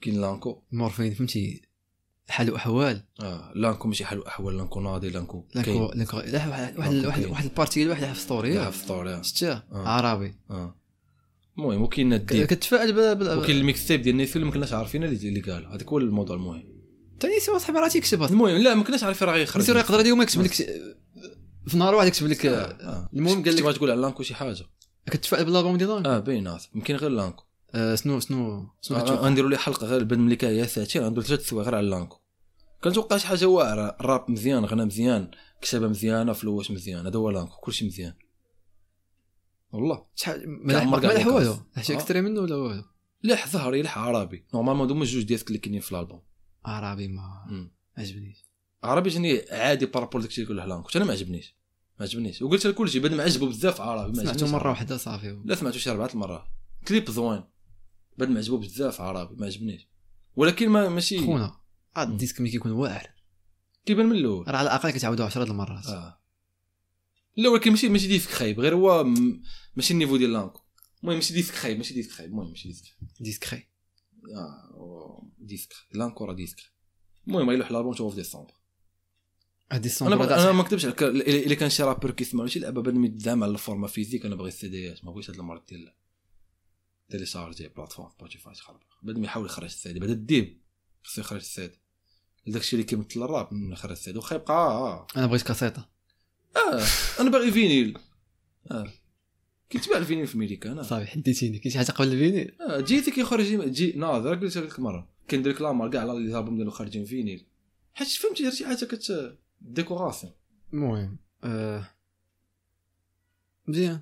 Speaker 1: كاين لانكو
Speaker 2: مورفين فهمتي حال واحوال
Speaker 1: اه لانكو ماشي حل احوال لانكو ناضي لانكو
Speaker 2: لانكو لانكو لا، واحد واحد
Speaker 1: لانكو
Speaker 2: واحد
Speaker 1: كاين.
Speaker 2: واحد البارتي ديال واحد لعب في
Speaker 1: لعب
Speaker 2: ستوري
Speaker 1: في الطور آه.
Speaker 2: شتاه
Speaker 1: آه.
Speaker 2: عربي
Speaker 1: اه المهم وكاين الديب
Speaker 2: كتفائل ب- ب-
Speaker 1: وكاين الميكس تيب ديال نيفيل ما كناش عارفين اللي اللي قال هذاك هو الموضوع المهم
Speaker 2: حتى نيسيو اصاحبي راه تيكتب
Speaker 1: المهم لا ما كناش عارفين راه غيخرج
Speaker 2: نيسيو راه يقدر اليوم يكتب لك آه، في نهار واحد يكتب لك
Speaker 1: آه،
Speaker 2: آه،
Speaker 1: آه.
Speaker 2: المهم قال
Speaker 1: كنت
Speaker 2: لك
Speaker 1: بغيت تقول على لانكو شي حاجه
Speaker 2: كتفائل بالالبوم ديالك
Speaker 1: اه بينات يمكن غير لانكو
Speaker 2: آه، شنو شنو شنو
Speaker 1: آه،
Speaker 2: كتشوف
Speaker 1: غنديروا لي حلقه غير بعد ملي كان يا ساتير غندير ثلاث سوايع غير على اللانكو كنتوقع شي حاجه واعره الراب مزيان غنى مزيان كتابه مزيانه فلوس مزيان هذا هو لانكو كلشي مزيان والله
Speaker 2: شحال ما
Speaker 1: كان
Speaker 2: لح-
Speaker 1: عمر
Speaker 2: ما
Speaker 1: كاع
Speaker 2: لح
Speaker 1: ما
Speaker 2: والو
Speaker 1: كان.
Speaker 2: شي
Speaker 1: آه.
Speaker 2: اكستري منه ولا والو
Speaker 1: لح ظهري لح عربي نورمالمون هما جوج ديالك اللي كاينين في الالبوم
Speaker 2: عربي آه، ما
Speaker 1: مم.
Speaker 2: عجبنيش
Speaker 1: عربي جاني عادي بارابول داكشي اللي كله لانكو انا ما عجبنيش ما عجبنيش وقلت لك كلشي بعد ما عجبو بزاف عربي ما
Speaker 2: سمعته
Speaker 1: عجبنيش
Speaker 2: مره
Speaker 1: عربي.
Speaker 2: واحده صافي
Speaker 1: لا سمعتو شي اربعه المرات كليب زوين بعد ما عجبو بزاف عربي ما عجبنيش ولكن ما ماشي
Speaker 2: خونا عاد
Speaker 1: مم.
Speaker 2: الديسك ملي كيكون واعر
Speaker 1: كيبان من الاول
Speaker 2: راه على الاقل كتعاودو 10 د المرات
Speaker 1: اه لا ولكن ماشي ماشي ديسك خايب غير هو م- ماشي النيفو ديال لانكو المهم ماشي ديسك خايب ماشي ديسك خايب المهم ماشي ديسك خايب.
Speaker 2: ديسكري
Speaker 1: اه و- ديسك خايب. لانكو راه ديسك خايب. المهم غيلوح الالبوم تشوفو في ديسمبر
Speaker 2: هاد السون
Speaker 1: انا
Speaker 2: برا
Speaker 1: بغ...
Speaker 2: تاع-
Speaker 1: انا ما نكتبش عليك ال- الا كان شي رابر كيسمع شي لعبه بان يتزعم على الفورما فيزيك انا باغي السيديات ما بغيتش هاد المرض ديال تيليشارجي بلاتفورم سبوتيفاي تخرب بعد ما يحاول يخرج السيدي بعد الديب خصو يخرج السيدي داكشي اللي كيمثل الراب من خرج السيدي واخا يبقى آه آه.
Speaker 2: انا بغيت كاسيطه
Speaker 1: اه انا باغي فينيل اه كيتباع الفينيل في امريكا انا
Speaker 2: صافي حديتيني كاين شي حاجه قبل الفيني
Speaker 1: آه جيتي كيخرج جي- جي نعم، ناظر قلت لك مره كندير كلامر كاع على لي زالبوم ديالو خارجين فينيل حيت فهمتي غير شي حاجه كت ديكوراسيون
Speaker 2: المهم آه، مزيان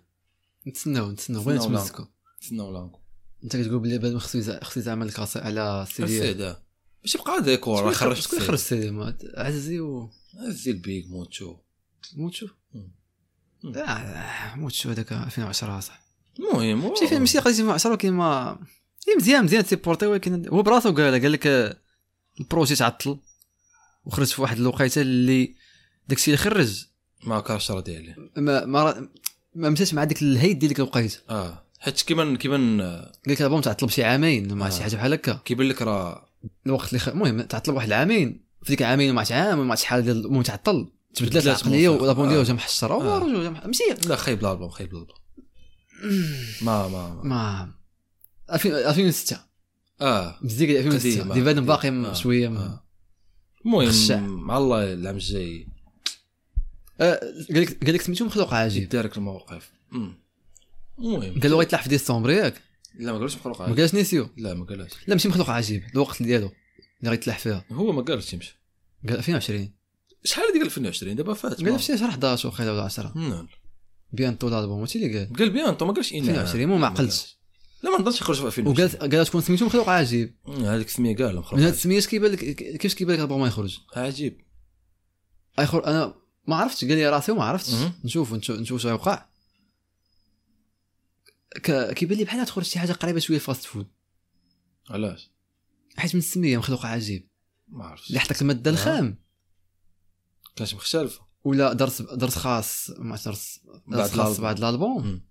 Speaker 2: نتسناو نتسناو بغينا
Speaker 1: نتسناو نعم.
Speaker 2: نتمسكو
Speaker 1: تسناو لانكو
Speaker 2: انت كتقول بلي بعد ما خصو يزع- خصو يزعمل الكاسي على السيدي
Speaker 1: السيدة باش آه. يبقى ديكور راه خرجت
Speaker 2: شكون خرج السيدي ما- عزي و
Speaker 1: هزي البيك موتشو
Speaker 2: موتشو
Speaker 1: مم.
Speaker 2: لا موتشو هذاك 2010 صح
Speaker 1: المهم هو-
Speaker 2: ماشي فيه ماشي قضيه 2010 ولكن ما إيه مزيان مزيان تيبورتي ولكن هو براسو قال قال لك آه، البروجي تعطل وخرج في واحد الوقيته اللي داكشي اللي خرج
Speaker 1: ما كانش راضي عليه
Speaker 2: ما ما را- ما مشاش مع ديك الهيد ديال ديك الوقيته
Speaker 1: اه حيت كيما كيما
Speaker 2: قال لك الالبوم تعطل بشي عامين ما
Speaker 1: آه.
Speaker 2: شي حاجه بحال هكا
Speaker 1: كيبان لك راه
Speaker 2: الوقت اللي خ- المهم تعطل واحد العامين في ديك عامين وما عرفتش عام وما عرفتش شحال ديال المهم تعطل تبدلات
Speaker 1: تبدلات
Speaker 2: العقليه
Speaker 1: موسيقى.
Speaker 2: والالبوم ديالو
Speaker 1: آه.
Speaker 2: جا محشر
Speaker 1: آه.
Speaker 2: هو رجل جا مح- ماشي
Speaker 1: لا خايب الالبوم خايب الالبوم ما ما, ما.
Speaker 2: ما 2000 2006
Speaker 1: اه
Speaker 2: بزيك 2006
Speaker 1: قديمة.
Speaker 2: دي بعد باقي
Speaker 1: آه.
Speaker 2: م- شويه م-
Speaker 1: آه.
Speaker 2: خشع.
Speaker 1: المهم مع الله العام الجاي
Speaker 2: آه، قال لك قال لك سميتو مخلوق عجيب
Speaker 1: يدارك المواقف أمم. المهم
Speaker 2: قال له غيتلاح في ديسمبر ياك
Speaker 1: لا ما قالوش مخلوق
Speaker 2: ما
Speaker 1: عجيب
Speaker 2: قالش نيسيو
Speaker 1: لا ما قالهاش
Speaker 2: لا ماشي مخلوق عجيب الوقت ديالو اللي غيتلاح فيها
Speaker 1: هو ما قالش يمشي
Speaker 2: قال 2020
Speaker 1: شحال هذيك 2020 دابا فات
Speaker 2: قال شي شهر 11 وخير ولا 10
Speaker 1: نعم
Speaker 2: بيانتو الالبوم هادشي اللي قال
Speaker 1: قال بيان انت ما قالش انا
Speaker 2: 2020 مو ما عقلتش
Speaker 1: لا ما نظنش يخرج في 2020
Speaker 2: وقال قال تكون سميتو مخلوق عجيب
Speaker 1: أمم، هذيك السميه قال
Speaker 2: من
Speaker 1: مخلوق
Speaker 2: هاد
Speaker 1: عجيب.
Speaker 2: السميات كيبان لك كيفاش كيبان لك الالبوم ما يخرج
Speaker 1: عجيب
Speaker 2: ايخر انا ما عرفتش قال لي راسي وما عرفتش
Speaker 1: مهم.
Speaker 2: نشوف نشوف نشوف شنو يوقع ك- كيبان لي بحال تخرج شي حاجه قريبه شويه فاست فود
Speaker 1: علاش
Speaker 2: حيت من السميه مخلوقه عجيب
Speaker 1: ما عرفتش
Speaker 2: اللي حطك
Speaker 1: آه.
Speaker 2: الماده الخام
Speaker 1: كانش مختلفه
Speaker 2: ولا درس درس خاص مع درس درس خاص
Speaker 1: الألبوم.
Speaker 2: بعد الالبوم
Speaker 1: مم.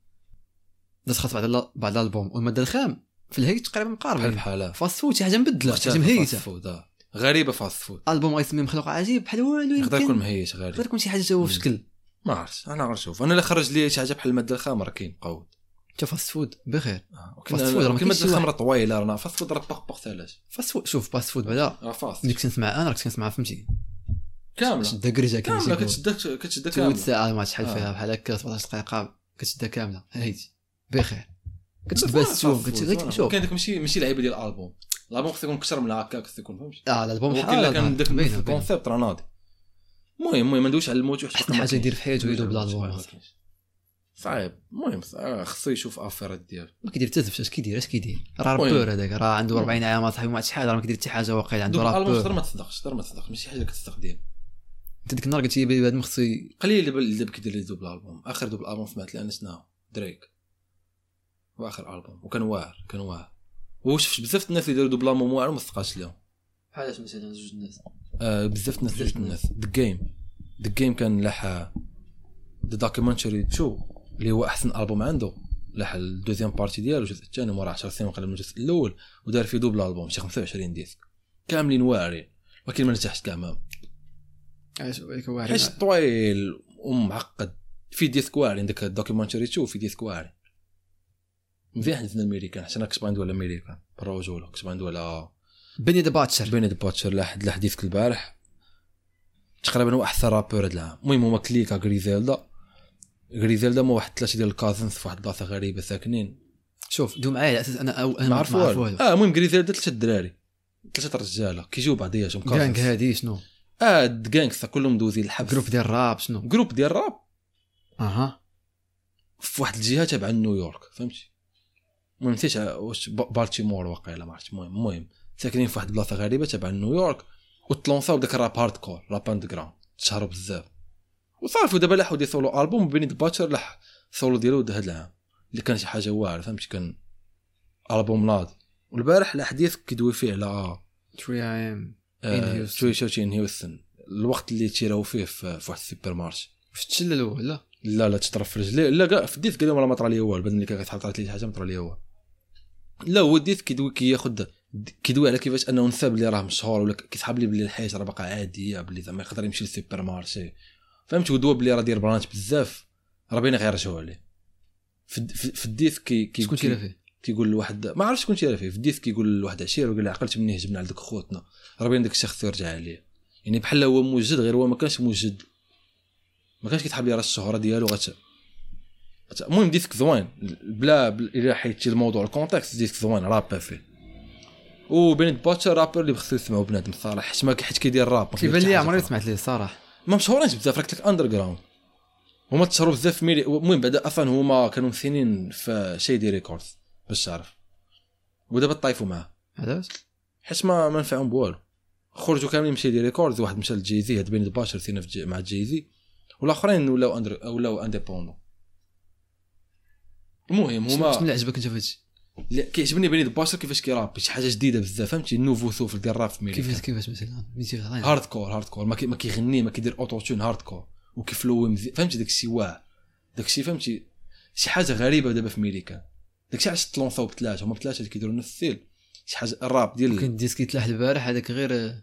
Speaker 2: درس خاص بعد ال- بعد الالبوم والماده الخام في الهيت تقريبا
Speaker 1: بحال
Speaker 2: مقاربين
Speaker 1: بحالها
Speaker 2: فاست فود شي حاجه مبدله شي حاجه
Speaker 1: مختلفة فاست
Speaker 2: مهيته
Speaker 1: فود آه. غريبه فاست فود
Speaker 2: البوم غيسميه مخلوق عجيب بحال والو
Speaker 1: يقدر يكون
Speaker 2: يمكن
Speaker 1: مهيش غريب
Speaker 2: يقدر يكون شي حاجه جوا في
Speaker 1: مم.
Speaker 2: شكل
Speaker 1: ما عرفت انا غنشوف انا اللي خرج لي شي حاجه بحال الماده الخام راه كاين قود
Speaker 2: حتى فاست فود بخير
Speaker 1: آه.
Speaker 2: فاست فود راه
Speaker 1: كنا
Speaker 2: ما كاينش
Speaker 1: الماده
Speaker 2: شي
Speaker 1: الخام
Speaker 2: واحد.
Speaker 1: راه طويله رانا فاست فود راه باق باق ثلاث
Speaker 2: فاست فود شوف فاست فود بعدا
Speaker 1: راه فاست
Speaker 2: ديك كنت مع انا راك كنت مع فهمتي
Speaker 1: كامله
Speaker 2: شده كرجه كان
Speaker 1: كامله
Speaker 2: تيقول.
Speaker 1: كتشدها كتشدها
Speaker 2: ثلث
Speaker 1: كامله
Speaker 2: ساعه ما شحال
Speaker 1: آه.
Speaker 2: فيها بحال هكا 17 دقيقه كتشدها كامله هايتي بخير
Speaker 1: صافي،
Speaker 2: كتشد بس
Speaker 1: فاست
Speaker 2: تشوف
Speaker 1: فود،
Speaker 2: كت-
Speaker 1: فوالا.
Speaker 2: غير شوف
Speaker 1: كاين داك ماشي ماشي لعيبه ديال الالبوم الالبوم خصك يكون اكثر من هكا خصك يكون فهمتي
Speaker 2: اه على البوم
Speaker 1: ولكن
Speaker 2: بحال
Speaker 1: الا كان داك
Speaker 2: باينه باينه
Speaker 1: الكونسيبت راه ناضي المهم المهم ما ندويش على الموت
Speaker 2: حتى حاجه يدير في حياته يدوب الالبوم
Speaker 1: صعيب المهم آه، خصو يشوف افيرات ديالو
Speaker 2: ما كيدير حتى اش كيدير اش كيدير راه
Speaker 1: المهم.
Speaker 2: رابور هذاك راه عنده 40 عام اصاحبي ما عرفت شحال راه ما كيدير حتى حاجه واقيلا عنده
Speaker 1: دوك الالبوم تقدر
Speaker 2: رابور
Speaker 1: ما تصدقش تقدر ما تصدق ماشي حاجه كتستخدم
Speaker 2: انت ديك النهار قلت لي بلي بنادم خصو ي-
Speaker 1: قليل اللي اللي كيدير لي دوبل البوم اخر دوبل البوم سمعت لي انا شنو دريك هو اخر البوم وكان واعر كان واعر وشفت بزاف الناس اللي داروا دوبل البوم واعر وما صدقاش لهم
Speaker 2: بحالاش مثلا زوج الناس
Speaker 1: آه بزاف الناس
Speaker 2: بزاف
Speaker 1: بزاف الناس ذا جيم ذا جيم كان لح ذا دوكيومنتري شو اللي هو احسن البوم عنده لح الدوزيام بارتي ديالو الجزء الثاني مورا 10 سنين وقال من الجزء الاول ودار فيه دوبل البوم شي 25 ديسك كاملين واعرين ولكن ما نجحش كاع معاهم
Speaker 2: علاش وليك واعر
Speaker 1: حيت طويل ومعقد في ديسك واعرين داك الدوكيومنتري تشوف في ديسك واعرين مزيان حنا الامريكان حيت انا كنت باغي ندوي على الامريكان بالرجوله كنت باغي ندوي على
Speaker 2: بني ذا باتشر
Speaker 1: بيني باتشر لحد لحديثك البارح تقريبا هو احسن رابور هاد العام المهم هما كليكا غريزيلدا غريزيلدا هما واحد ثلاثه ديال الكازنز في واحد البلاصه غريبه ساكنين
Speaker 2: شوف دو معايا على اساس انا أو انا
Speaker 1: ما
Speaker 2: ما
Speaker 1: عرف
Speaker 2: عرف
Speaker 1: والو
Speaker 2: والو
Speaker 1: اه المهم غريزيلدا ثلاثه دراري ثلاثه رجاله كيجيو بعضياتهم
Speaker 2: كانك
Speaker 1: cousins.
Speaker 2: هادي شنو
Speaker 1: اه كانكس كلهم دوزين الحبس
Speaker 2: جروب ديال الراب شنو
Speaker 1: جروب ديال الراب
Speaker 2: اها
Speaker 1: في واحد الجهه تابعه لنيويورك فهمتي ما نسيتش واش ب- بالتيمور واقيلا ما عرفتش المهم المهم ساكنين في واحد البلاصه غريبه تابعه لنيويورك وتلونساو داك الراب هارد كور راب اند جراوند تشهروا بزاف وصافي ودابا لاحوا دي سولو البوم بيني باتشر لاح سولو ديالو د هاد العام اللي كان شي حاجه واعره فهمتي كان البوم ناضي والبارح الاحداث كيدوي فيه آه، على
Speaker 2: 3 ام In Houston.
Speaker 1: توي شوتي ان هيوستن الوقت اللي تيراو فيه في في واحد السوبر مارشي
Speaker 2: شفت الاول لا
Speaker 1: لا لا تطرف في رجليه لا كاع في الديث قال لهم راه ما طرا لي والو بان لي كان كتحط طرات لي شي حاجه ما طرا لي والو لا هو الديث كيدوي كياخد كيدوي على كيفاش انه نسى بلي راه مشهور ولا كيسحب لي بلي الحياه راه باقا عاديه بلي زعما يقدر يمشي للسوبر مارشي فهمت ودوا بلي راه داير برانش بزاف راه باين غيرجعوا عليه في الد- في في الديث كي كي
Speaker 2: شكون تيلا فيه
Speaker 1: كيقول لواحد ما عرفتش شكون تيلا فيه في الديث كيقول لواحد عشير وقال له عقلت مني هجمنا على ديك خوتنا راه باين داك الشخص يرجع عليه يعني بحال هو موجد غير هو ما كانش موجد ما كانش كيتحب لي راه الشهره ديالو غت غت- المهم ديسك زوين بلا بلا- الا حيدتي الموضوع الكونتكست ديسك زوين راب فيه وبين باتشر رابر اللي خصو يسمعوا بنادم صالح حيت ما حيت كيدير راب ما
Speaker 2: كيبان
Speaker 1: كيدير
Speaker 2: لي
Speaker 1: حاجة
Speaker 2: عمري
Speaker 1: أخرى.
Speaker 2: سمعت ليه صراحه
Speaker 1: ما مشهورينش بزاف راك تلك اندر جراوند هما تشهروا بزاف في ميلي المهم بعدا اصلا هما كانوا مسنين في شيدي ريكوردز باش تعرف ودابا طايفوا معاه
Speaker 2: علاش
Speaker 1: حيت ما ما نفعهم بوالو خرجوا كاملين من شيدي ريكوردز واحد مشى لجيزي هاد بين الباشر سينا في جي مع جيزي والاخرين ولاو اندر ولاو انديبوندون المهم
Speaker 2: شنو شنو
Speaker 1: هما
Speaker 2: اللي عجبك انت في هادشي
Speaker 1: لا، كيعجبني بين الباشر كيفاش كيرابي شي حاجه جديده بزاف فهمتي نوفو سوفل ديال الراب في ميلي
Speaker 2: كيفاش كيفاش مثلا ميتي غلطان
Speaker 1: هارد كور هارد كور ما كي- ما كيغني ما كيدير اوتو تون هارد كور وكيفلوي مزي... فهمتي داك الشيء واعر داك الشيء فهمتي شي حاجه غريبه دابا في ميريكا داك الشيء علاش تلونساو بثلاثه هما بثلاثه اللي كيديروا نفس السيل شي حاجه الراب ديال
Speaker 2: كان الديسك يتلاح البارح هذاك غير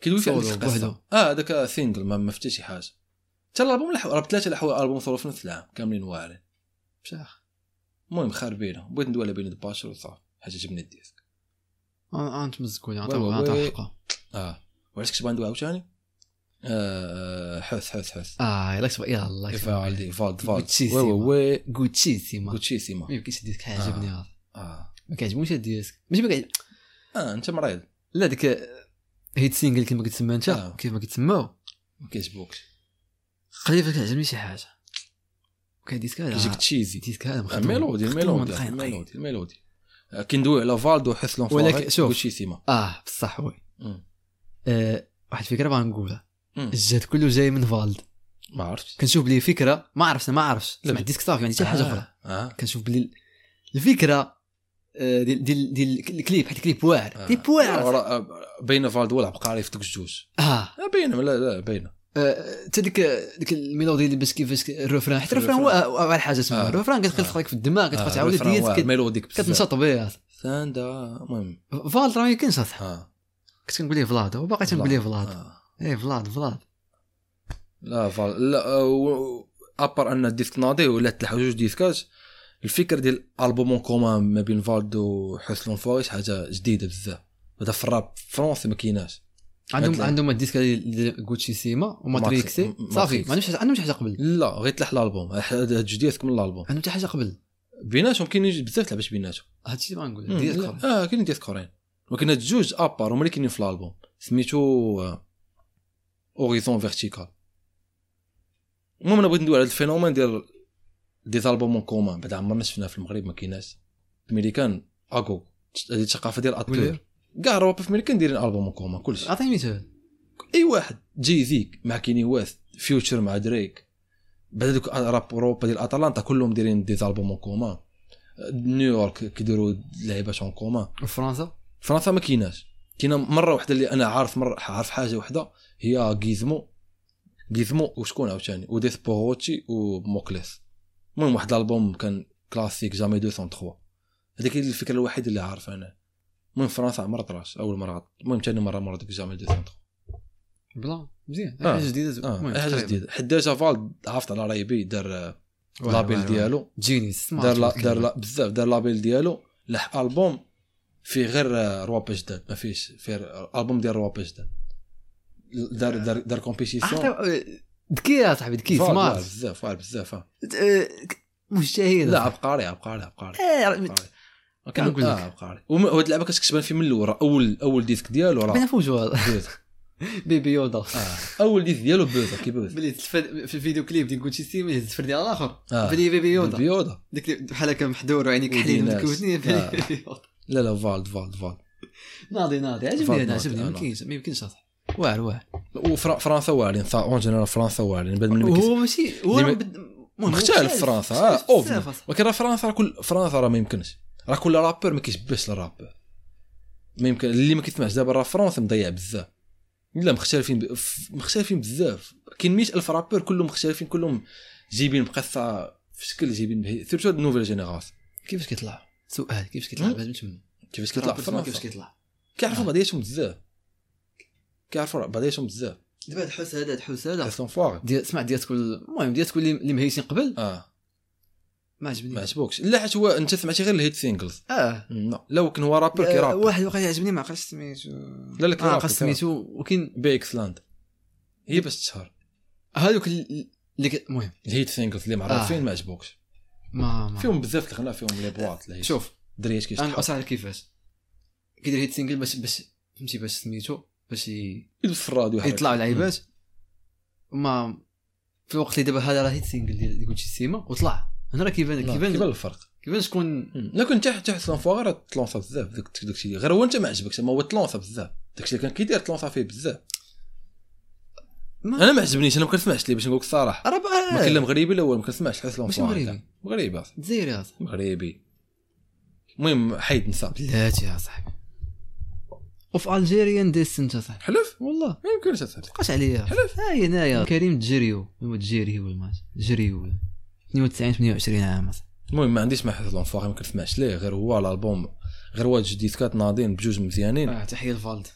Speaker 1: كيدوي فيه
Speaker 2: سولو
Speaker 1: عليك القصه
Speaker 2: بوحدو.
Speaker 1: اه داك سينجل ما ما حتى شي حاجه حتى الالبوم لحو راه بثلاثه لحو البوم صوروا في نفس العام كاملين واعرين
Speaker 2: بشاخ
Speaker 1: المهم خاربينه بغيت ندوي على بين الباشر وصافي حاجه جبنا الديسك
Speaker 2: انت مزكون
Speaker 1: وي-
Speaker 2: عطاو
Speaker 1: وي-
Speaker 2: عطاو
Speaker 1: وي.
Speaker 2: حقه
Speaker 1: اه وعلاش كنت باغي ندوي عاوتاني آه حث حث حث
Speaker 2: اه يلا تبقى يلا
Speaker 1: فالدي فالد فالد
Speaker 2: Gucci
Speaker 1: وي وي وي
Speaker 2: غوتشيسيما
Speaker 1: غوتشيسيما
Speaker 2: ما يمكنش الديسك
Speaker 1: آه.
Speaker 2: عجبني هذا
Speaker 1: اه
Speaker 2: ما كيعجبنيش الديسك ماشي ما كيعجب
Speaker 1: اه انت مريض
Speaker 2: لا ديك آه، هيت سينجل كما كتسمى انت
Speaker 1: آه.
Speaker 2: كيف ما كتسماو
Speaker 1: ما كيعجبوكش
Speaker 2: قريبا كتعجبني شي حاجه كاين ديسك
Speaker 1: كيجيك
Speaker 2: هذا
Speaker 1: تشيزي
Speaker 2: ديسك هذا
Speaker 1: آه،
Speaker 2: مخدوم.
Speaker 1: ميلودي
Speaker 2: مخدوم
Speaker 1: ميلودي
Speaker 2: مخيط.
Speaker 1: ميلودي ميلودي آه، كي ندوي على فالدو حس لونفون
Speaker 2: طيب. ولكن شوف.
Speaker 1: غوتشيسيما
Speaker 2: اه آه، بصح وي
Speaker 1: مم.
Speaker 2: آه، واحد الفكره بغا نقولها
Speaker 1: مم.
Speaker 2: الجهد كله جاي من فالد
Speaker 1: ما عرفتش
Speaker 2: كنشوف بلي فكره ما عرفت أنا ما عرفتش
Speaker 1: لا،
Speaker 2: سمعت ديسك صافي يعني حتى حاجه اخرى
Speaker 1: اه
Speaker 2: كنشوف بلي الفكره آه، ديال ديال ديال الكليب حيت الكليب واعر
Speaker 1: آه.
Speaker 2: كليب واعر
Speaker 1: راه- راه- باينه فالد ولا عبقري في دوك الجوج
Speaker 2: اه
Speaker 1: آه، باينه لا لا باينه
Speaker 2: آه، حتى ديك ديك الميلودي اللي باش كيفاش الروفران حيت الروفران هو هو اول حاجه تسمى
Speaker 1: آه.
Speaker 2: الروفران كتبقى
Speaker 1: آه.
Speaker 2: تدخل لك في الدماغ كتبقى
Speaker 1: آه،
Speaker 2: تعاود
Speaker 1: الفران
Speaker 2: ديال
Speaker 1: واعر،
Speaker 2: كت-
Speaker 1: ميلوديك بزاف.
Speaker 2: كتنشط بها
Speaker 1: ساندا المهم
Speaker 2: فالت راه ما يمكنش اصاحبي
Speaker 1: اه
Speaker 2: كنت كنقول ليه فلاد وباقي تنقول ليه فلاد
Speaker 1: آه.
Speaker 2: ايه فلاد فلاد
Speaker 1: لا فال لا آه، و- ابار ان الديسك ناضي ولا تلحقوا جوج ديسكات الفكره ديال البوم كومان ما بين فالد وحسن الفوارس حاجه جديده بزاف هذا في الراب فرونسي ما كايناش
Speaker 2: عندهم
Speaker 1: هاد
Speaker 2: عندهم الديسك اللي جوتشي سيما وماتريكسي
Speaker 1: ماتريكس-
Speaker 2: صافي
Speaker 1: ماتريكس.
Speaker 2: ما عندهمش حاجة- عندهم شي حاجه قبل
Speaker 1: لا غير تلح الالبوم هاد هاد جوج ديسك من الالبوم
Speaker 2: عندهم حتى حاجه قبل
Speaker 1: بيناتهم كاينين بزاف لعبات بيناتهم
Speaker 2: هادشي اللي بغا نقول ديال
Speaker 1: ديال
Speaker 2: الكره
Speaker 1: اه كاينين ديال كورين ولكن هاد جوج ابار هما اللي كاينين في الالبوم سميتو آه، اوريزون فيرتيكال المهم انا بغيت ندوي على هاد الفينومين ديال دي زالبوم اون كومان بعد عمرنا شفناه في المغرب ما كايناش الامريكان اكو هذه الثقافه ديال اتور
Speaker 2: ولا-
Speaker 1: كاع الروابط في الامريكان دايرين البوم اون كومان كلشي
Speaker 2: عطيني مثال
Speaker 1: اي واحد جاي ذيك مع كيني ويست فيوتشر مع دريك بعد دوك راب اوروبا ديال اتلانتا كلهم دايرين دي زالبوم اون كومان آه، نيويورك كيديروا لعيبات اون كومان
Speaker 2: فرنسا
Speaker 1: فرنسا ما كايناش كاينه مره واحده اللي انا عارف مره عارف حاجه واحده هي غيزمو غيزمو وشكون عاوتاني وديث بوغوتشي وموكليس المهم واحد الالبوم كان كلاسيك جامي 203 هذيك هي الفكره الوحيده اللي عارف انا المهم فرنسا عمر طراش اول مره المهم ثاني مره مرة ديك جامي 203
Speaker 2: بلا مزيان
Speaker 1: آه.
Speaker 2: حاجه جديده
Speaker 1: اه
Speaker 2: المهم،
Speaker 1: أي حاجه
Speaker 2: تقريبا.
Speaker 1: جديده حيت ديجا فالد عرفت على رايبي دار آه،
Speaker 2: واعر،
Speaker 1: لابيل
Speaker 2: واعر،
Speaker 1: ديالو
Speaker 2: جينيس
Speaker 1: دار لا دار لا بزاف دار لابيل ديالو لح البوم فيه غير آه، روابا جداد ما فيهش فيه آه، البوم ديال روابا جداد دار دار دار
Speaker 2: Ah,
Speaker 1: كومبيتيسيون
Speaker 2: e, ذكيه صاحبي ذكي سمارت
Speaker 1: بزاف واعر بزاف آه.
Speaker 2: آه، ك- مجتهد
Speaker 1: لا عبقري عبقري عبقري
Speaker 2: آه،
Speaker 1: عبقري.
Speaker 2: كان نقول
Speaker 1: آه،
Speaker 2: لك.
Speaker 1: عبقري وهاد اللعبه كتكتبان فيه من الاول راه اول اول ديسك ديالو
Speaker 2: بين
Speaker 1: راه
Speaker 2: فوجو هذا
Speaker 1: بوزة.
Speaker 2: بيبي يودا
Speaker 1: آه، اول ديسك ديالو بوزة كيبوز
Speaker 2: بلي تلفد في الفيديو كليب ديال جوتشي سيما هز الفردي على الاخر
Speaker 1: آه.
Speaker 2: بلي بيبي يودا
Speaker 1: بيوضا
Speaker 2: ديك اللي بحال هكا محدور وعينيك حليل
Speaker 1: وديناس.
Speaker 2: متكوتنين
Speaker 1: آه.
Speaker 2: بيبي يودا
Speaker 1: لا لا فالد فالد فالد
Speaker 2: ناضي ناضي عجبني
Speaker 1: فضل
Speaker 2: انا
Speaker 1: ناضي،
Speaker 2: عجبني
Speaker 1: آه،
Speaker 2: ما يمكنش ما يمكنش اصاحبي واعر واعر
Speaker 1: وفرنسا واعرين صا- اون جينيرال فرنسا واعرين بعد من
Speaker 2: هو ماشي هو
Speaker 1: اللي
Speaker 2: راه
Speaker 1: ما-
Speaker 2: بد- المهم، هو
Speaker 1: مختلف فرنسا اه
Speaker 2: مختلف
Speaker 1: اوفن
Speaker 2: بزاف أصاحبي.
Speaker 1: ولكن راه فرنسا راه كل فرنسا راه ما يمكنش راه كل رابور ما كيشبهش للراب ما يمكن اللي ما كيسمعش دابا راه فرنسا مضيع بزاف لا مختلفين ب... ف- مختلفين بزاف كاين 100000 رابور كلهم مختلفين كلهم جايبين مقصه في شكل جايبين به سيرتو هاد النوفيل جينيراسيون
Speaker 2: كيفاش كيطلع سؤال كيفاش كيطلع
Speaker 1: مم.
Speaker 2: بعد ما تمنى
Speaker 1: كيفاش كيطلع في
Speaker 2: كيفاش
Speaker 1: فرنسا
Speaker 2: كيطلع
Speaker 1: كيعرفوا بعضياتهم بزاف كيعرفوا بعضياتهم بزاف
Speaker 2: دابا هاد الحس هذا هاد الحس هذا
Speaker 1: سون فواغ
Speaker 2: ديال سمع ديال تكون المهم ديال تكون اللي مهيسين قبل
Speaker 1: اه
Speaker 2: ما
Speaker 1: ما
Speaker 2: عجبنيش
Speaker 1: عجبوكش لا حيت هو انت سمعتي غير الهيت سينجلز
Speaker 2: اه
Speaker 1: لا لو كان هو رابر
Speaker 2: آه،
Speaker 1: كيراب
Speaker 2: واحد وقع عجبني ما عقلتش سميتو
Speaker 1: لا لا
Speaker 2: ما
Speaker 1: كيراب
Speaker 2: عقلتش سميتو وكاين
Speaker 1: بي اكسلاند هي باش تشهر
Speaker 2: هذوك ال- اللي ك- المهم
Speaker 1: الهيت سينجلز اللي معروفين
Speaker 2: آه.
Speaker 1: ما عجبوكش
Speaker 2: ما ما
Speaker 1: فيهم بزاف الغناء فيهم لي بواط الهيت.
Speaker 2: شوف
Speaker 1: الدريات
Speaker 2: انا
Speaker 1: كيشتحوا
Speaker 2: اصلا كيفاش كيدير هيد سينجل باش باش فهمتي باش سميتو باش ي-
Speaker 1: يدوز في الراديو يحرك.
Speaker 2: يطلعوا لعيبات ما في الوقت اللي دابا هذا راه هيد سينجل ديال ديال كوتشي سيما وطلع هنا راه كيبان
Speaker 1: لا، كيبان
Speaker 2: كيبان
Speaker 1: الفرق
Speaker 2: كيبان شكون
Speaker 1: مم. لا كنت حتى حتى لونفوا راه تلونصا بزاف داك داك الشيء غير هو انت ما عجبكش اما هو تلونصا بزاف داك الشيء اللي كان كيدير تلونصا فيه بزاف
Speaker 2: ما-
Speaker 1: انا ما عجبنيش انا ما كنسمعش ليه باش نقول لك الصراحه
Speaker 2: راه بقى-
Speaker 1: ما كاين لا مغربي لا والو ما كنسمعش حيت
Speaker 2: ماشي
Speaker 1: لونفوا
Speaker 2: مغربي
Speaker 1: مغربي أصاحبي.
Speaker 2: دزايري هذا
Speaker 1: مغربي المهم حيد نسى
Speaker 2: بلاتي يا صاحبي وفي الجيريان ديسنت صاحبي
Speaker 1: حلف
Speaker 2: والله
Speaker 1: ما يمكنش اصاحبي
Speaker 2: بقاش عليا
Speaker 1: حلف.
Speaker 2: ها هي هنايا كريم تجريو هو تجري هو الماتش تجري هو 92 28 عام أصاحبي.
Speaker 1: المهم ما عنديش ما حيت لونفوا ما كنسمعش ليه غير هو الالبوم غير واحد جوج ديسكات ناضين بجوج مزيانين
Speaker 2: اه تحيه لفالد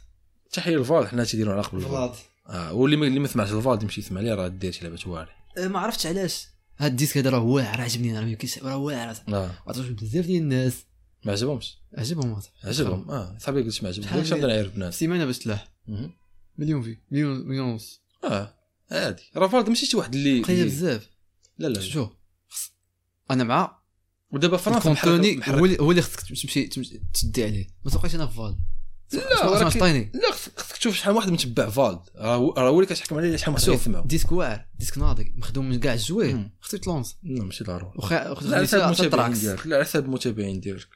Speaker 1: تحيه لفالد حنا تيديروا على قبل الفالد اه واللي ما- اللي ما سمعش الفالد يمشي يسمع ليه راه دير شي لعبه واعره
Speaker 2: آه، ما عرفتش علاش هاد الديسك هذا راه واعر عجبني انا ما يمكنش راه واعر
Speaker 1: اه
Speaker 2: عطاش بزاف ديال الناس
Speaker 1: ما عجبهمش
Speaker 2: عجبهم هذا
Speaker 1: عجبهم اه صاحبي قلت ما عجبهمش
Speaker 2: شحال
Speaker 1: قلت نبدا
Speaker 2: ديال-
Speaker 1: نعرف الناس
Speaker 2: سيمانه باش تلاح
Speaker 1: مهم.
Speaker 2: مليون في مليون مليون ونص
Speaker 1: اه عادي راه فالد ماشي شي واحد اللي
Speaker 2: بقية
Speaker 1: اللي-
Speaker 2: بزاف
Speaker 1: لا لا لا.
Speaker 2: شوف خص- انا مع
Speaker 1: ودابا فرنسا محرك-
Speaker 2: الكونتوني
Speaker 1: محرك
Speaker 2: هو اللي هو اللي خصك تمشي تمشي- تدي عليه ما توقعش انا في فال
Speaker 1: لا
Speaker 2: اسمع
Speaker 1: ولكن-
Speaker 2: اسمع عطيني
Speaker 1: لا خصك خصك تشوف شحال واحد متبع فالد راه هو راه هو اللي كتحكم عليه شحال واحد
Speaker 2: شوف
Speaker 1: يسمعو
Speaker 2: ديسك واعر ديسك ناضي مخدوم من كاع الجويه
Speaker 1: مم.
Speaker 2: خصك تلونس
Speaker 1: لا ماشي ضروري
Speaker 2: وخا
Speaker 1: لا على حساب
Speaker 2: خصك
Speaker 1: المتابعين
Speaker 2: تراكس
Speaker 1: ديالك لا على حساب المتابعين ديالك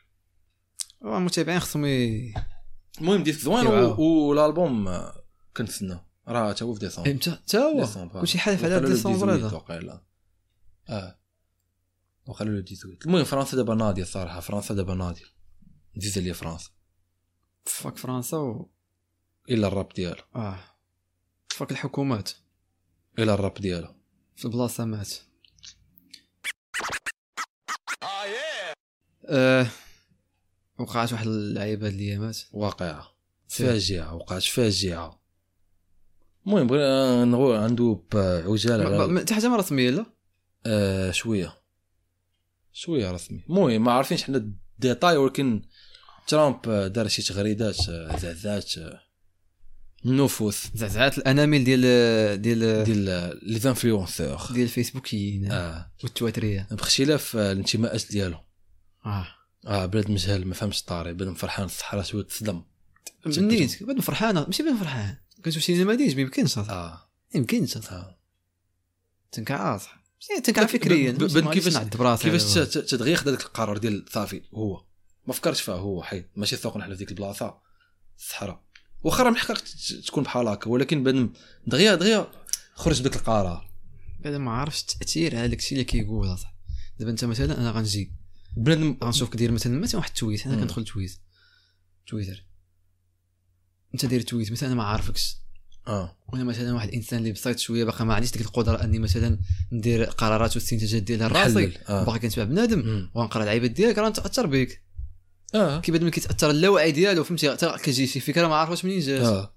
Speaker 2: المتابعين خصهم ي-
Speaker 1: المهم ديسك زوين
Speaker 2: كيوعاو.
Speaker 1: و- والالبوم آه، كنتسناه راه تا هو في ديسمبر
Speaker 2: امتى حتى هو
Speaker 1: ديسمبر.
Speaker 2: كلشي حالف أيوة. على
Speaker 1: وقالوا له
Speaker 2: ديسمبر
Speaker 1: 18
Speaker 2: هذا
Speaker 1: وقيلا اه وقالوا له 18 المهم فرنسا دابا ناضيه الصراحه فرنسا دابا ناضيه ديز لي فرنسا
Speaker 2: فاك فرنسا و
Speaker 1: الا الراب ديالها
Speaker 2: اه فاك الحكومات
Speaker 1: الا الراب ديالها
Speaker 2: في البلاصه مات آه وقعت واحد اللعيبه هاد الايامات
Speaker 1: واقعه فاجعه وقعت فاجعه المهم بغينا نغو عنده عجاله
Speaker 2: ما- ما-
Speaker 1: على-
Speaker 2: ما- حتى حاجه ما رسميه لا
Speaker 1: آه شويه شويه رسمي المهم ما عارفينش حنا الديتاي ولكن ترامب آه، دار شي تغريدات آه، زعزعات آه، النفوس
Speaker 2: زعزعات الانامل ديال ديال
Speaker 1: ديال آه، لي زانفلونسور
Speaker 2: ديال الفيسبوكيين
Speaker 1: اه
Speaker 2: والتواتريه
Speaker 1: باختلاف آه، الانتماءات ديالهم
Speaker 2: اه
Speaker 1: اه بلاد مجهل ما فهمش الطاري بلاد فرحان الصحراء شويه تصدم
Speaker 2: منيت بان فرحانه ماشي بان فرحان كنشوف شي نماذج ما يمكنش ما
Speaker 1: اه
Speaker 2: يمكنش
Speaker 1: اه
Speaker 2: تنكعص تنكع
Speaker 1: بن-
Speaker 2: فكريا
Speaker 1: بن- بن-
Speaker 2: ما عرفتش
Speaker 1: كيفاش-
Speaker 2: نعد براسي
Speaker 1: كيفاش ت- ت- تتغير خدا داك القرار ديال صافي هو ما فكرش فيه هو حيت ماشي سوق نحل في ديك البلاصه الصحراء واخا راه من حقك ت- ت- تكون بحال هكا ولكن بنادم دغيا دغيا خرج بداك القرار
Speaker 2: بعدا ما عرفتش التاثير على داكشي اللي كيقول اصاحبي دابا انت مثلا انا غنجي
Speaker 1: بنادم
Speaker 2: غنشوفك دير مثلا مثلا واحد التويت انا
Speaker 1: مم.
Speaker 2: كندخل تويت تويتر انت داير تويت مثلا انا ما عارفكش
Speaker 1: اه
Speaker 2: وانا مثلا واحد الانسان اللي بسيط شويه باقي ما عنديش ديك القدره اني مثلا ندير قرارات واستنتاجات ديالها راسي
Speaker 1: نحلل، اه
Speaker 2: باقي كنتبع بنادم
Speaker 1: مم.
Speaker 2: وغنقرا العيبات ديالك راه نتاثر بك
Speaker 1: اه
Speaker 2: كيبان ملي كيتاثر اللاوعي ديالو فهمتي حتى كتجي شي فكره ما عرفوش منين جات
Speaker 1: اه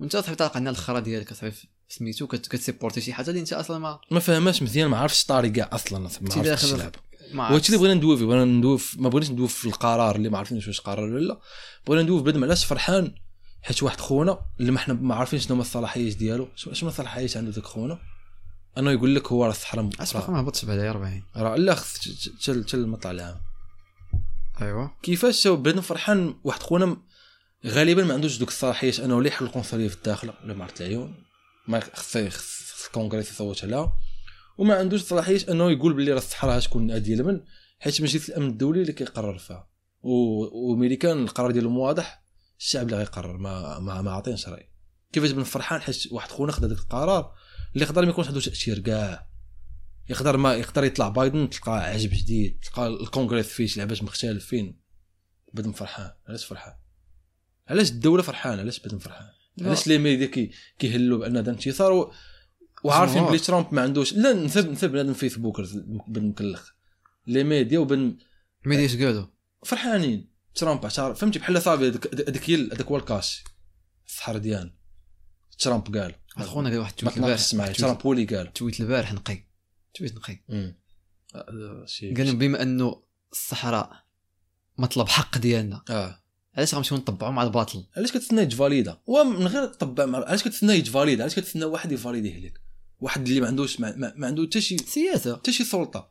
Speaker 2: وانت صاحبي طالق عندنا الخرا ديالك صاحبي سميتو كت- كتسيبورتي شي حاجه اللي انت اصلا ما
Speaker 1: ما فهماش مزيان ما عرفش الطاري كاع اصلا أصاحبي، ما
Speaker 2: تيبدا
Speaker 1: عرفش
Speaker 2: خلاص.
Speaker 1: يلعب
Speaker 2: ما
Speaker 1: وهادشي اللي
Speaker 2: عرفتش.
Speaker 1: بغينا ندوي فيه بغينا ندوي في- ما بغيناش ندوي في القرار اللي ما عارفينش واش قرار ولا لا بغينا ندوي في بنادم علاش فرحان حيت واحد خونا اللي ما حنا ما عارفين شنو هما الصلاحيات ديالو شنو شنو الصلاحيات عنده ذاك خونا انه يقول لك هو راه الصحراء
Speaker 2: اصبح
Speaker 1: مقطعة.
Speaker 2: ما هبطش بعد 40
Speaker 1: راه لا خص ت- ت- تل تل المطلع العام
Speaker 2: ايوا
Speaker 1: أيوة. كيفاش بنادم فرحان واحد خونا م- غالبا ما عندوش دوك الصلاحيات انه لا يحل القنصليه في الداخله ولا مع العيون ما خص خص الكونغرس يصوت عليها وما عندوش صلاحيات انه يقول بلي راه الصحراء غتكون هاديه لمن حيت مجلس الامن الدولي اللي كيقرر فيها و- وملي كان القرار ديالهم واضح الشعب اللي غيقرر ما ما, ما عاطينش راي كيفاش بن فرحان حيت واحد خونا خدا داك القرار اللي يقدر ما يكونش عنده تاثير كاع يقدر ما يقدر يطلع بايدن تلقى عجب جديد تلقى الكونغرس فيه شي لعبات مختلفين بدم فرحان علاش فرحان علاش الدوله فرحانه علاش بدم فرحان علاش لي ميديا كي كيهلوا بان هذا انتصار و... وعارفين
Speaker 2: جمهور.
Speaker 1: بلي ترامب ما عندوش لا نسب نسب بنادم فيسبوكرز بن مكلخ لي ميديا وبن
Speaker 2: ما يديرش قالو
Speaker 1: فرحانين ترامب اعترف فهمتي بحال صافي هذاك هذاك هي ال- هذاك هو الكاش الصحر ديالنا ترامب قال
Speaker 2: واحد خونا قال واحد
Speaker 1: ما
Speaker 2: التويت البارح
Speaker 1: تناقش معايا
Speaker 2: تويت-
Speaker 1: ترامب هو اللي قال
Speaker 2: تويت البارح نقي تويت نقي
Speaker 1: أمم. آه، شي-
Speaker 2: قال لهم بما انه الصحراء مطلب حق ديالنا
Speaker 1: اه
Speaker 2: علاش غنمشيو نطبعوا مع الباطل
Speaker 1: علاش كتسنى يتفاليدا ومن غير تطبع مع علاش كتسنى يتفاليدا علاش كتسنى واحد يفاليديه لك واحد اللي ما عندوش ما, ما, ما عنده حتى شي
Speaker 2: سياسه
Speaker 1: حتى شي سلطه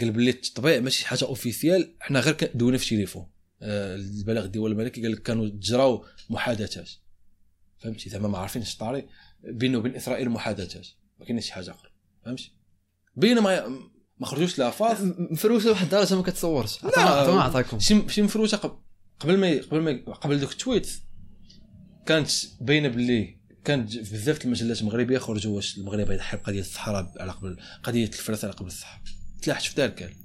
Speaker 1: قال باللي التطبيع ماشي حاجه اوفيسيال حنا غير دوينا في التليفون آه، البلاغ الدول الملكي قال لك كانوا تجراو محادثات فهمتي زعما ما عارفينش الطاري بينه وبين اسرائيل محادثات ما كاينش شي حاجه اخرى فهمتي بينا ما ما خرجوش الالفاظ
Speaker 2: م- مفروسه لواحد الدرجه ما كتصورش
Speaker 1: لا.
Speaker 2: عطانا ما عطاكم
Speaker 1: شي شي مفروشه قب- قبل ما قبل ما قبل دوك التويت كانت باينه باللي كانت ج- في بزاف د المجلات المغربيه خرجوا واش المغرب يضحي بقضيه الصحراء على قبل قضيه الفرس على قبل الصحراء تلاحت في ذلك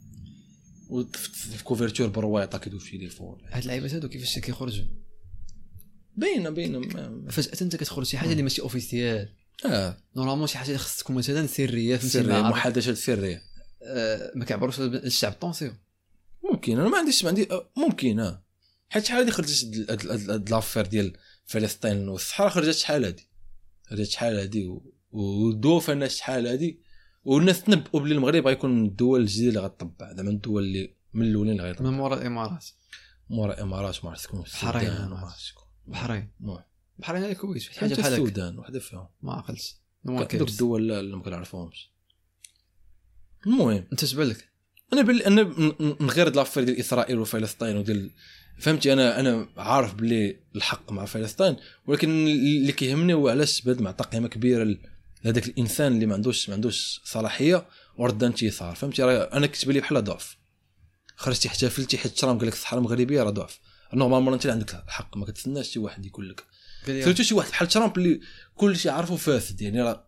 Speaker 1: وفي كوفرتور بروايطه كيدوز في تليفون
Speaker 2: هاد اللعيبات هادو كيفاش كيخرجوا
Speaker 1: باينه باينه ما-
Speaker 2: فجاه انت كتخرج شي حاجه اللي ماشي اوفيسيال
Speaker 1: اه
Speaker 2: نورمالمون شي حاجه اللي خص تكون مثلا سريه فهمتي
Speaker 1: سريه
Speaker 2: ما عارف-
Speaker 1: محادثات سريه
Speaker 2: آه، ما كيعبروش للشعب طونسيو
Speaker 1: ممكن انا ما عنديش ما عندي آه، ممكن اه حيت شحال هادي خرجت هاد- هاد- هاد- هاد لافير ديال فلسطين والصحراء خرجت شحال هادي خرجت شحال هادي و- ودوف الناس شحال هادي والناس تنبؤوا بلي المغرب غيكون من الدول الجديده اللي غتطبع زعما من الدول اللي من الاولين اللي غيطبع
Speaker 2: من مورا الامارات
Speaker 1: مورا الامارات ما عرفت شكون
Speaker 2: البحرين،
Speaker 1: السودان وما عرفت شكون
Speaker 2: بحرين
Speaker 1: نعم.
Speaker 2: بحرين هي الكويت شي حاجه
Speaker 1: حتى
Speaker 2: بحال هكا
Speaker 1: السودان وحده فيهم
Speaker 2: ما عقلتش
Speaker 1: دوك الدول اللي ما كنعرفوهمش المهم
Speaker 2: انت تبان لك
Speaker 1: انا بل... انا من- من من غير هاد لافير ديال اسرائيل وفلسطين وديال فهمتي انا انا عارف بلي الحق مع فلسطين ولكن اللي كيهمني هو علاش بلاد معطى قيمه كبيره ل- لهذاك الانسان اللي ما عندوش ما عندوش صلاحيه وردان تيثار فهمتي راه انا كتب لي بحال ضعف خرجتي احتفلتي حيت الشرام قال لك الصحراء المغربيه راه ضعف نورمالمون انت اللي عندك الحق ما كتسناش شي واحد يقول لك
Speaker 2: قال لي
Speaker 1: سيرتو شي واحد بحال ترامب اللي كلشي عارفه فاسد يعني راه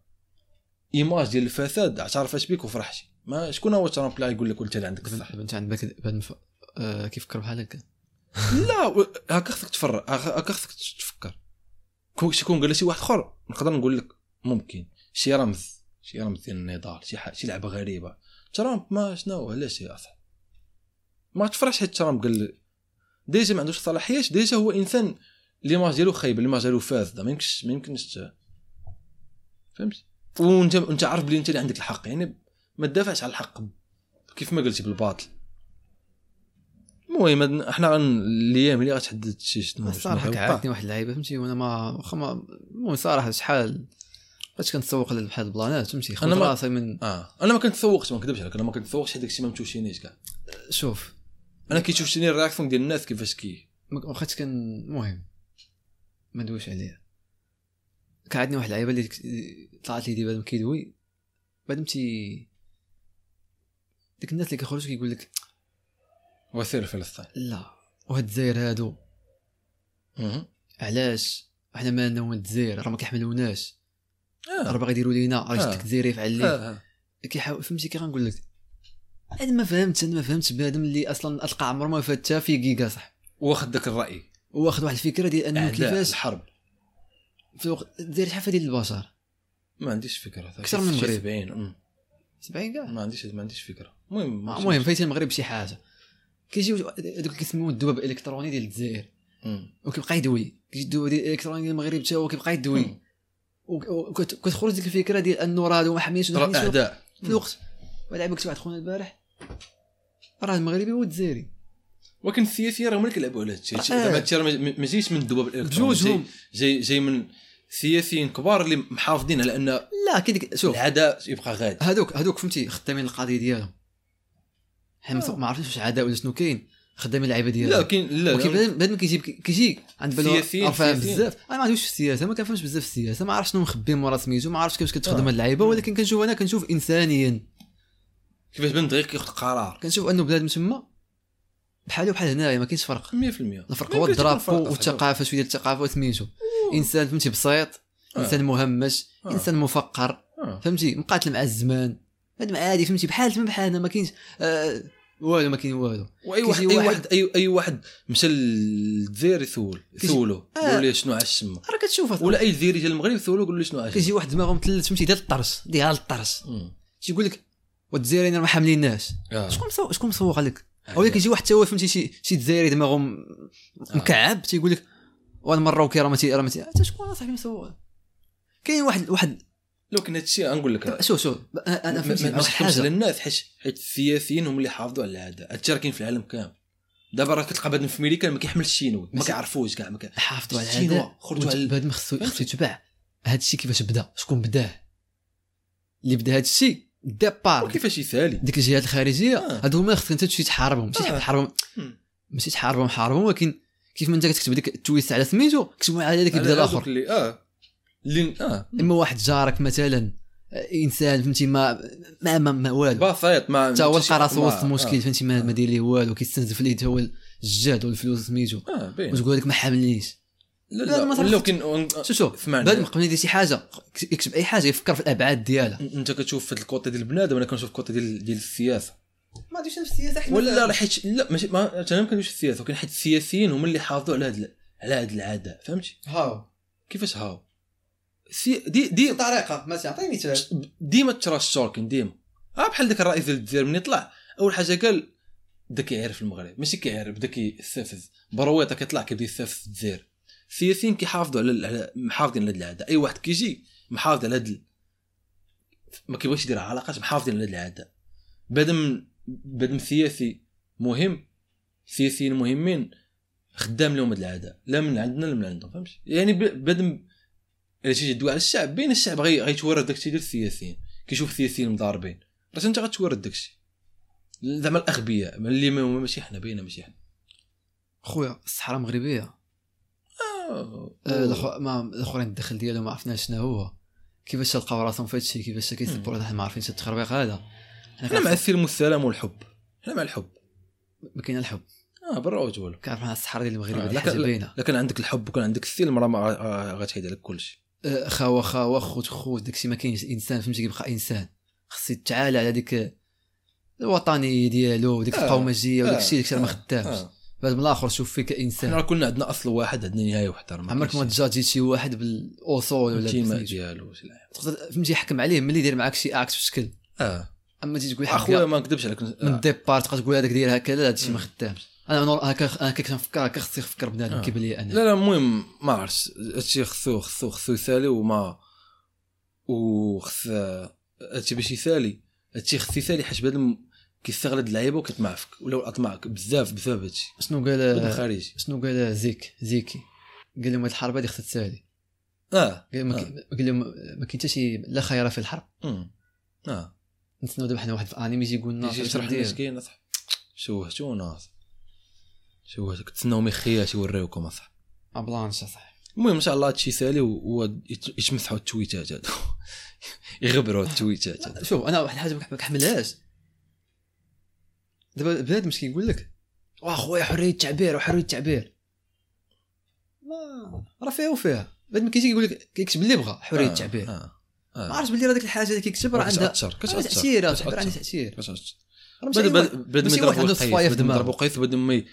Speaker 1: ايماج ديال الفساد اعترفت بك وفرحتي ما شكون هو ترامب اللي يقول لك انت اللي عندك الصح
Speaker 2: انت عند بالك بعد ما ف- آه، كيفكر بحال هكا
Speaker 1: لا و- هكا خصك تفرق هكا هكا خصك تفكر كون شكون قال لي شي واحد اخر نقدر نقول لك ممكن شي رمز شي رمز ديال النضال شي ح- شي لعبه غريبه ترامب ما شنو علاش يا اصاحبي ما تفرحش حيت ترامب قال ديجا ما عندوش صلاحيات ديجا هو انسان ليماج ديالو خايبه ليماج ديالو فاسده ما يمكنش ما يمكنش ت- فهمت وانت انت عارف بلي انت اللي عندك الحق يعني ما تدافعش على الحق كيف ما قلتي بالباطل المهم هاد- احنا غن الايام اللي غتحدد شي شنو
Speaker 2: الصراحه
Speaker 1: شنو
Speaker 2: كعادتني واحد اللعيبه فهمتي وانا ما واخا ما المهم صراحه شحال باش كنتسوق لبحال البلانات فهمتي
Speaker 1: أنا
Speaker 2: خدت
Speaker 1: ما-
Speaker 2: راسي من
Speaker 1: اه انا ما كنت سوقت ما نكذبش عليك انا ما كنت سوقت حيت داكشي ما متوشينيش كاع
Speaker 2: شوف
Speaker 1: انا كيتوشيني الرياكسيون ديال الناس كيفاش كي
Speaker 2: ما واخا كان المهم ما ندويش عليها كعادني واحد اللعيبه اللي اللي طلعت لي دابا بعد ما كيدوي بعد ما تي ديك الناس اللي كيخرجوا كيقول لك
Speaker 1: وسير فلسطين
Speaker 2: لا وهاد الجزائر هادو
Speaker 1: مهم.
Speaker 2: علاش احنا مالنا هما الجزائر راه ما كيحملوناش
Speaker 1: آه.
Speaker 2: راه باغي يديروا لينا راه
Speaker 1: آه.
Speaker 2: جدك الجزائري يفعل ليه
Speaker 1: آه. آه.
Speaker 2: كيحاول فهمتي كي غنقول لك انا ما فهمتش انا ما فهمتش بنادم اللي اصلا اطلق عمره ما فات حتى في كيكا صح
Speaker 1: واخد داك الراي
Speaker 2: واخد واحد الفكره ديال انه
Speaker 1: اعداء
Speaker 2: كيفاش
Speaker 1: الحرب
Speaker 2: في الوقت داير شحال ديال البشر
Speaker 1: ما عنديش فكره
Speaker 2: أكثر من المغرب.
Speaker 1: 70 مم.
Speaker 2: 70 كاع
Speaker 1: ما عنديش ما عنديش فكره المهم ما
Speaker 2: آه، المهم فايت المغرب شي حاجه كيجيو هذوك كيسموه الذباب الالكتروني ديال الجزائر
Speaker 1: مم.
Speaker 2: وكيبقى يدوي كيجي الذباب ديال الالكتروني ديال المغرب حتى هو كيبقى يدوي
Speaker 1: مم.
Speaker 2: وك- وكت- وكتخرج ديك الفكره ديال انه راه هادو ما حميتش وما
Speaker 1: راه
Speaker 2: حميتش.
Speaker 1: اعداء
Speaker 2: في الوقت ولعبك واحد خونا البارح راه المغربي والجزائري
Speaker 1: ولكن السياسيين راه هما اللي كيلعبوا على هادشي هادشي-
Speaker 2: آه.
Speaker 1: زعما هادشي راه ما- ما ما جايش من الدول الالكترونيه
Speaker 2: بجوجهم
Speaker 1: جاي- جاي جاي من سياسيين كبار اللي محافظين على ان
Speaker 2: لا كي ديك شوف آه.
Speaker 1: العداء يبقى غادي
Speaker 2: هادوك هادوك فهمتي خدامين القضيه ديالهم حنا ما- ما عرفتش واش عداء ولا شنو كاين خدامين اللعيبه
Speaker 1: لا
Speaker 2: ديالهم
Speaker 1: كاين لا
Speaker 2: ولكن
Speaker 1: لا،
Speaker 2: بعد بعد ما كيجيب كيجي عند بالو
Speaker 1: سياسيين-
Speaker 2: راه فاهم
Speaker 1: سياسيين.
Speaker 2: بزاف انا ما عندوش في السياسه ما كنفهمش بزاف في السياسه ما عرفتش شنو مخبي مورا سميتو ما عرفتش كيفاش كتخدم
Speaker 1: آه.
Speaker 2: هاد اللعيبه ولكن كنشوف انا كنشوف انسانيا
Speaker 1: كيفاش بنت غير كياخذ قرار
Speaker 2: كنشوف انه بلاد تما بحالو بحال هنايا ما كاينش
Speaker 1: 100%
Speaker 2: فرق الفرق هو الدرابو والثقافه شويه ديال الثقافه وسميتو انسان فهمتي بسيط
Speaker 1: آه.
Speaker 2: انسان مهمش
Speaker 1: آه.
Speaker 2: انسان مفقر فهمتي مقاتل مع الزمان هذا عادي فهمتي بحال تما بحالنا ما كاينش آه والو ما كاين والو
Speaker 1: واي
Speaker 2: كيجي
Speaker 1: واحد اي
Speaker 2: واحد-
Speaker 1: واحد اي, أي واحد مشى للجزائر يسول سولو
Speaker 2: آه.
Speaker 1: قولوا ليه شنو على الشمه
Speaker 2: راه كتشوف أصلاً.
Speaker 1: ولا اي جزائري جا المغرب سولو قولوا ليه شنو على الشمه
Speaker 2: كيجي واحد دماغه مثلث فهمتي ديال الطرش ديال الطرش تيقول لك والجزائريين راه ما حامليناش
Speaker 1: آه.
Speaker 2: شكون مسو... شكون مسوق لك ولا كيجي واحد تا هو فهمتي شي شي جزائري دماغه م- مكعب تيقول لك والمروكي راه ما تي راه ما تي حتى شكون اصاحبي مسوق كاين واحد واحد
Speaker 1: لو كان هادشي غنقول لك
Speaker 2: شوف شوف انا أنا
Speaker 1: ما-
Speaker 2: فهمتي
Speaker 1: ما
Speaker 2: واحد
Speaker 1: تحكمش
Speaker 2: حاجه
Speaker 1: للناس حيت حيت السياسيين هم اللي حافظوا على العاده هادشي راه كاين في العالم كامل دابا راه كتلقى بنادم في امريكا ما كيحملش الشينوي ما
Speaker 2: ما كي-
Speaker 1: كيعرفوش كاع ما كي-
Speaker 2: حافظوا على
Speaker 1: الشينوا،
Speaker 2: هذا
Speaker 1: خرجوا على ال-
Speaker 2: بعد ما خصو
Speaker 1: فهمتي؟
Speaker 2: خصو يتبع هذا الشيء كيفاش بدا شكون بداه اللي بدا هذا الشيء ديبار
Speaker 1: وكيفاش يسالي
Speaker 2: ديك الجهات الخارجيه
Speaker 1: آه.
Speaker 2: هادو هما خصك انت تمشي تحاربهم ماشي
Speaker 1: آه.
Speaker 2: تحاربهم
Speaker 1: مم.
Speaker 2: ماشي تحاربهم حاربهم ولكن كيف ما انت كتكتب ديك التويست على سميتو كتبوا على هذاك
Speaker 1: على
Speaker 2: بدا
Speaker 1: هذوك
Speaker 2: الاخر
Speaker 1: اللي اه اللي اه
Speaker 2: اما واحد جارك مثلا آه، انسان فهمتي ما ما ما, ما والو
Speaker 1: بسيط ما
Speaker 2: حتى هو
Speaker 1: ما تشي-
Speaker 2: لقى راسو
Speaker 1: ما-
Speaker 2: وسط المشكل فهمتي ما
Speaker 1: آه.
Speaker 2: ما داير ليه والو كيستنزف ليه حتى هو الجهد والفلوس سميتو
Speaker 1: اه, آه باين
Speaker 2: وتقول لك ما حاملنيش
Speaker 1: لا
Speaker 2: لا،
Speaker 1: لا
Speaker 2: ما
Speaker 1: ولو كان
Speaker 2: شو شو
Speaker 1: آه، اسمعني
Speaker 2: بعد ما قبل يدير شي حاجه يكتب اي حاجه يفكر في الابعاد ديالها
Speaker 1: انت كتشوف في الكوطه ديال البنادم انا كنشوف الكوطه ديال ديال السياسه
Speaker 2: ما عندوش نفس السياسه
Speaker 1: ولا راه حيت لا ماشي ما انا ما كندويش السياسه ولكن حيت السياسيين هما اللي حافظوا على هاد ال- على هاد العاده فهمتي
Speaker 2: هاو
Speaker 1: كيفاش هاو سي دي دي
Speaker 2: طريقه ما تعطيني مثال
Speaker 1: ديما تراش شوركن ديما اه بحال داك الرئيس ديال الجزائر من يطلع اول حاجه قال بدا كيعرف المغرب ماشي كيعرف بدا كيستفز برويطه كيطلع كيبدا يستفز الجزائر السياسيين كيحافظوا على ال- على محافظين على هاد العاده اي واحد كيجي محافظ على هاد ال- ما كيبغيش يدير علاقات محافظين على هاد العاده بعدم بعدم سياسي مهم سياسيين مهمين خدام لهم هاد العاده لا من عندنا لا من عندهم فهمتي يعني ب- بعدم الا تيجي تدوي على الشعب بين الشعب غي- غيتورط داك الشيء ديال السياسيين كيشوف السياسيين مضاربين راه انت غتورد داكشي زعما الاغبياء ما اللي ما هما ماشي حنا باينه ماشي حنا
Speaker 2: خويا الصحراء مغربيه
Speaker 1: آه،
Speaker 2: آه، الأخ- ما الاخرين الدخل ديالو ما عرفناش شنو هو كيفاش تلقاو راسهم في هادشي كيفاش كيسبوا راسهم حنا ما عارفين شنو التخربيق هذا حنا
Speaker 1: حنا مع
Speaker 2: كنعرف-
Speaker 1: السلم والسلام والحب حنا مع الحب
Speaker 2: ما كاين الحب
Speaker 1: اه برا وجوله
Speaker 2: كنعرف حنا الصحراء ديال المغرب
Speaker 1: آه،
Speaker 2: هذه
Speaker 1: لك-
Speaker 2: حاجه
Speaker 1: لك-
Speaker 2: باينه
Speaker 1: لكن عندك الحب وكان عندك السلم راه ما غا- آه، غتحيد عليك كلشي
Speaker 2: آه، خاوه خاوه خوت خوت داكشي ما كاينش الانسان فهمتي كيبقى انسان خصو يتعالى على ديك الوطنيه ديالو وديك
Speaker 1: آه،
Speaker 2: القومجيه
Speaker 1: آه،
Speaker 2: وداك الشيء داك الشيء ما
Speaker 1: آه،
Speaker 2: خدامش
Speaker 1: آه.
Speaker 2: بعد من الاخر شوف فيك
Speaker 1: حنا
Speaker 2: انسان
Speaker 1: راه كلنا عندنا اصل واحد عندنا نهايه وحده راه ما
Speaker 2: عمرك ما
Speaker 1: كاينش
Speaker 2: تجاجي شي واحد بالاصول ولا
Speaker 1: الانتماء
Speaker 2: بالسميتو.
Speaker 1: ديالو شي لعيب.
Speaker 2: تقدر فهمتي يحكم عليه ملي يدير معاك شي اكت في شكل
Speaker 1: اه
Speaker 2: اما تجي تقول حق
Speaker 1: اخويا ما نكذبش عليك
Speaker 2: من
Speaker 1: آه.
Speaker 2: الديبار تبقى تقول هذاك داير هكا لا هادشي ما
Speaker 1: مم.
Speaker 2: خدامش انا نور هكا هكا كنفكر هكا خصني نفكر بنادم
Speaker 1: آه.
Speaker 2: كيبان لي انا
Speaker 1: لا لا المهم ما عرفتش هادشي خصو خصو خصو يسالي وما وخص هادشي باش يسالي هادشي خص يسالي حيت بنادم كيستغل هاد اللعيبه وكتمعفك ولا اطمعك بزاف بسبب هادشي
Speaker 2: شنو
Speaker 1: بنادم
Speaker 2: قال
Speaker 1: خارجي
Speaker 2: شنو قال زيك زيكي قال لهم هاد الحرب هادي خصها تسالي
Speaker 1: اه
Speaker 2: قال ما كي- قال لهم ما كاين حتى شي لا خير في الحرب
Speaker 1: أمم. اه
Speaker 2: نتسناو دابا حنا واحد في انمي يجي يقول لنا
Speaker 1: يجي
Speaker 2: شنو
Speaker 1: يشرح
Speaker 2: ندير.
Speaker 1: لنا كاين اصاحبي شوهتونا اصاحبي شوهتك تسناو مخياش يوريوكم اصاحبي
Speaker 2: ابلانش اصاحبي
Speaker 1: المهم ان شاء الله هادشي سالي ويتمسحوا التويتات هادو يغبروا التويتات هادو
Speaker 2: شوف انا واحد الحاجه ما كح- ما كحملهاش دابا بنادم اش كيقول لك واه خويا حريه التعبير وحريه التعبير ما راه فيها وفيها بنادم كيجي يقول لك كيكتب اللي بغا حريه
Speaker 1: آه،
Speaker 2: التعبير
Speaker 1: اه
Speaker 2: ما
Speaker 1: اه
Speaker 2: عرفتش بلي راه ديك الحاجه اللي كيكتب راه عندها
Speaker 1: كتأثر
Speaker 2: عندها
Speaker 1: كتأثر
Speaker 2: تاثير راه عندها
Speaker 1: كتأثر.
Speaker 2: تاثير
Speaker 1: كتأثر.
Speaker 2: راه ماشي
Speaker 1: بدا
Speaker 2: أي واحد-
Speaker 1: بدا بدا
Speaker 2: ماشي واحد
Speaker 1: يضربوا
Speaker 2: عنده
Speaker 1: القيس،
Speaker 2: صفاية في
Speaker 1: بدا
Speaker 2: دماغه.
Speaker 1: يضربوا القيس بدا ما ي-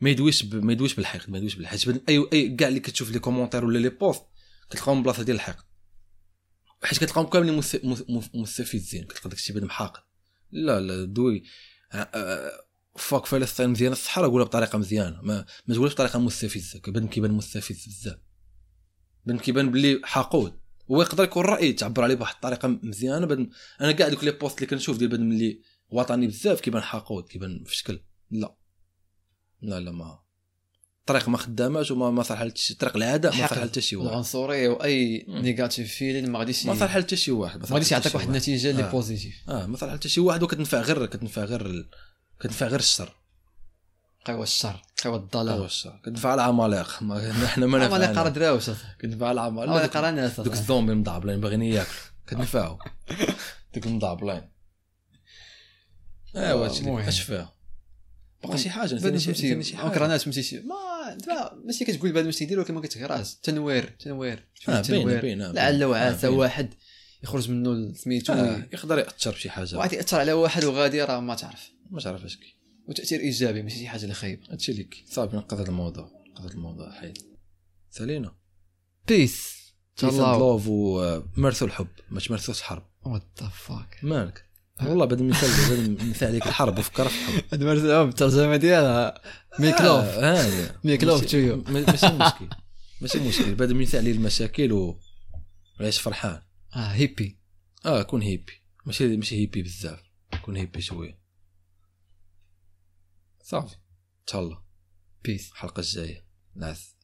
Speaker 1: ما يدويش ب- ما يدويش بالحقد ما يدويش بالحقد حيت بدا- اي اي كاع اللي كتشوف لي كومونتير ولا لي بوست كتلقاهم بلاصه ديال الحقد حيت كتلقاهم كاملين مس- مس- مس- مستفزين كتلقى داكشي بدا محاقد لا لا دوي آه، آه، فاك فلسطين مزيانه الصحراء قولها بطريقه مزيانه ما ما تقولهاش بطريقه مستفزه كيبان كيبان مستفز بزاف بان كيبان باللي حقود هو يقدر يكون راي تعبر عليه بواحد الطريقه مزيانه بان انا كاع دوك لي بوست اللي كنشوف ديال بان اللي وطني بزاف كيبان حقود كيبان في شكل لا لا لا ما الطريق ما خداماش وما ما صالحه لتش- الطريق العاده ما
Speaker 2: الحقد
Speaker 1: صالحه حتى شي واحد
Speaker 2: العنصريه واي
Speaker 1: مم.
Speaker 2: نيجاتيف فيلين ما غاديش ي-
Speaker 1: ما صالحه حتى شي واحد
Speaker 2: ما غاديش
Speaker 1: صالحة لتا
Speaker 2: يعطيك
Speaker 1: شي
Speaker 2: واحد النتيجه
Speaker 1: آه.
Speaker 2: اللي بوزيتيف
Speaker 1: اه ما صالحه حتى شي واحد وكتنفع غير كتنفع غير ال... كتنفع غير الشر
Speaker 2: قوى الشر قوى
Speaker 1: هو
Speaker 2: الضلال
Speaker 1: الشر كتنفع العمالقه ما حنا ما
Speaker 2: اما اللي قرا
Speaker 1: نفعنا
Speaker 2: دراوش
Speaker 1: كتنفع
Speaker 2: اما اللي
Speaker 1: العمالقه
Speaker 2: قرا ناس
Speaker 1: دوك
Speaker 2: أصاحبي.
Speaker 1: الزومبي مضعبلين باغيين ياكلوا كتنفعوا دوك المضعبلين ايوا هادشي
Speaker 2: المهم.
Speaker 1: اللي- اش فيها باقي
Speaker 2: المهم.
Speaker 1: شي حاجه
Speaker 2: بعد
Speaker 1: نسينا شي-
Speaker 2: فهمتي
Speaker 1: نسينا شي
Speaker 2: ما
Speaker 1: حاجه
Speaker 2: قراناش فهمتي شي ما دابا ماشي كتقول بعد ماشي كيدير ولكن ما كتقراش تنوير تنوير شوف
Speaker 1: آه، باينه
Speaker 2: التنوير
Speaker 1: باينه
Speaker 2: لعل وعسى
Speaker 1: آه، باينة.
Speaker 2: واحد يخرج منه سميتو
Speaker 1: آه، يقدر ياثر بشي حاجه
Speaker 2: وعاد ياثر على واحد وغادي راه ما تعرف
Speaker 1: ما عرف اش كي
Speaker 2: وتاثير ايجابي ماشي شي حاجه اللي خايبه
Speaker 1: هادشي اللي كي. صافي نقض هاد الموضوع نقض هاد الموضوع حيد سالينا
Speaker 2: بيس تهلاو
Speaker 1: لوف ومارسوا الحب ما تمارسوش الحرب
Speaker 2: وات ذا فاك
Speaker 1: مالك والله بعد مثال بعد مثال عليك الحرب وفكر في الحب
Speaker 2: هاد مرتهم الترجمه ديالها
Speaker 1: آه،
Speaker 2: ميكلوف
Speaker 1: هاني
Speaker 2: ميكلوف
Speaker 1: ماشي-
Speaker 2: تويو.
Speaker 1: م- ماشي مشكل ماشي مشكل بعد مثال عليه المشاكل و عيش فرحان
Speaker 2: اه هيبي
Speaker 1: اه كون هيبي ماشي ماشي هيبي بزاف كون هيبي شويه صافي ان شاء الله
Speaker 2: بيس
Speaker 1: الحلقه الجايه نعس